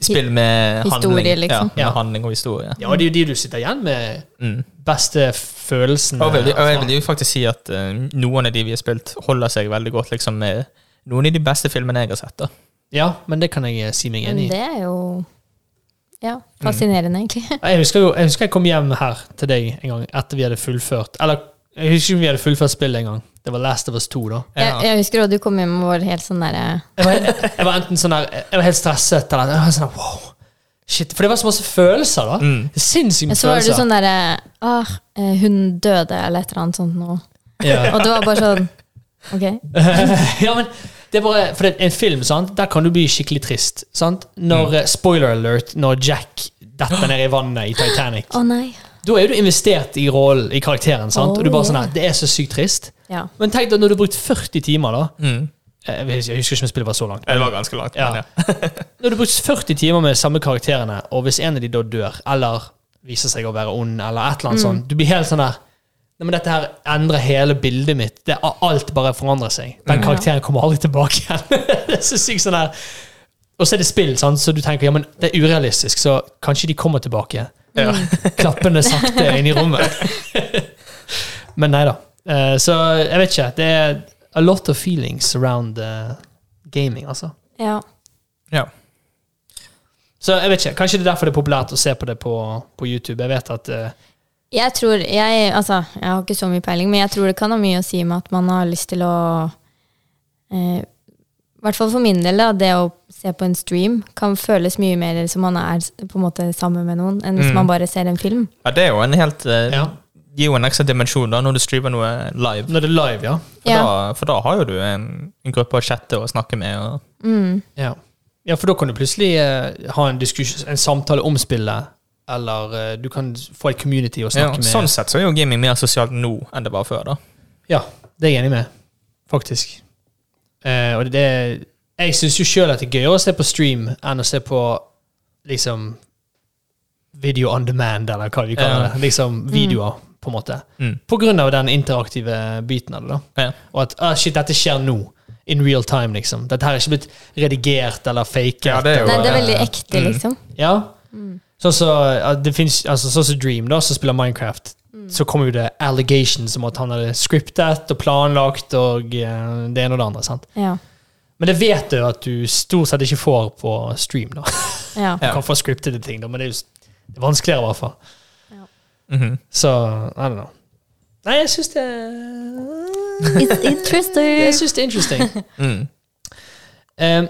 Speaker 3: Spill med
Speaker 2: Historie,
Speaker 3: handling.
Speaker 2: liksom.
Speaker 3: Ja, med
Speaker 1: Ja.
Speaker 3: handling og historie.
Speaker 1: Ja, det er jo de du sitter igjen med
Speaker 3: Mm.
Speaker 1: beste følelsen
Speaker 3: Og, veldig, og jeg vil jo faktisk si at eh, noen av de vi har spilt, holder seg veldig godt liksom med noen av de beste filmene jeg har sett. da
Speaker 1: Ja, men det kan jeg eh, si meg
Speaker 2: Men
Speaker 1: enig i.
Speaker 2: det er jo
Speaker 1: Mm.
Speaker 2: ja, fascinerende, egentlig.
Speaker 1: Jeg husker jo, jeg husker jeg kom hjem her til deg en gang etter vi hadde fullført Eller jeg husker ikke om vi hadde fullført spillet en gang. Det var Last of Us 2, da.
Speaker 2: Jeg, jeg husker også du kom hjem og var helt sånn derre
Speaker 1: Jeg var, jeg var enten sånn der, jeg var helt stresset eller jeg var sånn der, wow, shit. For det var så masse følelser, da.
Speaker 3: Mm.
Speaker 1: Sinnssyke
Speaker 2: Men så var det
Speaker 1: følelser.
Speaker 2: sånn derre ah, eh, Hun døde, eller et eller annet sånt nå.
Speaker 1: Ja.
Speaker 2: Og det var bare sånn Ok.
Speaker 1: ja, men det er bare, for det er en film, sant? der kan du bli skikkelig trist. Sant?
Speaker 3: Mm.
Speaker 1: Når, eh, Spoiler alert, når Jack detter ned i vannet i Titanic.
Speaker 2: Å nei.
Speaker 1: Da er du investert i rollen, i karakteren, sant? og du bare sånn her, det er så sykt trist.
Speaker 2: Ja.
Speaker 1: Men tenk deg når du har brukt 40 timer, da.
Speaker 3: Mm.
Speaker 1: Eh, Jeg husker jeg husker ikke om spillet var så langt.
Speaker 3: Det var ganske langt.
Speaker 1: Ja.
Speaker 3: Men, ja.
Speaker 1: Når du har brukt 40 timer med samme karakterene, og hvis en av de da dør, eller viser seg å være ond, eller et eller annet sånt, du blir helt sånn der Nei, men dette her endrer hele bildet mitt. Det, alt bare forandrer seg. Den karakteren kommer aldri tilbake igjen. det er så sykt sånn der. Og så er det spill, sant? så du tenker ja, men det er urealistisk, så kanskje de kommer tilbake.
Speaker 3: Ja.
Speaker 2: Mm.
Speaker 1: Klappende sakte inn i rommet. men nei da. Eh, Så jeg vet ikke. Det er a lot of feelings around eh, gaming, altså.
Speaker 2: ja.
Speaker 3: Ja.
Speaker 1: Så jeg vet ikke, Kanskje det er derfor det er populært å se på det på, på YouTube. Jeg vet at eh,
Speaker 2: Jeg tror jeg, altså, jeg har ikke så mye peiling, men jeg tror det kan ha mye å si med at man har lyst til å eh, I hvert fall for min del, da, det å se på en stream kan føles mye mer som man er på en måte sammen med noen, enn hvis man bare ser en film.
Speaker 3: ja, det er jo en helt eh,
Speaker 1: Ja.
Speaker 3: Gir jo en ekstra dimensjon da når du streamer noe live.
Speaker 1: Når det er live, ja.
Speaker 3: For,
Speaker 2: Ja.
Speaker 3: da, for da har jo du en, en gruppe å chatte og snakke med. Og,
Speaker 2: Mm.
Speaker 1: ja. Ja, For da kan du plutselig eh, ha en, diskus- en samtale om spillet, eller eh, du kan få et community å
Speaker 3: ja,
Speaker 1: snakke med.
Speaker 3: sånn sett så er jo gaming mer sosialt nå enn det var før. da
Speaker 1: Ja, det er jeg enig med, faktisk. Eh, og det Jeg syns jo sjøl at det er gøyere å se på stream enn å se på liksom video on demand, eller hva vi kaller
Speaker 3: Ja.
Speaker 1: det. Liksom videoer, på en måte.
Speaker 3: Mm.
Speaker 1: På grunn av den interaktive biten av det, da.
Speaker 3: Ja.
Speaker 1: Og at ah, shit, dette skjer nå. In real time, liksom. Dette her er ikke blitt redigert eller faket.
Speaker 3: Ja, det er jo-
Speaker 2: Nei, det er veldig
Speaker 1: eh,
Speaker 2: ekte, liksom.
Speaker 1: Ja. Sånn som ja, det finnes, altså, sånn som Dream, da, som spiller Minecraft, så kommer jo det allegations om at han hadde scriptet og planlagt og eh, det ene og det andre. sant?
Speaker 2: Ja.
Speaker 1: Men det vet du at du stort sett ikke får på stream. da.
Speaker 2: ja.
Speaker 1: Du
Speaker 3: Ja.
Speaker 1: kan få scriptede ting, da, men det er jo s- det er vanskeligere, i hvert fall.
Speaker 3: Mhm.
Speaker 1: Så I don't know. Nei, jeg syns det eh,
Speaker 2: It's interesting.
Speaker 1: Jeg syns det er interesting.
Speaker 3: mm.
Speaker 1: Eh,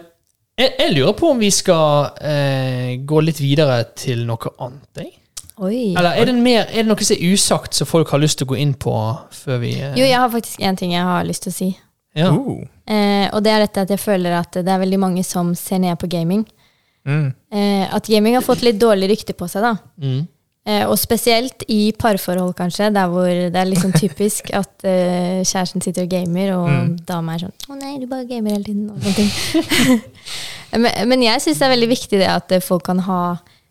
Speaker 1: jeg, jeg lurer på om vi skal eh, gå litt videre til noe annet. Jeg.
Speaker 2: Oi.
Speaker 1: Eller er det, mer, er det noe som er usagt som folk har lyst til å gå inn på før vi eh,
Speaker 2: Jo, jeg har faktisk én ting jeg har lyst til å si.
Speaker 1: ja.
Speaker 3: Uh.
Speaker 2: Eh, og det er dette at jeg føler at det er veldig mange som ser ned på gaming.
Speaker 3: Mm.
Speaker 2: Eh, at gaming har fått litt dårlig rykte på seg, da.
Speaker 1: Mm.
Speaker 2: Eh, og spesielt i parforhold, kanskje, der hvor det er liksom typisk at eh, kjæresten sitter og gamer, og dama er sånn 'Å nei, du bare gamer hele tiden', og sånne ting. men, men jeg syns det er veldig viktig det at eh, folk kan ha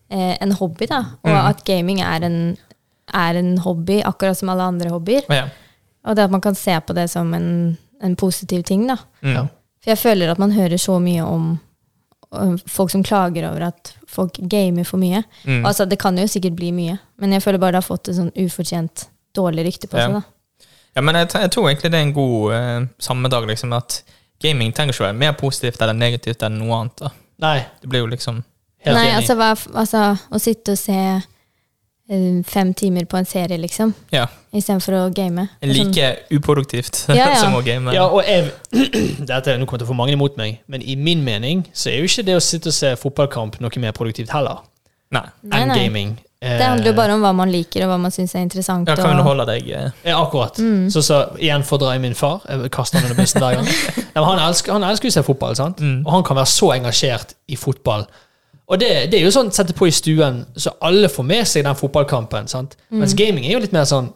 Speaker 2: eh, en hobby, da. Og at gaming er en, er en hobby, akkurat som alle andre hobbyer.
Speaker 3: Ja.
Speaker 2: Og det at man kan se på det som en, en positiv ting, da.
Speaker 3: Mm.
Speaker 1: Ja.
Speaker 2: For jeg føler at man hører så mye om om folk som klager over at folk gamer for mye.
Speaker 3: Mm.
Speaker 2: Altså, det kan jo sikkert bli mye, men jeg føler bare det har fått et sånn ufortjent dårlig rykte på
Speaker 3: Ja.
Speaker 2: seg. da.
Speaker 3: Ja, men jeg, t- jeg tror egentlig det er en god eh, sammendrag, liksom, at gaming trenger ikke å være mer positivt eller negativt enn noe annet. da.
Speaker 1: Nei,
Speaker 3: Det blir jo liksom
Speaker 1: helt
Speaker 2: Nei,
Speaker 1: enig.
Speaker 2: altså, hva, f- altså, å sitte og se eh, fem timer på en serie, liksom,
Speaker 3: ja,
Speaker 2: istedenfor å game. Sånn,
Speaker 3: like uproduktivt
Speaker 2: Ja, ja.
Speaker 3: som å game.
Speaker 1: ja, og jeg, dette, Nå kommer jeg til å få mange imot meg, men i min mening så er jo ikke det å sitte og se fotballkamp noe mer produktivt heller. Eh,
Speaker 3: Nei.
Speaker 2: Nei, nei.
Speaker 1: Endgaming.
Speaker 2: Det handler jo bare om hva man liker, og hva man syns er interessant.
Speaker 3: eh, Ja, kan
Speaker 2: og-
Speaker 3: underholde deg. eh,
Speaker 1: Ja, akkurat. Så, så igjen for å dra i min far. Jeg kaster han under bussen hver gang. Nei, men han, elsker, han elsker jo å se fotball, sant? og han kan være så engasjert i fotball. Og det, det er jo sånn sette på i stuen, så alle får med seg den fotballkampen. sant? Mens gaming er jo litt mer sånn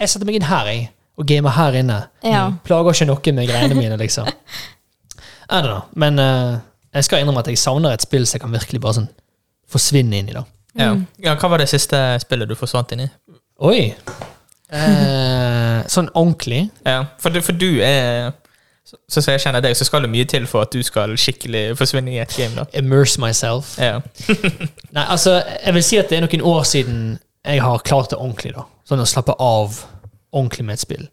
Speaker 1: Jeg setter meg inn her, jeg, og gamer her inne.
Speaker 3: Mm.
Speaker 2: Ja.
Speaker 1: Plager ikke noe med greiene mine, liksom. I don't know. Men eh, jeg skal innrømme at jeg savner et spill som jeg kan virkelig bare sånn forsvinne inn i. da.
Speaker 3: Ja.
Speaker 2: Mm.
Speaker 3: ja, Hva var det siste spillet du forsvant inn i?
Speaker 1: Oi! Eh, sånn ordentlig.
Speaker 3: Ja, for, du- for du er så- Sånn som jeg kjenner deg, så skal det mye til for at du skal skikkelig forsvinne i et game. da
Speaker 1: Immerse myself.
Speaker 3: Ja,
Speaker 1: Nei, altså, jeg vil si at det er noen år siden jeg har klart det ordentlig, da. Sånn å slappe av ordentlig med et spill.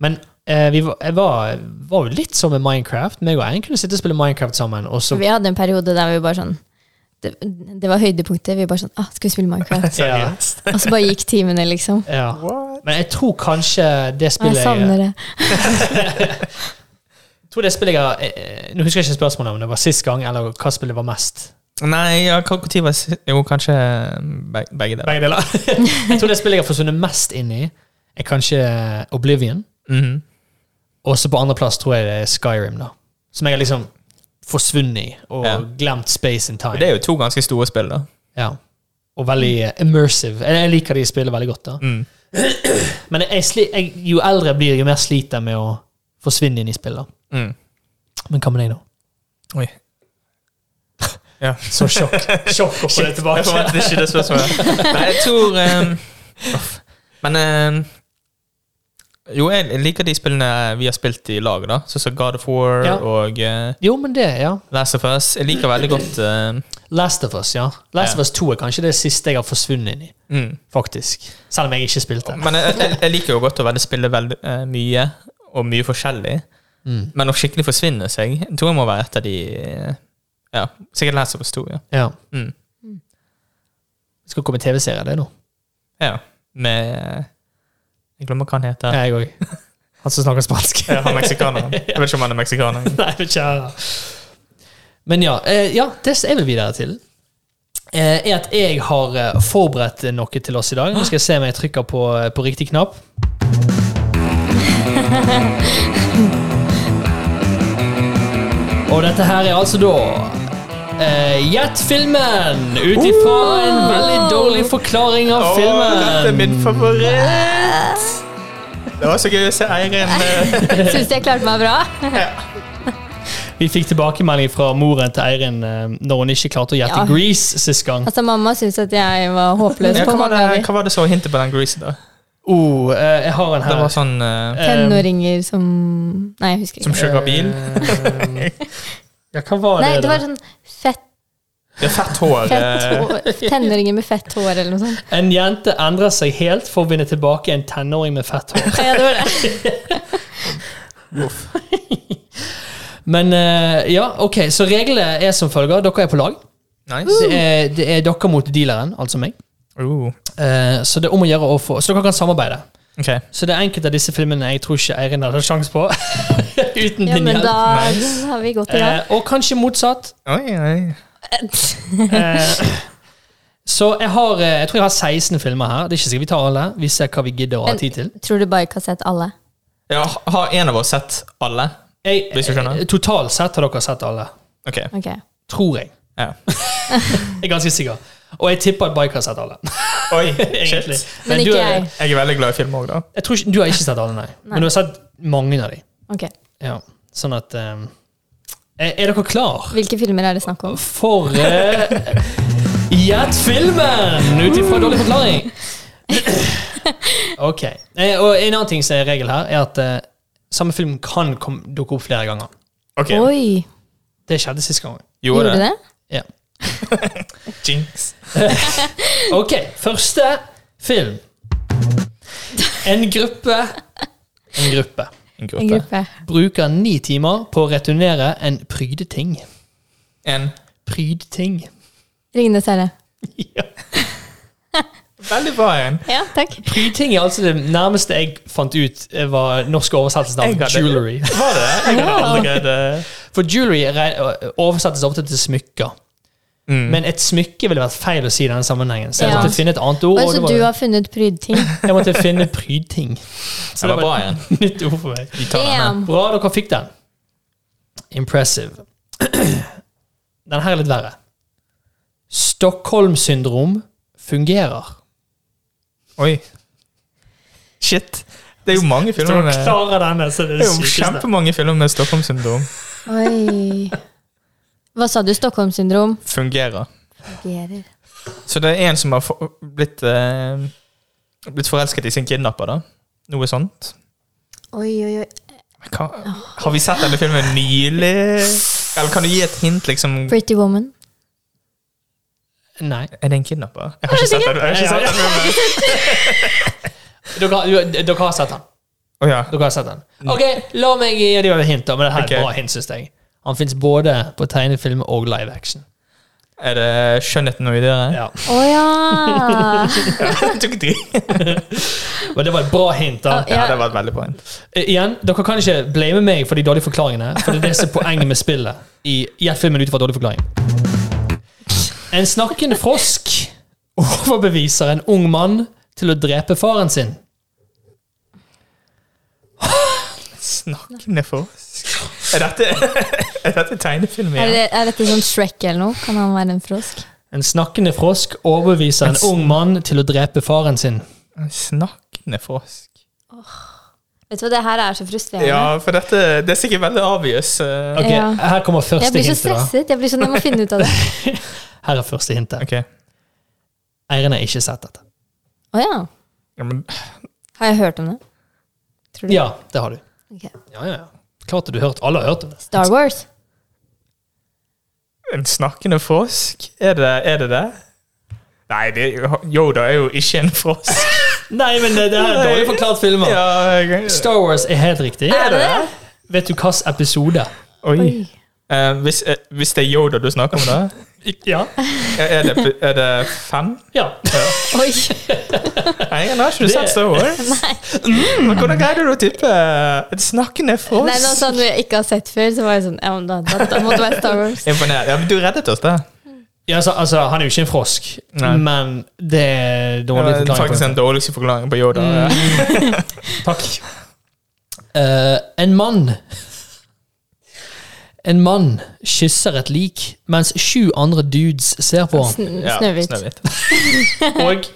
Speaker 1: Men eh, vi var, jeg var, var jo litt som med Minecraft. Meg og Ein kunne sitte og spille Minecraft sammen, og så
Speaker 2: Vi hadde en periode der vi bare sånn Det, det var høydepunktet. Vi bare sånn ah, Skal vi spille Minecraft?
Speaker 1: ja,
Speaker 3: seriøst.
Speaker 2: og så bare gikk timene, liksom.
Speaker 1: ja.
Speaker 3: What?
Speaker 1: Men jeg tror kanskje det
Speaker 2: Og jeg
Speaker 1: spillet
Speaker 2: savner det.
Speaker 1: jeg tror det spillet jeg har eh, Nå husker jeg ikke spørsmålet om det var sist gang, eller hva spillet var mest.
Speaker 3: Nei, ja, hva når var si- Jo, kanskje mm, beg- begge deler.
Speaker 1: Begge deler. jeg tror det spillet jeg har forsvunnet mest inn i, er kanskje Oblivion.
Speaker 3: Mhm.
Speaker 1: Og så på andreplass tror jeg det er Skyrim, da. Som jeg har liksom forsvunnet i, og
Speaker 3: Ja.
Speaker 1: glemt space and
Speaker 3: Og
Speaker 1: time.
Speaker 3: Det er jo to ganske store spill, da.
Speaker 1: Ja. Og veldig eh, immersive. Jeg jeg liker de spillene veldig godt, da.
Speaker 3: Mm.
Speaker 1: Men jeg, sli- jeg, jo eldre jeg blir, jo mer sliter jeg med å forsvinne inn i spill, da.
Speaker 3: Mm.
Speaker 1: Men hva med deg, da?
Speaker 3: Oi. Ja.
Speaker 1: Så sjokk. Sjokk å få det
Speaker 3: Jeg
Speaker 1: tilbake.
Speaker 3: forventet ikke det spørsmålet. Nei, jeg tror ehm, uff. Men ehm, Jo, jeg liker de spillene vi har spilt i lag, da. Sånn som God of War
Speaker 1: Ja.
Speaker 3: og eh,
Speaker 1: Jo, men det, ja.
Speaker 3: Last of Us. Jeg liker veldig godt ehm,
Speaker 1: Last of Us, ja. Last
Speaker 3: Ja.
Speaker 1: of Us 2 er kanskje det siste jeg har forsvunnet inn i,
Speaker 3: mm.
Speaker 1: faktisk. Selv om jeg ikke spilte.
Speaker 3: Men jeg, jeg, jeg liker jo godt å veldig spille veldig eh, mye, og mye forskjellig.
Speaker 1: Mm.
Speaker 3: Men å skikkelig forsvinne seg, jeg tror jeg må være et av de eh, Ja, sikkert Last of Us 2, ja.
Speaker 1: Ja.
Speaker 3: Mm.
Speaker 1: Det skal komme TV-serie, det nå.
Speaker 3: ja. Med eh, Jeg glemmer hva han heter.
Speaker 1: Jeg òg. Han som snakker spansk.
Speaker 3: Ja, han meksikaneren. Jeg vet ikke om han er meksikaner.
Speaker 1: Nei, men kjære. Men ja, eh, ja, det jeg vil videre til, eh, er at jeg har eh, forberedt noe til oss i dag. Nå skal jeg se om jeg trykker på, eh, på riktig knapp. Og dette her er altså da eh, Gjett filmen! Ut ifra en veldig dårlig forklaring av filmen.
Speaker 3: favoritt! Det var så gøy å se Eirin. eh,
Speaker 2: Syns jeg klarte meg bra?
Speaker 1: Vi fikk tilbakemelding fra moren til Eirin eh, når hun ikke klarte å gjette
Speaker 2: Ja.
Speaker 1: Grease sist gang.
Speaker 2: Altså, mamma syns at jeg var håpløs
Speaker 3: Ja,
Speaker 2: på
Speaker 3: hva, var
Speaker 2: mange
Speaker 3: det,
Speaker 2: ganger.
Speaker 3: hva var det så hintet på den Grease, da?
Speaker 1: Oh, eh, jeg har en
Speaker 3: Det
Speaker 1: her.
Speaker 3: var sånn eh,
Speaker 1: Eh,
Speaker 2: Tenåringer som Nei, jeg husker
Speaker 3: Som
Speaker 2: ikke.
Speaker 3: kjører bil?
Speaker 1: Eh, ja, hva var
Speaker 2: Nei,
Speaker 1: det?
Speaker 2: det
Speaker 1: da?
Speaker 2: var sånn fett,
Speaker 3: Det er fett hår.
Speaker 2: fett
Speaker 3: eh,
Speaker 2: hår Tenåringer med fett hår, eller noe sånt.
Speaker 1: En jente endrer seg helt for å vinne tilbake en tenåring med fett hår.
Speaker 2: Ja, det var det.
Speaker 1: Men eh, ja, ok, så reglene er som følger. Dere er på lag.
Speaker 3: Nice.
Speaker 1: Det er, det er dere mot dealeren, altså meg.
Speaker 3: Uh,
Speaker 1: Eh, så det er om å gjøre å få Så dere kan samarbeide.
Speaker 3: ok.
Speaker 1: Så det er enkelte av disse filmene jeg tror ikke Eirin hadde sjans på. Uten
Speaker 2: Ja,
Speaker 1: din
Speaker 2: men
Speaker 1: hjelp.
Speaker 2: da
Speaker 3: Nice.
Speaker 2: har vi gått i gang.
Speaker 1: Eh, og kanskje motsatt.
Speaker 3: Oi, oi.
Speaker 1: Eh, Så jeg har eh, Jeg tror jeg har 16 filmer her. Det er ikke sikkert vi tar alle. Vi ser hva vi gidder å ha
Speaker 2: Men-
Speaker 1: tid til.
Speaker 2: Tror du bare ikke har sett alle?
Speaker 3: Ja, har en av oss sett alle?
Speaker 1: Jeg,
Speaker 3: Hvis du skjønner.
Speaker 1: eh, totalt sett har dere sett alle.
Speaker 3: Ok.
Speaker 2: Ok.
Speaker 1: Tror jeg.
Speaker 3: Ja.
Speaker 1: Jeg er ganske sikker. Og jeg tipper at Bike har sett alle.
Speaker 3: Oi,
Speaker 1: Egentlig.
Speaker 3: shit.
Speaker 2: Men
Speaker 1: du
Speaker 2: ikke
Speaker 1: er-
Speaker 2: jeg.
Speaker 3: Jeg er veldig glad i film òg, da.
Speaker 1: jeg tror ikke, du har ikke sett alle, nei.
Speaker 2: Nei.
Speaker 1: Men du har sett mange av dem.
Speaker 2: Ok.
Speaker 1: Ja. Sånn at eh, Er er dere klar
Speaker 2: Hvilke filmer er det snakk om?
Speaker 1: for eh, Gjett filmen! Ut ifra dårlig forklaring. Ok. Eh, og en annen ting som er regel her, er at eh, samme film kan kom- dukke opp flere ganger.
Speaker 3: Ok,
Speaker 2: Oi,
Speaker 1: Det skjedde sist gang.
Speaker 2: gjorde det?
Speaker 1: Ja.
Speaker 3: Jinx.
Speaker 1: Ok, første film. En gruppe En gruppe
Speaker 3: En
Speaker 2: En
Speaker 3: gruppe.
Speaker 2: gruppe.
Speaker 1: bruker ni timer på å returnere en prydeting.
Speaker 3: En
Speaker 1: Prydting.
Speaker 2: Ringenes herre.
Speaker 1: Ja.
Speaker 3: veldig bra en.
Speaker 2: Ja, takk.
Speaker 1: Prydting er altså det nærmeste jeg fant ut eh, var norsk oversettelse
Speaker 3: Jeg
Speaker 1: av
Speaker 3: hadde-
Speaker 1: jewelry.
Speaker 3: Var det? Jeg hadde aldri greid det.
Speaker 1: For jewelry er- oversettes ofte til smykker. Men et smykke ville vært feil å si i denne sammenhengen. Så jeg
Speaker 2: Ja.
Speaker 1: måtte finne et annet ord. og
Speaker 2: Altså,
Speaker 1: det
Speaker 2: du
Speaker 1: var,
Speaker 2: har funnet prydting.
Speaker 1: jeg måtte finne prydting.
Speaker 3: Det var bra igjen.
Speaker 1: et nytt ord for meg.
Speaker 3: Vi tar den her.
Speaker 2: Damn.
Speaker 1: Bra dere fikk den. Impressive. Den her er litt verre. Stockholm-syndrom fungerer.
Speaker 3: Oi. Shit. Det er jo mange
Speaker 1: Hvis dere
Speaker 3: filmer eh. med,
Speaker 1: klarer denne, så er det det
Speaker 3: det er jo
Speaker 1: sykeste.
Speaker 3: kjempemange filmer med Stockholm-syndrom.
Speaker 2: Oi. Hva sa du? Stockholm-syndrom?
Speaker 3: Fungerer.
Speaker 2: Fungerer.
Speaker 3: Så det er en som har få- blitt, eh, blitt forelsket i sin kidnapper, da. Noe sånt.
Speaker 2: Oi, oi, oi.
Speaker 3: Hva, har vi sett denne filmen nylig? Eller kan du gi et hint, liksom?
Speaker 2: Pretty woman.
Speaker 1: Nei.
Speaker 3: Er det en kidnapper? Jeg har ikke sett den. Jeg har ikke sett den. filmen.
Speaker 1: Dere, har- du- dere har sett den.
Speaker 3: Å ja.
Speaker 1: Dere har sett den. Ok, la meg gi dere et hint, da. Men det her er
Speaker 3: Ok.
Speaker 1: et bra hint, synes jeg. Han fins både på tegnefilm og live action.
Speaker 3: Er det skjønnheten og videre?
Speaker 1: Ja.
Speaker 2: Å ja!
Speaker 3: Jeg tok drit.
Speaker 1: Men det var et bra hint. da.
Speaker 3: Ja, det var et veldig poeng.
Speaker 1: Eh, Igjen, dere kan ikke blame meg for de dårlige forklaringene. For det er det som er poenget med spillet. I Gjett filmen ut fra dårlig forklaring. En snakkende frosk overbeviser en ung mann til å drepe faren sin.
Speaker 3: Snakkende frosk. Er dette, er dette tegnefilm
Speaker 2: Er,
Speaker 3: igjen?
Speaker 2: det, er dette sånn Shrek eller noe? Kan han være en frosk?
Speaker 1: En snakkende frosk overbeviser en ung mann til å drepe faren sin.
Speaker 3: En Snakkende frosk.
Speaker 2: Vet du hva, det her er så frustrerende.
Speaker 3: Ja, for dette det er sikkert veldig obvious. eh.
Speaker 1: Ok,
Speaker 2: Ja.
Speaker 1: Her kommer
Speaker 2: Jeg
Speaker 1: første
Speaker 2: blir så
Speaker 1: hintet. da.
Speaker 2: stresset. Jeg blir sånn, jeg må finne ut av det.
Speaker 1: Her er første hintet.
Speaker 3: Ok.
Speaker 1: Eiren har ikke sett dette.
Speaker 2: Å ja.
Speaker 3: Ja, men,
Speaker 2: Har jeg hørt om det? Tror du?
Speaker 1: Ja, det har du.
Speaker 2: Ok.
Speaker 1: Ja, ja, ja. Klart at du har hørt. Alle har hørt om det.
Speaker 2: Star Wars.
Speaker 3: en snakkende frosk? Er det er det? det? Nei, det, Yoda er jo ikke en frosk.
Speaker 1: Nei, men det, det er en dårlig forklart filmer.
Speaker 3: Ja, jeg,
Speaker 1: Star Wars er helt riktig.
Speaker 3: er det det?
Speaker 1: Vet du hvilken episode?
Speaker 3: Oi.
Speaker 2: Oi.
Speaker 3: Eh, hvis, eh, hvis det er Yoda du snakker om, da?
Speaker 1: Ja.
Speaker 3: Er er det, er det fem?
Speaker 1: ja.
Speaker 2: Oi.
Speaker 3: Nei, jeg har ikke
Speaker 1: Det-
Speaker 3: sett Star Wars. Mm,
Speaker 2: Nei.
Speaker 3: Men hvordan greide du å tippe en snakkende frosk?
Speaker 2: Nei, nå sånn du ikke har sett før, så var jeg sånn ja, men da, da, da måtte det være Star Wars.
Speaker 3: Imponert. Ja, men du reddet oss, da.
Speaker 1: ja altså, altså, han er jo ikke en frosk,
Speaker 3: Nei.
Speaker 1: men det er
Speaker 3: Det
Speaker 1: dårlig
Speaker 3: var
Speaker 1: forklaring. på
Speaker 3: faktisk den
Speaker 1: det.
Speaker 3: dårligste forklaringen på Yoda.
Speaker 2: Mm.
Speaker 1: Takk. Eh, en mann En mann kysser et lik mens sju andre dudes ser på ham.
Speaker 2: Sn
Speaker 3: Ja,
Speaker 2: Snøhvit.
Speaker 1: Og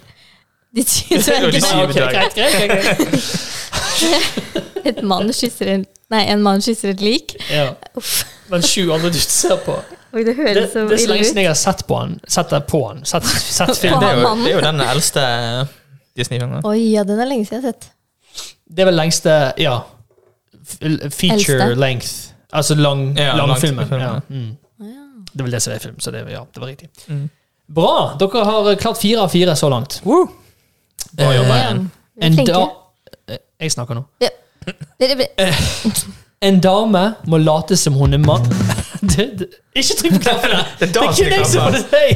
Speaker 2: De syns
Speaker 3: Og de
Speaker 2: veldig
Speaker 3: syv
Speaker 1: Ok, greit, greit, greit.
Speaker 2: Et mann kysser en Nei, en mann kysser et lik.
Speaker 1: Ja. Men sju andre dudes ser på.
Speaker 2: Oi, det
Speaker 1: Det,
Speaker 2: høres så
Speaker 1: det er så
Speaker 2: ille
Speaker 1: lenge
Speaker 2: ut.
Speaker 1: siden jeg har sett på han. Sett det på han. Sett, sett
Speaker 3: Ja,
Speaker 1: film.
Speaker 3: det, er jo,
Speaker 2: Mannen.
Speaker 3: det er jo den eldste eh, Disney-filmen.
Speaker 2: Oi, ja, den er lenge siden jeg har sett.
Speaker 1: Det er vel lengste Ja. f- l- Feature
Speaker 2: Eldste.
Speaker 1: length. Altså lang,
Speaker 3: Ja,
Speaker 1: langfilmen.
Speaker 3: langfilmen,
Speaker 1: Ja. Mm. Det er vel det som er film, så det, ja, det var riktig.
Speaker 3: Mm.
Speaker 1: Bra! Dere har eh, klart fire av fire så langt.
Speaker 3: Bra
Speaker 1: Eh,
Speaker 3: jobba.
Speaker 2: Damn, vi er
Speaker 1: En
Speaker 2: flinke.
Speaker 1: da Eh, Jeg snakker nå.
Speaker 2: Dere ble-
Speaker 1: En dame må late som hun er mann Det- det- Ikke trykk på knappene!
Speaker 3: Det er
Speaker 1: Det
Speaker 3: da
Speaker 1: er
Speaker 3: som
Speaker 1: kun
Speaker 3: jeg
Speaker 1: jeg som
Speaker 3: kan
Speaker 1: får
Speaker 3: ta.
Speaker 1: det til!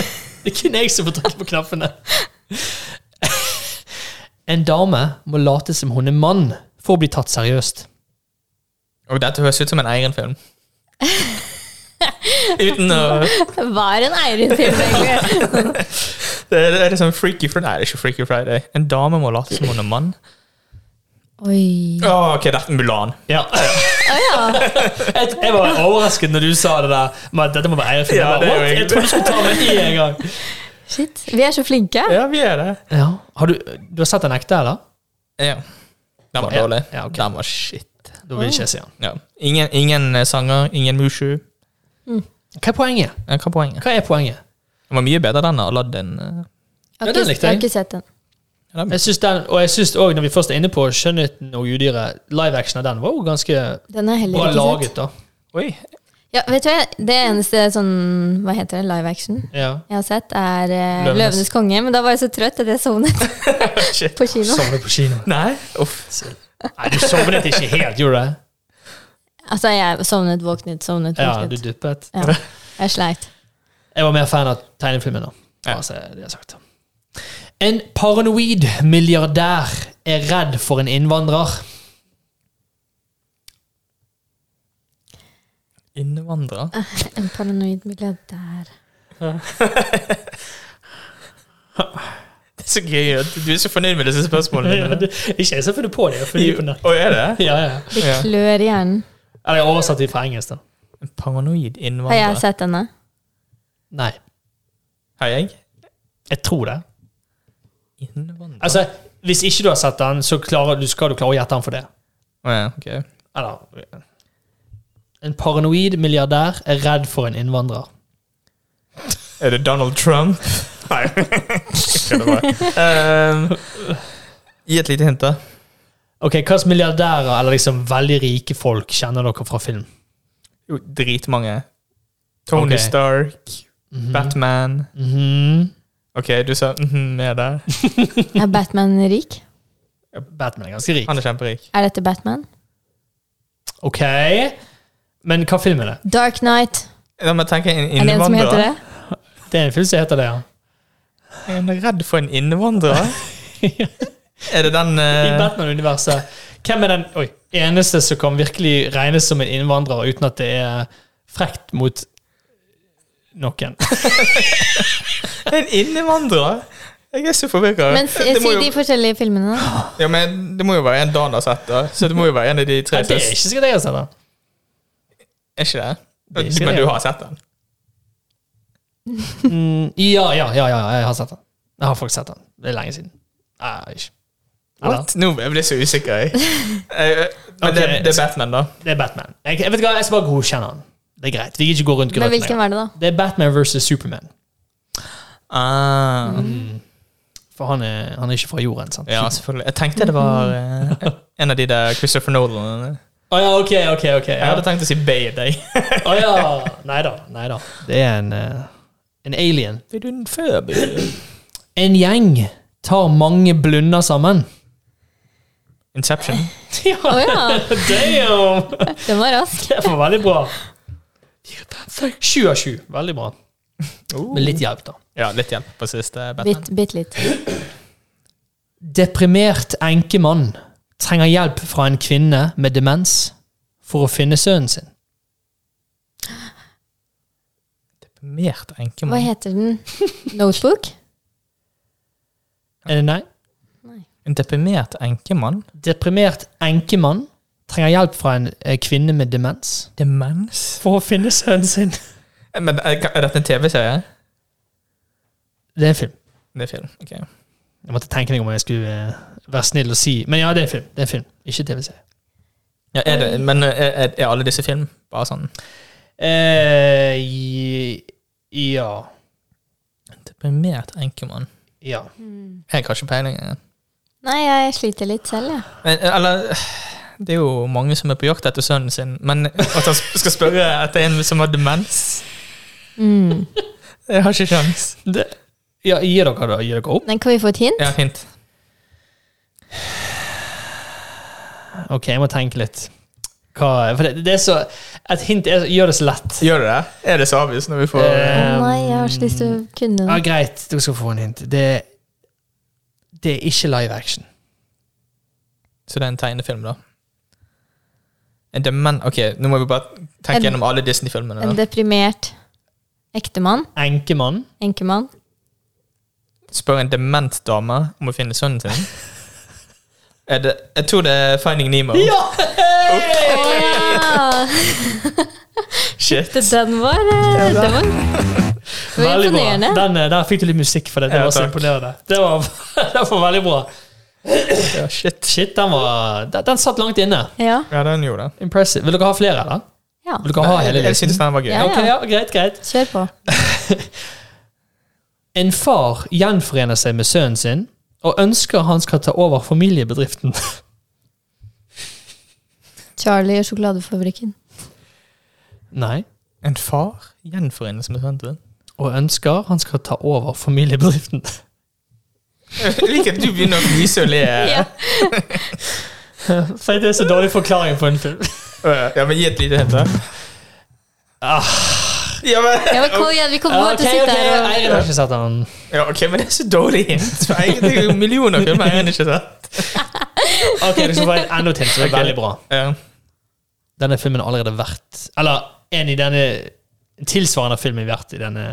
Speaker 1: Det er kun jeg som får trykke på knappene. En dame må late som hun er mann for å bli tatt seriøst.
Speaker 3: Og dette høres ut som en egen film. Uten å
Speaker 2: Hva er en Eirin-film, egentlig?
Speaker 3: Det er, det er sånn Freaky Friday. Nei, det er ikke Freaky Friday. En dame må late som hun er mann.
Speaker 2: Oi.
Speaker 3: Å, ok, dette er Mulan.
Speaker 1: Ja.
Speaker 2: Å ja.
Speaker 1: Jeg, jeg var overrasket når du sa det der. Men dette må være Eirin.
Speaker 3: Ja,
Speaker 1: Jeg, bare,
Speaker 3: det er jo
Speaker 1: «What?» jeg
Speaker 3: egentlig-
Speaker 1: trodde du skulle ta meg i en gang.
Speaker 2: Shit. Vi er så flinke.
Speaker 3: Ja, vi er det.
Speaker 1: Ja. Har du, du har sett den ekte, eller?
Speaker 3: Ja. Den var
Speaker 1: Ja,
Speaker 3: dårlig.
Speaker 1: ja, ok.
Speaker 3: Den var shit.
Speaker 1: Da vil ikke jeg se den.
Speaker 3: Ja. Ingen, ingen eh, sanger, ingen Mushu.
Speaker 1: Hva er poenget?
Speaker 3: Ja, Hva er poenget?
Speaker 1: Hva er poenget?
Speaker 3: Den var mye bedre enn Aladdin. eh.
Speaker 2: Jeg
Speaker 1: Ja,
Speaker 2: har
Speaker 1: den
Speaker 2: ikke,
Speaker 1: likte
Speaker 2: jeg har
Speaker 1: jeg.
Speaker 2: ikke sett den.
Speaker 1: Jeg synes den, og jeg synes også, når vi først er inne på skjønnheten og udyret, live-action av den var jo ganske
Speaker 2: Den har jeg
Speaker 1: bra
Speaker 2: heller ikke sett.
Speaker 1: laget, da.
Speaker 3: Oi.
Speaker 2: Ja, vet du hva? Det eneste sånn Hva heter det? Live action
Speaker 1: Ja.
Speaker 2: jeg har sett, er eh,
Speaker 3: Løvenes.
Speaker 2: Løvenes konge. Men da var jeg så trøtt at jeg sovnet
Speaker 3: Shit.
Speaker 2: på kino.
Speaker 1: Sovnet på kino.
Speaker 3: Nei. Uff.
Speaker 1: Nei, du sovnet ikke helt, gjorde du det?
Speaker 2: Altså, jeg sovnet, våknet, sovnet,
Speaker 1: Ja, du
Speaker 2: våknet.
Speaker 1: duppet.
Speaker 2: Ja, jeg sleit.
Speaker 1: Jeg var mer fan av tegnefilmen da.
Speaker 3: Ja.
Speaker 1: Altså, det er sagt. En paranoid milliardær er redd for en innvandrer.
Speaker 3: Innvandrer.
Speaker 2: En paranoid milliardær
Speaker 3: Det er så gøy at du er så fornøyd med disse spørsmålene.
Speaker 1: Ja, det, ikke jeg som finner på det. Jeg finner på nett.
Speaker 3: Å, er det?
Speaker 1: Ja, ja.
Speaker 2: Det
Speaker 3: Ja.
Speaker 2: klør i hjernen.
Speaker 1: Eller jeg har oversatt det fra engelsk, da.
Speaker 3: En paranoid
Speaker 2: Har jeg
Speaker 3: innvandrer.
Speaker 2: sett denne?
Speaker 1: Nei.
Speaker 3: Har jeg?
Speaker 1: Jeg tror det.
Speaker 3: Innvandrer?
Speaker 1: Altså, Hvis ikke du har sett den, så klarer, du skal du klare å gjette den for det.
Speaker 3: Å ja, ok.
Speaker 1: Eller ja. En paranoid milliardær er redd for en innvandrer.
Speaker 3: Er det Donald Trump? Nei. Jeg kødder bare. Um, Gi et lite hint, da.
Speaker 1: Ok, Hva slags milliardærer eller liksom veldig rike folk kjenner dere fra film?
Speaker 3: Jo, dritmange. Tony
Speaker 1: Ok.
Speaker 3: Stark, Batman
Speaker 1: Mhm.
Speaker 3: Ok, du sa mhm, mer der.
Speaker 2: Er Batman rik?
Speaker 1: Batman er ganske rik.
Speaker 3: Han er kjemperik.
Speaker 2: Er dette Batman?
Speaker 1: Ok, Men hva film er det?
Speaker 2: Dark Knight.
Speaker 3: La meg tenke en
Speaker 2: Er det en som heter
Speaker 3: innvandrer.
Speaker 2: det?
Speaker 1: Det er en film som heter det, ja.
Speaker 3: Er han redd for en innvandrer? er det den
Speaker 1: I
Speaker 3: eh,
Speaker 1: Batman-universet. Hvem er den oi, eneste som kan virkelig regnes som en innvandrer uten at det er frekt mot noen?
Speaker 3: En innvandrer? Jeg er så forvirra.
Speaker 2: Men si
Speaker 3: Det, må
Speaker 2: si
Speaker 3: jo-
Speaker 2: de forskjellige filmene, da.
Speaker 3: ja, men det må jo være en Dan har sett, da. Så det må jo være en av de
Speaker 1: Ja,
Speaker 3: tre
Speaker 1: det er ikke
Speaker 3: siste.
Speaker 1: sikkert jeg har sett den.
Speaker 3: Er ikke det?
Speaker 1: er ikke
Speaker 3: men
Speaker 1: det.
Speaker 3: du har sett den?
Speaker 1: Mm, ja, ja, ja, ja, jeg har sett den. Jeg har faktisk sett den. Det er lenge siden. Nei, ikke. Eller?
Speaker 3: What? Nå ble jeg så usikker, jeg. Eh, Men det,
Speaker 1: Ok.
Speaker 3: det er Batman, da.
Speaker 1: Det er Batman. Jeg, jeg vet hva, jeg skal bare godkjenne den. Det er greit. Vi gidder ikke gå rundt
Speaker 2: Men
Speaker 1: grøten lenger.
Speaker 2: hvilken var det, da?
Speaker 1: Det er Batman versus Superman.
Speaker 3: Ah.
Speaker 1: For han er, han er ikke fra jorden, sant?
Speaker 3: Ja, selvfølgelig. Jeg tenkte det var eh, en av de der Christopher Nolan.
Speaker 1: Å ja, ok, ok, ok.
Speaker 3: Jeg
Speaker 1: Ja.
Speaker 3: hadde tenkt å si Bayday.
Speaker 1: Å ja. Nei da. Nei da. Det er en, eh, en alien.
Speaker 3: Blir du en føb?
Speaker 1: En gjeng tar mange blunder sammen.
Speaker 3: Inception.
Speaker 1: Ja,
Speaker 2: Å ja,
Speaker 1: damn!
Speaker 2: den var rask.
Speaker 1: Det var veldig bra. Sju av sju. Veldig bra. Med litt hjelp, da.
Speaker 3: Uh. Ja, litt hjelp på siste Batman.
Speaker 2: Bitt, bitt litt.
Speaker 1: Deprimert enkemann trenger hjelp fra en kvinne med demens for å finne sønnen sin.
Speaker 3: Deprimert
Speaker 2: Hva
Speaker 3: enkemann.
Speaker 2: heter den? Notebook?
Speaker 1: Eh, Nei.
Speaker 3: En deprimert enkemann?
Speaker 1: Deprimert enkemann trenger hjelp fra en eh, kvinne med demens
Speaker 3: Demens?
Speaker 1: for å finne sønnen sin.
Speaker 3: Eh, Men er er dette en TV-serie?
Speaker 1: Det er en film.
Speaker 3: Det er film. ok.
Speaker 1: Jeg måtte tenke meg om jeg skulle eh, være snill og si Men ja, det er en film. Det er en film. Ikke TV-serie.
Speaker 3: Ja, er det, men eh, er, er alle disse film bare sånn
Speaker 1: Eh, i- ja.
Speaker 3: Deprimert enkemann?
Speaker 1: Ja.
Speaker 3: Jeg har ikke peiling. jeg.
Speaker 2: Nei, jeg sliter litt selv, jeg.
Speaker 3: Men, eh, Eller Det er jo mange som er på jakt etter sønnen sin, men at han skal spørre etter en som har demens
Speaker 2: Mm.
Speaker 3: Jeg har ikke kjangs.
Speaker 1: Det, ja gir dere da? Gir dere opp?
Speaker 2: Men kan vi få et hint?
Speaker 3: Ja, fint.
Speaker 1: Ok, jeg må tenke litt. Hva, for det, det er så, et hint er, gjør det så lett.
Speaker 3: Gjør det? Er det så obvious når vi får
Speaker 2: Å
Speaker 1: Eh.
Speaker 2: nei, jeg har så lyst til å kunne
Speaker 1: Ja,
Speaker 2: den.
Speaker 1: greit, dere skal få en hint. Det, det er ikke live action.
Speaker 3: Så det er en tegnefilm, da? En demen... Ok, nå må vi bare tenke
Speaker 2: En-
Speaker 3: gjennom alle Disney-filmene.
Speaker 2: En
Speaker 3: da.
Speaker 2: deprimert ektemann?
Speaker 1: Enkemann.
Speaker 2: Enkemann?
Speaker 3: Spør en dement dame om å finne sønnen sin. Er det, jeg tror det er Finding Nemo.
Speaker 2: Å ja!
Speaker 3: Shit.
Speaker 2: Det- Den var, eh, den var, det var
Speaker 1: Veldig bra.
Speaker 2: imponerende.
Speaker 1: Den, eh, der fikk du litt musikk for det. Det
Speaker 3: Ja,
Speaker 1: var så
Speaker 3: takk.
Speaker 1: imponerende. Det var, det var veldig bra.
Speaker 3: Ja, shit.
Speaker 1: Shit, den, var, den, den satt langt inne.
Speaker 2: Ja.
Speaker 3: Ja, den gjorde det.
Speaker 1: Impressive. Vil dere ha flere, eller?
Speaker 2: ja.
Speaker 1: Vil dere ha hele
Speaker 3: Jeg synes
Speaker 1: listen?
Speaker 3: den var gøy.
Speaker 2: Ja.
Speaker 1: Ok, ja, greit, greit.
Speaker 2: Kjør på.
Speaker 1: En far gjenforener seg med sønnen sin og ønsker han skal ta over familiebedriften.
Speaker 2: Charlie og sjokoladefabrikken.
Speaker 1: Nei.
Speaker 3: En far gjenforenes med sønnen sin.
Speaker 1: Og ønsker han skal ta over familiebedriften.
Speaker 3: Jeg liker at du begynner å myse og le.
Speaker 2: Ja.
Speaker 1: For det er så dårlig forklaring på en film.
Speaker 3: Øh, Ja, men gi et lite hint, da. Ja, men,
Speaker 2: Ja, men kom igjen, vi kommer bare til å
Speaker 1: Ok,
Speaker 2: sitte
Speaker 1: ok,
Speaker 2: her og
Speaker 1: Eirin har ikke sett den.
Speaker 3: ja, ok, men det er så dårlig hint. For jeg, det er jo millioner filmer jeg har ikke sett.
Speaker 1: Ok, du skal få en enda til, som er
Speaker 3: Ok.
Speaker 1: veldig bra.
Speaker 3: Ja.
Speaker 1: Denne filmen har allerede vært Eller en i denne en tilsvarende film har vært i denne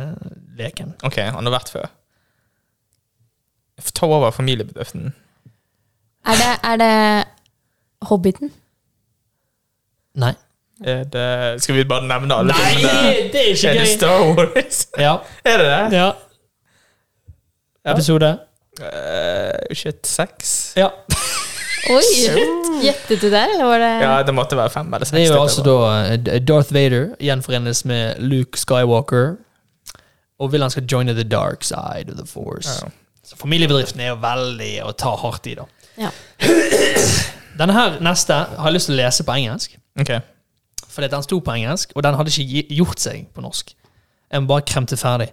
Speaker 1: leken.
Speaker 3: Ok, han har vært før. Ta over familiebedriften.
Speaker 2: Er det, er det Hobbiten?
Speaker 1: Nei.
Speaker 3: Er det, skal vi bare nevne alle filmene?
Speaker 1: Nei, det er ikke
Speaker 3: Er det
Speaker 1: gøy!
Speaker 3: Star Wars?
Speaker 1: Ja.
Speaker 3: Er det det?
Speaker 1: ja. Episode.
Speaker 3: Eh, shit, seks?
Speaker 1: Ja.
Speaker 2: Oi! Gjettet du der, eller var det
Speaker 3: Ja, det måtte være fem eller seks.
Speaker 1: Eh. Det er jo
Speaker 3: dette
Speaker 1: altså
Speaker 3: var-
Speaker 1: da eh, Darth Vader gjenforenes med Luke Skywalker. Og vil han skal joine the dark side of the force.
Speaker 3: Ja.
Speaker 1: Så familiebedriften er jo veldig å ta hardt i, da.
Speaker 2: Ja.
Speaker 1: Denne her neste har jeg lyst til å lese på engelsk.
Speaker 3: Ok.
Speaker 1: Fordi at den sto på engelsk, og den hadde ikke gi- gjort seg på norsk. Jeg må bare kremte ferdig.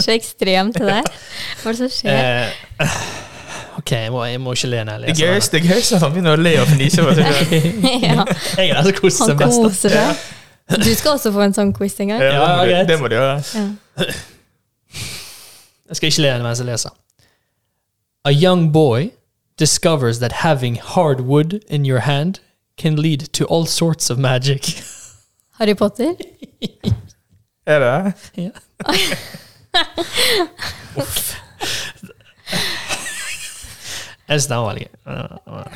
Speaker 2: så ekstremt det der? Hva er det som skjer?
Speaker 1: Eh, ok, jeg må, jeg må ikke le når
Speaker 3: Det
Speaker 1: jeg
Speaker 3: er gøy-
Speaker 1: leser.
Speaker 3: det er gøy at han begynner å le og fnise. for seg.
Speaker 2: ja,
Speaker 1: den. Jeg er den som koser
Speaker 2: han
Speaker 1: seg mest.
Speaker 2: koser seg. Du skal også få en sånn quiz en gang.
Speaker 1: Ja,
Speaker 3: det må
Speaker 1: greit.
Speaker 3: du- Det må du gjøre.
Speaker 2: Ja.
Speaker 1: Jeg skal ikke le mens jeg leser. A young boy discovers that having hard wood in your hand can lead to all sorts of magic.
Speaker 2: Harry Potter?
Speaker 3: Er det?
Speaker 1: Ja. Jeg synes den var veldig gøy.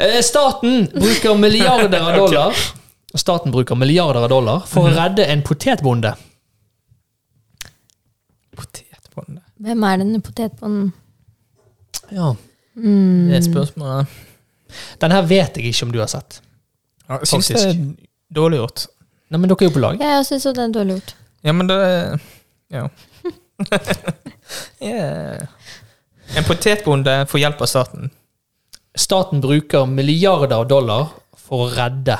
Speaker 1: Eh, Staten bruker milliarder av dollar Staten bruker milliarder av dollar for
Speaker 3: Mhm.
Speaker 1: å redde en potetbonde.
Speaker 3: Potetbonde.
Speaker 2: Hvem er den Mm. potetbonden?
Speaker 1: Ja,
Speaker 3: Det er et spørsmål.
Speaker 1: Den her vet jeg ikke om du har sett.
Speaker 3: Ja, jeg syns det er dårlig gjort.
Speaker 1: Nei, men dere er jo på lag.
Speaker 2: Ja, jeg syns jo det er dårlig gjort.
Speaker 3: Ja, men det Ja. yeah. En potetbonde får hjelp av staten.
Speaker 1: Staten bruker milliarder av dollar for å redde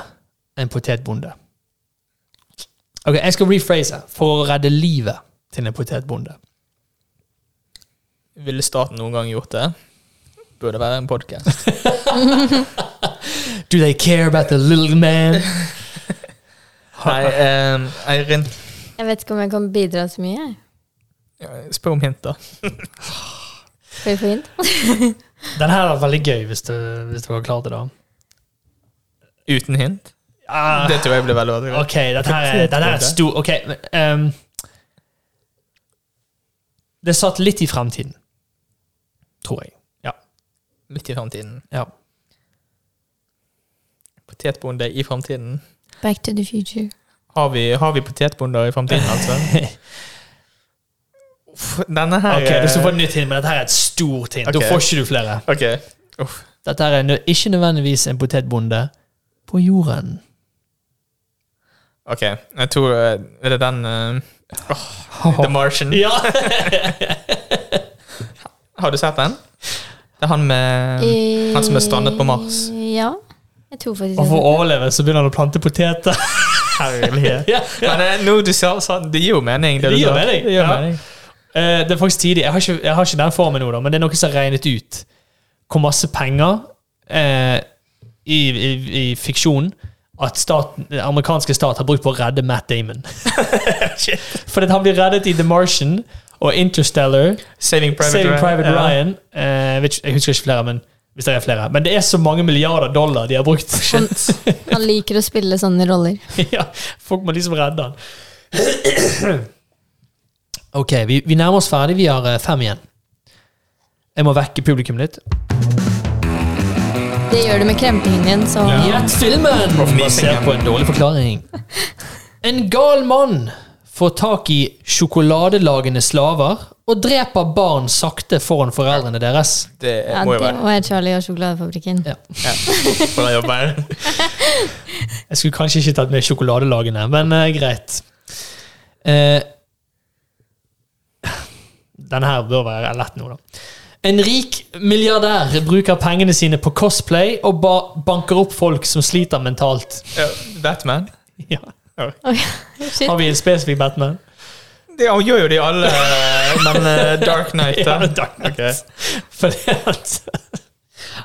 Speaker 1: en potetbonde. Ok, Jeg skal rephrase. For å redde livet til en potetbonde.
Speaker 3: Ville staten noen gang gjort det? Burde være en podkast.
Speaker 1: Do they care about the little man?
Speaker 3: Nei, um, Eirin,
Speaker 2: Jeg vet ikke om jeg kan bidra så mye. jeg.
Speaker 3: spør om hint, da.
Speaker 2: Skal vi få hint?
Speaker 1: Den her er veldig gøy, hvis du, hvis du har klart det, da.
Speaker 3: Uten hint?
Speaker 1: Ah,
Speaker 3: Det tror jeg blir veldig vanskelig.
Speaker 1: ok, dette her er, dette her er stor Ok. men, Um, det er satt litt i fremtiden. Tror jeg.
Speaker 3: Litt i framtiden.
Speaker 1: Ja.
Speaker 3: Potetbonde i framtiden.
Speaker 2: Back to the future.
Speaker 3: Har vi, har vi potetbonder i framtiden, altså? Uff, denne her
Speaker 1: Ok, Du skal få et nytt hint, men dette her er et stort hint.
Speaker 3: Ok.
Speaker 1: Da får ikke du flere.
Speaker 3: Ok.
Speaker 1: Dette her er nø- ikke nødvendigvis en potetbonde på jorden.
Speaker 3: ok, jeg tror eh, Er det den eh, The Martian?
Speaker 1: Ja!
Speaker 3: Har du sett den? Det er han med han som er strandet på Mars.
Speaker 2: Ja. Jeg tror faktisk
Speaker 1: Og for å
Speaker 2: det.
Speaker 1: overleve så begynner han å plante poteter.
Speaker 3: Herlighet.
Speaker 1: ja.
Speaker 3: Men eh, nå du sa sånn, det gir jo mening. Det,
Speaker 1: Det
Speaker 3: du
Speaker 1: gir
Speaker 3: sa.
Speaker 1: mening,
Speaker 3: Det gir
Speaker 1: ja.
Speaker 3: mening.
Speaker 1: Eh, det er faktisk tidlig. Jeg har ikke, jeg har ikke den formen nå, da, men det er noe som har regnet ut hvor masse penger eh, i, i, i fiksjon at staten, den amerikanske stat har brukt på å redde Matt Damon. Fordi at han blir reddet i The Martian og Interstellar.
Speaker 3: Saving Private,
Speaker 1: Saving Private
Speaker 3: Ja.
Speaker 1: Ryan. Eh, vet ikke- jeg husker ikke flere, men hvis det er flere. Men det er så mange milliarder dollar de har brukt.
Speaker 2: Han liker å spille sånne roller.
Speaker 1: ja, folk må liksom redde han. ok, vi, vi nærmer oss ferdig. Vi har eh, fem igjen. Jeg må vekke publikum litt.
Speaker 2: Det gjør du med krempingen din, så
Speaker 1: Gjett filmen!
Speaker 3: Proff
Speaker 1: Basert
Speaker 3: nysingen.
Speaker 1: på en dårlig forklaring. En gal mann får tak i sjokoladelagende slaver og dreper barn sakte foran foreldrene deres.
Speaker 3: Det
Speaker 2: ja,
Speaker 3: må
Speaker 2: det
Speaker 3: jo være
Speaker 2: var Charlie og sjokoladefabrikken.
Speaker 1: Ja.
Speaker 3: bra jobb her.
Speaker 1: Jeg skulle kanskje ikke tatt med sjokoladelagene, men eh, greit. Eh, den her bør være lett nå, da. En rik milliardær bruker pengene sine på cosplay og ba banker opp folk som sliter mentalt.
Speaker 3: Ja, Batman.
Speaker 1: Ja.
Speaker 2: Oi, shit.
Speaker 1: Har vi en spesifikk Batman?
Speaker 3: Det, han gjør jo det i alle, men eh, Dark Knight
Speaker 1: Ja,
Speaker 3: da.
Speaker 1: men takk.
Speaker 3: Ok.
Speaker 1: Fordi at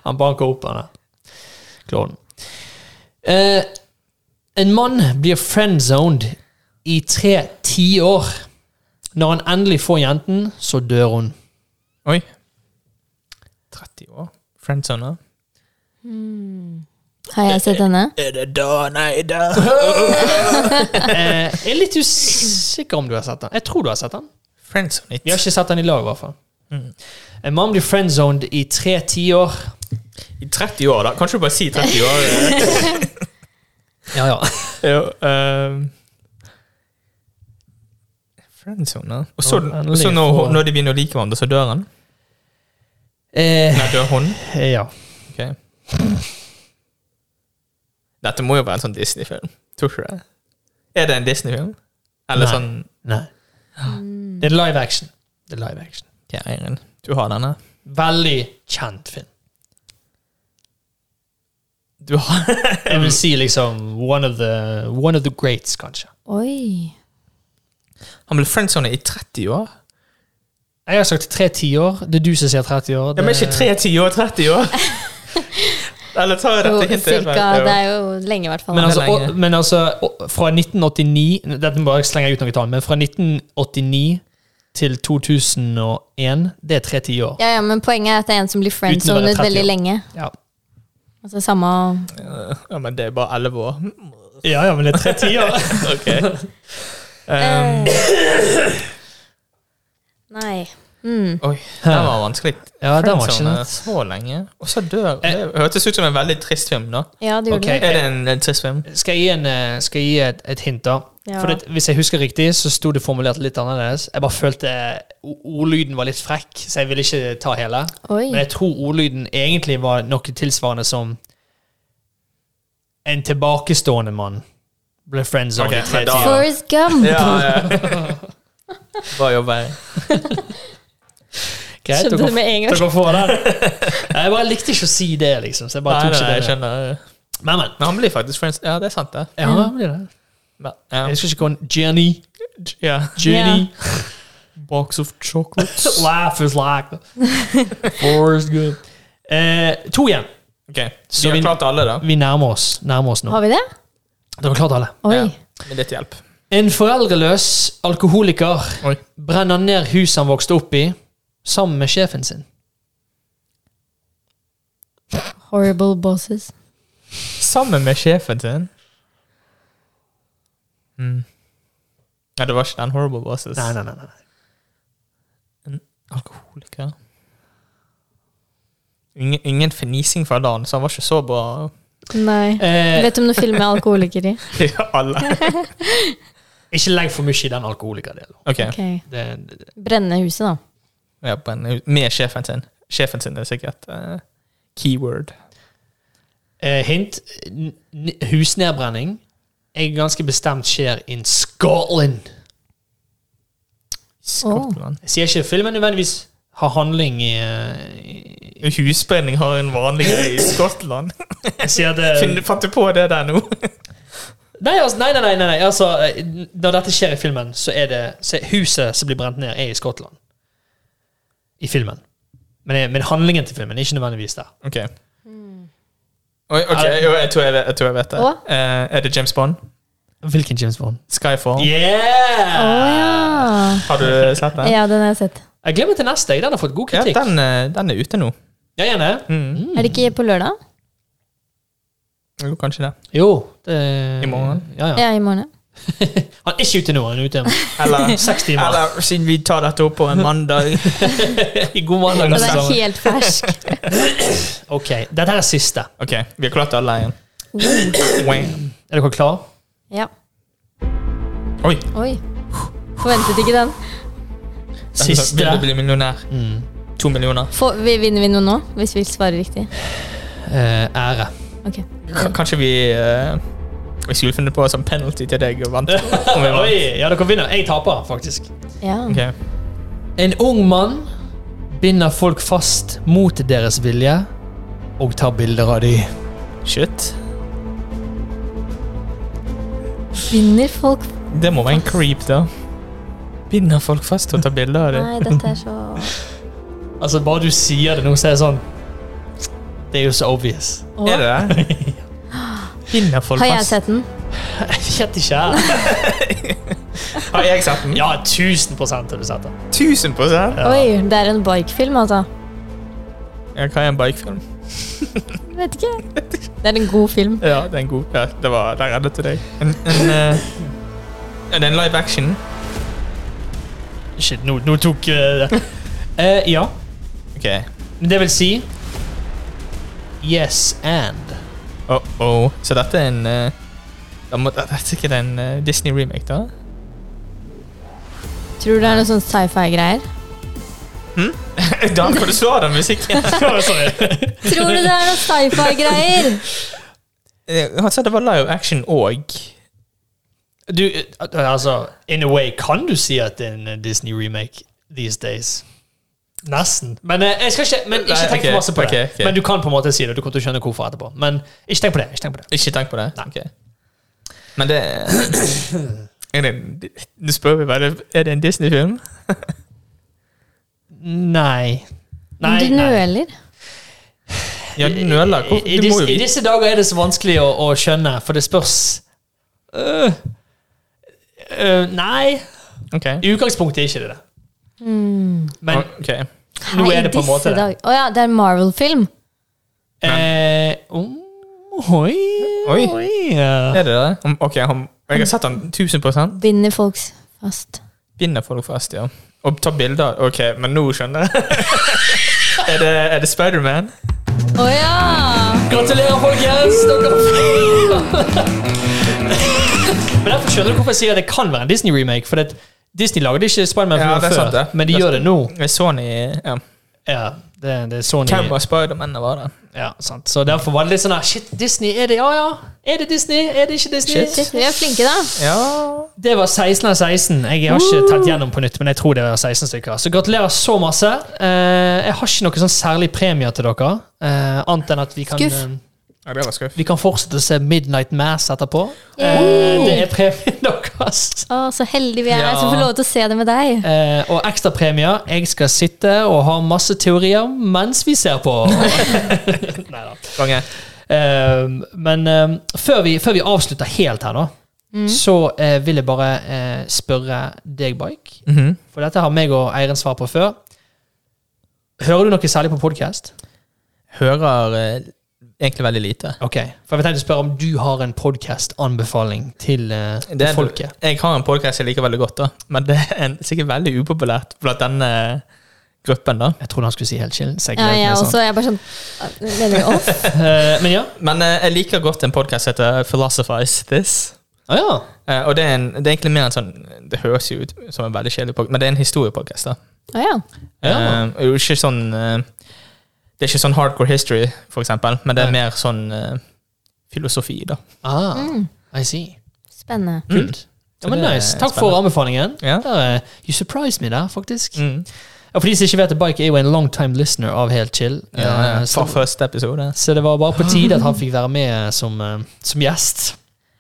Speaker 1: han banker opp han der klovnen. Eh, en mann blir friendzoned i tre tiår. Når han endelig får jenten, så dør hun.
Speaker 3: eh. Oi. 30 år. Friendzoner.
Speaker 2: Har jeg sett denne?
Speaker 3: Er det da? Nei, da.
Speaker 1: Eh, jeg er litt usikker om du har sett den. Jeg tror du har sett den.
Speaker 3: Friendzone
Speaker 1: Vi har
Speaker 3: it.
Speaker 1: ikke sett den i lag, i hvert fall. En mann blir friendzoned i tre tiår.
Speaker 3: I 30 år, da. Kanskje du bare sier 30 år? eh.
Speaker 1: Ja, ja.
Speaker 3: jo, ehm. Friendzone, da. Og så,
Speaker 1: Nå,
Speaker 3: og
Speaker 1: endelig
Speaker 3: så når,
Speaker 1: får-
Speaker 3: når de begynner å like hverandre, så dør han?
Speaker 1: Eh,
Speaker 3: Nei, dør hun?
Speaker 1: ja.
Speaker 3: Ok. Dette må jo være en sånn Disney-film. Tror ikke det. Er det en Disney-film? Eller
Speaker 1: Nei.
Speaker 3: sånn
Speaker 1: Nei. Det er live action. Det er live action.
Speaker 3: Ja, Eirin, du har denne.
Speaker 1: Veldig kjent film.
Speaker 3: Du har
Speaker 1: Jeg vil si liksom one of the, one of the greats, kanskje.
Speaker 2: Oi.
Speaker 3: Han ble friendzone i 30 år.
Speaker 1: Jeg har sagt tre tiår. Det er du som sier 30 år.
Speaker 3: Ja, men ikke tre tiår, 30 år! Eller tar jeg
Speaker 2: Jo,
Speaker 3: dette hintet?
Speaker 2: cirka, det er jo lenge, i hvert fall.
Speaker 1: Men altså,
Speaker 3: Det er lenge.
Speaker 1: å- men altså å- fra 1989 Dette må jeg bare slenge ut noen tall, men fra 1989 til 2001, det er tre tiår.
Speaker 2: Ja, ja, men poenget er at det er en som blir
Speaker 1: Uten å være
Speaker 2: friendzonet
Speaker 1: 30
Speaker 2: veldig
Speaker 1: år.
Speaker 2: lenge.
Speaker 1: Ja.
Speaker 2: Altså samme
Speaker 3: Ja, men det er bare 11 år.
Speaker 1: ja, ja, men det er tre tiår.
Speaker 3: Ok. Um,
Speaker 2: Nei. Mm.
Speaker 3: oi, den var vanskelig.
Speaker 1: Ja, den var ikke
Speaker 3: Friendzone
Speaker 1: lett.
Speaker 3: så lenge, og så dør
Speaker 1: Eh.
Speaker 3: Det hørtes ut som en veldig trist film, da.
Speaker 2: Ja, det gjorde
Speaker 1: Ok.
Speaker 2: det.
Speaker 3: Er det en, en trist film?
Speaker 1: Skal jeg gi, en, eh, skal jeg gi et, et hint, da?
Speaker 2: Ja.
Speaker 1: For det, Hvis jeg husker riktig, så sto det formulert litt annerledes. Jeg bare følte o- ordlyden var litt frekk, så jeg ville ikke ta hele.
Speaker 2: Oi.
Speaker 1: Men jeg tror ordlyden egentlig var noe tilsvarende som En tilbakestående mann ble friendzoned
Speaker 3: Ok,
Speaker 1: i tre
Speaker 3: men da-
Speaker 1: tiår.
Speaker 2: Forrest Gump.
Speaker 3: Bare jobber jeg.
Speaker 1: Greit,
Speaker 2: Skjønte
Speaker 1: dere-
Speaker 2: det med en gang.
Speaker 1: Dere får den. Nei, Jeg bare likte ikke å si det, liksom. Så jeg bare
Speaker 3: Nei,
Speaker 1: tok
Speaker 3: nei, nei, jeg
Speaker 1: ikke det.
Speaker 3: skjønner. eh.
Speaker 1: Men, men.
Speaker 3: Men han blir faktisk friends. Ja, det er sant, det.
Speaker 1: Ja,
Speaker 2: Mm.
Speaker 1: det blir det.
Speaker 3: Men, um, ja.
Speaker 1: Jeg husker ikke hva hun- Jenny.
Speaker 3: ja.
Speaker 1: Jenny.
Speaker 3: Box of chocolates.
Speaker 1: Laugh is like Forrest Gump. Eh, to igjen.
Speaker 3: ok,
Speaker 1: Så
Speaker 3: så vi
Speaker 1: vi-
Speaker 3: har klart alle, da.
Speaker 1: Vi nærmer oss, nærmer oss nå.
Speaker 2: Har vi det?
Speaker 1: Dere har klart alle.
Speaker 2: Oi.
Speaker 3: Ja, med litt hjelp.
Speaker 1: En foreldreløs alkoholiker
Speaker 3: Oi.
Speaker 1: brenner ned huset han vokste opp i, sammen med sjefen sin.
Speaker 2: Horrible bosses.
Speaker 3: Sammen med sjefen sin. Mm. Nei, det var ikke den horrible bosses.
Speaker 1: Nei, nei, nei. nei.
Speaker 3: Alkoholiker. Ingen, ingen fnising fra Dan, så han var ikke så bra.
Speaker 2: Nei.
Speaker 1: Eh,
Speaker 2: Vet du om du filmer alkoholikere?
Speaker 3: Alle.
Speaker 1: ikke legg for mye i den alkoholikerdelen.
Speaker 3: Ok,
Speaker 2: Ok.
Speaker 1: Det- det-
Speaker 2: Brenne huset, da.
Speaker 3: ja, på en, med sjefen sin. Sjefen sin er sikkert eh, keyword.
Speaker 1: Eh, hint. N n- husnedbrenning er ganske bestemt skjer in Scotland.
Speaker 3: Skottland.
Speaker 1: Jeg sier ikke filmen nødvendigvis har handling i, eh, i
Speaker 3: Husbrenning har en vanlig greie i Skottland.
Speaker 1: Jeg sier at det
Speaker 3: Finn- Fant du på det der nå?
Speaker 1: Nei, altså, nei, nei, nei, nei, nei. Altså, eh, når dette skjer i filmen, så er det så er Huset som blir brent ned, er i Skottland. I filmen. Men, eh, men handlingen til filmen er ikke nødvendigvis der.
Speaker 3: Ok. Mm. Oi, ok, jo, jeg, tror jeg, vet- jeg tror jeg vet det.
Speaker 2: Å?
Speaker 3: Eh, er det James Bond?
Speaker 1: Hvilken James Bond?
Speaker 3: Skyfall?
Speaker 2: Å
Speaker 1: Yeah!
Speaker 2: ja.
Speaker 3: Har du sett den?
Speaker 2: Ja, den har jeg sett.
Speaker 1: Jeg glemmer til neste. jeg. Den har fått god
Speaker 3: Ja,
Speaker 1: kritikk. Ja,
Speaker 3: den, eh, den er ute nå.
Speaker 1: gjerne.
Speaker 3: Mm.
Speaker 2: Er det ikke på lørdag?
Speaker 3: Jo, kanskje det.
Speaker 1: Jo. Det,
Speaker 3: I morgen?
Speaker 1: Ja, ja.
Speaker 2: Ja, i morgen.
Speaker 1: Han er ikke ute nå, han er ute om
Speaker 3: Eller,
Speaker 1: seks timer.
Speaker 3: eller siden vi tar dette opp på en mandag.
Speaker 1: I god mandag.
Speaker 2: Den
Speaker 1: neste
Speaker 2: er
Speaker 1: gang.
Speaker 2: helt fersk.
Speaker 1: Ok, dette her er siste.
Speaker 3: Ok, vi har klart alle igjen.
Speaker 2: Mm.
Speaker 3: Wham.
Speaker 1: Er dere klare?
Speaker 2: Ja.
Speaker 3: Oi,
Speaker 2: Oi. Forventet ikke den.
Speaker 1: Siste.
Speaker 3: Vil du bli millionær?
Speaker 1: Mm.
Speaker 3: To millioner.
Speaker 2: Får, vi- vinner vi noe nå, hvis vi svarer riktig?
Speaker 1: Eh, ære.
Speaker 2: Ok.
Speaker 3: K kanskje vi eh, Vi skulle funnet på som penalty til deg og vant. Om vi vant.
Speaker 1: Oi, ja, dere vinner. Jeg taper, faktisk.
Speaker 2: Ja.
Speaker 3: Ok.
Speaker 1: En ung mann binder folk fast mot deres vilje og tar bilder av dem.
Speaker 3: Shit.
Speaker 2: Binder folk
Speaker 3: Det må være en creep, da. Binder folk fast og tar bilder av dem.
Speaker 2: Nei, dette er så
Speaker 1: Altså, bare du sier det nå, så er det sånn Det er jo så obvious.
Speaker 2: Å.
Speaker 3: Er det det? Binder folk
Speaker 2: Har jeg
Speaker 3: fast?
Speaker 2: sett den?
Speaker 1: Jeg vet ikke. jeg.
Speaker 3: Har jeg sett den?
Speaker 1: Ja, 1000 har du sett det.
Speaker 3: 1000 prosent.
Speaker 2: Oi, det er en bikefilm, altså.
Speaker 3: Ja, hva er en bikefilm?
Speaker 2: Jeg vet ikke. Det Det er en god film.
Speaker 3: Ja, det er en god ja, det var, Der reddet du deg. En, en, eh, ja, det er en live action.
Speaker 1: Shit, nå, nå tok eh, det. Eh, ja,
Speaker 3: Ok.
Speaker 1: det vil si Yes and.
Speaker 3: Oh, oh. Så dette er en eh, da må, Dette er sikkert en eh, Disney-remake, da?
Speaker 2: Tror du det er noe sånn sci-fi-greier?
Speaker 3: Dan, kan du slå av den musikken?
Speaker 1: Sorry.
Speaker 2: Tror du det er noe sci-fi-greier?
Speaker 3: Eh, Han sa det var live action og
Speaker 1: Du, eh, altså In a way kan du si at det er en eh, Disney-remake these days. Nesten. Men eh, jeg skal ikke, men ikke
Speaker 3: Nei,
Speaker 1: tenk
Speaker 3: ok,
Speaker 1: for masse på det.
Speaker 3: ok, ok.
Speaker 1: Men du kan på en måte si det. Du kommer til å skjønne hvorfor etterpå. Men ikke tenk på det. ikke tenk på det.
Speaker 3: Ikke tenk på det?
Speaker 1: Nei.
Speaker 3: Ok. Men det er det en- Du spør meg bare Er det en Disney-film?
Speaker 1: Nei. Nei,
Speaker 2: du
Speaker 1: nei.
Speaker 2: nøler.
Speaker 3: Ja, du nøler. Hvorfor-
Speaker 1: I, i,
Speaker 3: Du må
Speaker 1: disse, I
Speaker 3: jo
Speaker 1: disse dager er det så vanskelig å, å skjønne, for det spørs Øh. Øh, Nei.
Speaker 3: Ok.
Speaker 1: I utgangspunktet er ikke det det. Men nå
Speaker 3: Ok.
Speaker 2: Hmm. Nei,
Speaker 1: er det på en
Speaker 2: disse
Speaker 1: måte det.
Speaker 2: dag- Å ja, det er en Marvel-film.
Speaker 1: Eh, oi,
Speaker 3: Oi.
Speaker 1: oi ja.
Speaker 3: Er det det? Om- Ok, han, jeg har sett han 1000
Speaker 2: Binder folk fast.
Speaker 3: Binder folk fast, ja. Og tar bilder. Ok, men nå skjønner jeg. er det, er det Spiderman?
Speaker 2: Å ja!
Speaker 1: Gratulerer, folkens! Dere Men derfor skjønner du hvorfor jeg sier at det kan være en Disney-remake. For at Disney lagde ikke Spiderman
Speaker 3: Ja, det er
Speaker 1: før,
Speaker 3: sant det.
Speaker 1: men de
Speaker 3: Det er
Speaker 1: gjør det nå.
Speaker 3: Sony ja.
Speaker 1: Ja, det, det er Sony.
Speaker 3: Hvem var Spiderman da var det?
Speaker 1: Ja, sant. Så derfor var det litt sånn her Shit, Disney, er det Ja, ja. Er det Disney? Er det ikke Disney?
Speaker 3: Shit.
Speaker 2: Vi er flinke, da.
Speaker 3: Ja
Speaker 1: Det var 16 av 16. Jeg har ikke telt gjennom på nytt, men jeg tror det var 16 stykker. Så gratulerer så masse. Eh, jeg har ikke noen sånn særlig premie til dere, eh, annet enn at vi kan
Speaker 2: Skuff.
Speaker 1: eh,
Speaker 3: Ja, det var skuff.
Speaker 1: Vi kan fortsette å se Midnight Mass etterpå.
Speaker 2: Yay!
Speaker 1: Eh, det er premien deres.
Speaker 2: Å, så heldige vi er
Speaker 3: Ja.
Speaker 2: som får lov til å se det med deg.
Speaker 1: Eh, og ekstrapremier. Jeg skal sitte og ha masse teorier mens vi ser på. Neida.
Speaker 3: Konge.
Speaker 1: Eh, men eh, før, vi, før vi avslutter helt her, da,
Speaker 2: Mm.
Speaker 1: så eh, vil jeg bare eh, spørre deg, Bike.
Speaker 3: Mhm.
Speaker 1: For dette har meg og Eiren svar på før. Hører du noe særlig på podkast?
Speaker 3: Hører eh, egentlig veldig lite.
Speaker 1: Ok, for jeg tenkte å spørre om du har en podkast-anbefaling til, eh, til
Speaker 3: er-
Speaker 1: folket.
Speaker 3: Jeg har en podkast jeg liker veldig godt, da. men det er en, sikkert veldig upopulært blant denne gruppen. da.
Speaker 1: Jeg trodde han skulle si helt chill. så jeg
Speaker 2: Ja,
Speaker 1: gledet
Speaker 2: jeg
Speaker 1: meg sånn.
Speaker 2: også. Jeg er bare sånn «Ah, Mener du oss?
Speaker 1: Eh, men ja.
Speaker 3: Men eh, jeg liker godt en podkast som heter Philosophize This.
Speaker 1: Ah, ja.
Speaker 3: Eh, og det er, en, det er egentlig mer en sånn Det høres jo ut som en veldig kjedelig podkast, men det er en historiepodkast. da.
Speaker 2: Å ja.
Speaker 1: Ja.
Speaker 3: Eh, og jo ikke sånn eh, Det er ikke sånn hardcore history, for eksempel, men det er
Speaker 1: Nei.
Speaker 3: mer sånn eh, filosofi, da.
Speaker 1: Ah,
Speaker 2: Mm.
Speaker 1: I see.
Speaker 2: Spennende.
Speaker 1: Kult. Mm. Ja,
Speaker 3: Så
Speaker 1: men
Speaker 3: det er
Speaker 1: nice. Takk for
Speaker 3: spennende.
Speaker 1: anbefalingen.
Speaker 3: Ja.
Speaker 1: Der, eh, you surprised me der, faktisk.
Speaker 3: Mm.
Speaker 1: Ja, for de som ikke vet at Bike er jo en long time listener av Helt chill.
Speaker 3: Ja, ja.
Speaker 1: Eh,
Speaker 3: Fra
Speaker 1: så,
Speaker 3: første episode.
Speaker 1: så det var bare på tide at han fikk være med som, eh, som gjest.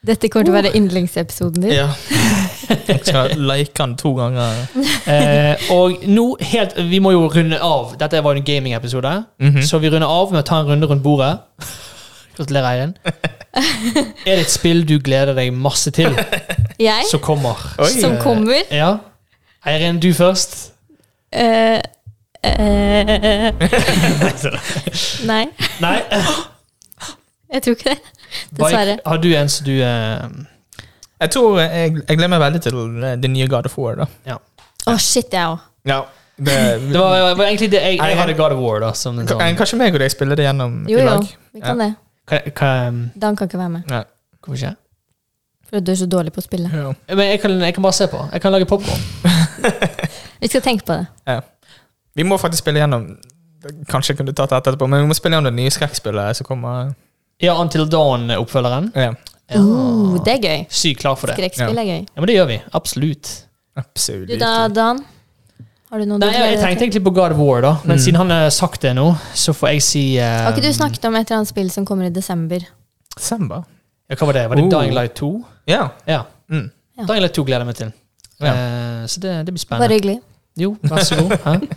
Speaker 2: Dette kommer til å være
Speaker 1: Oh.
Speaker 2: yndlingsepisoden din.
Speaker 3: Ja. Jeg skal like den to ganger.
Speaker 1: Eh, og nå helt Vi må jo runde av. Dette var jo en gaming-episode,
Speaker 3: Mhm.
Speaker 1: så vi runder av med å ta en runde rundt bordet. Gratulerer, Eirin. Er det et spill du gleder deg masse til,
Speaker 2: Jeg,
Speaker 1: som kommer?
Speaker 3: Oi.
Speaker 2: som kommer
Speaker 1: Ja. Eirin, du først.
Speaker 2: eh, eh, Nei,
Speaker 1: Nei.
Speaker 2: jeg tror ikke det. Dessverre.
Speaker 1: Dessverre. Har du en som du eh,
Speaker 3: Jeg tror eh, jeg, jeg gleder meg veldig til eh, det nye God of War. da.
Speaker 2: Å, shit, jeg òg.
Speaker 3: Ja, det,
Speaker 1: Det var, var egentlig det jeg,
Speaker 3: Nei,
Speaker 1: jeg
Speaker 3: jeg-
Speaker 1: hadde God of War, da. Som en
Speaker 3: K-
Speaker 1: sånn,
Speaker 3: Kanskje meg og deg spiller det gjennom
Speaker 2: Jo,
Speaker 3: i
Speaker 2: jo.
Speaker 3: lag?
Speaker 2: Vi kan det.
Speaker 1: hva, hva, um,
Speaker 2: Dan kan ikke være med,
Speaker 3: Ja.
Speaker 1: hvorfor ikke?
Speaker 2: for du er så dårlig på å spille.
Speaker 3: Ja.
Speaker 1: eh, Men jeg kan, jeg kan bare se på. Jeg kan lage popkorn.
Speaker 2: Vi skal tenke på det.
Speaker 3: Vi må faktisk spille gjennom Kanskje jeg kunne tatt det etterpå, men vi må spille gjennom det nye skrekkspillet som kommer.
Speaker 1: Ja, Until Dawn-oppfølgeren.
Speaker 3: Ja.
Speaker 1: Ja.
Speaker 2: Uh, det er gøy.
Speaker 1: Sykt klar for det.
Speaker 2: Skrekkspill er gøy.
Speaker 1: Ja, men det gjør vi. Absolutt.
Speaker 3: Absolutt.
Speaker 2: Du da, Dan? Har du noe
Speaker 1: Nei, jeg, jeg
Speaker 2: gleder deg
Speaker 1: tenkte
Speaker 2: til?
Speaker 1: egentlig på God of War, da. Men
Speaker 3: Mm.
Speaker 1: siden han har sagt det nå, så får jeg si eh,
Speaker 2: Har ikke du snakket om et eller annet spill som kommer i desember?
Speaker 3: Desember?
Speaker 1: ja, Hva var det? Var det
Speaker 3: Oh.
Speaker 1: Dying Light 2?
Speaker 3: Ja.
Speaker 1: Ja.
Speaker 3: Mm.
Speaker 2: Ja.
Speaker 1: Dying Light 2 gleder jeg meg til.
Speaker 3: Ja.
Speaker 1: Eh, så det, det blir
Speaker 2: Bare
Speaker 1: spennende.
Speaker 2: hyggelig.
Speaker 1: Jo, vær så god. Hæ?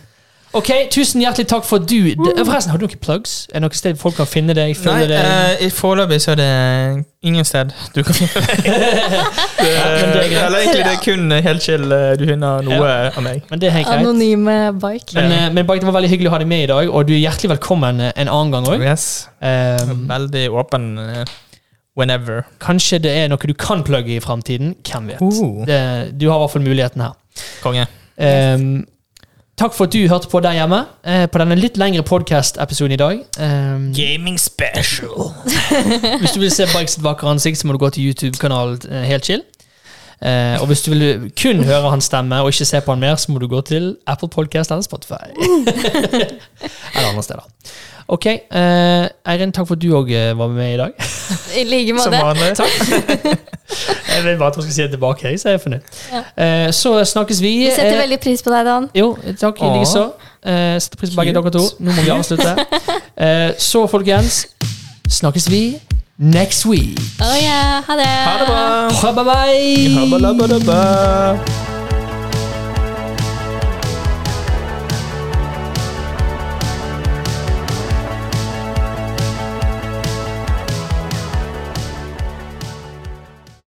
Speaker 1: Ok, Tusen hjertelig takk for du d- Forresten, Har du noen plugs? Er det noe sted folk kan finne deg?
Speaker 3: Nei,
Speaker 1: følge deg?
Speaker 3: eh, i foreløpig så er det ingen sted du kan finne meg. Det-
Speaker 1: Ja, men det er greit.
Speaker 3: Eller egentlig det er kun helt chill eh, du finner noe av meg.
Speaker 1: Men det er helt greit.
Speaker 2: Anonyme bike.
Speaker 1: Men, eh, men Bike, det var veldig hyggelig å ha deg med i dag, og du er hjertelig velkommen eh, en annen gang Eh, òg.
Speaker 3: Yes.
Speaker 1: Mm.
Speaker 3: Veldig åpen eh, whenever.
Speaker 1: kanskje det er noe du kan plugge i framtiden. Hvem vet.
Speaker 3: Oh.
Speaker 1: Det, du har i hvert fall muligheten her.
Speaker 3: Konge.
Speaker 1: Ehm, takk for at du hørte på der hjemme eh, på denne litt lengre podcast-episoden i dag. Ehm,
Speaker 3: Gaming special.
Speaker 1: Hvis du vil se Bikes sitt vakre ansikt, så må du gå til YouTube-kanalen eh, Helt chill. Eh, og hvis du vil kun høre hans stemme og ikke se på han mer, så må du gå til Apple Podcast eller Spotify. eller andre steder. Ok, eh, Eirin, takk for at du òg var med i dag.
Speaker 2: I like
Speaker 3: Som
Speaker 2: måte.
Speaker 3: vanlig.
Speaker 1: Jeg vil bare at hun skal si det tilbake, jeg, så er jeg fornøyd.
Speaker 2: Ja.
Speaker 1: Eh, så snakkes vi.
Speaker 2: Vi setter
Speaker 1: eh,
Speaker 2: veldig pris på deg, Dan.
Speaker 1: Jo, takk i
Speaker 3: Åh.
Speaker 1: like så. Eh, setter pris på begge
Speaker 3: Cute.
Speaker 1: dere to. Nå må vi avslutte. Eh, så, folkens, snakkes vi next week.
Speaker 2: Å ja, ha det.
Speaker 3: Ha det bra.
Speaker 1: Ha, bye bye.
Speaker 3: Habba-labba-dabba.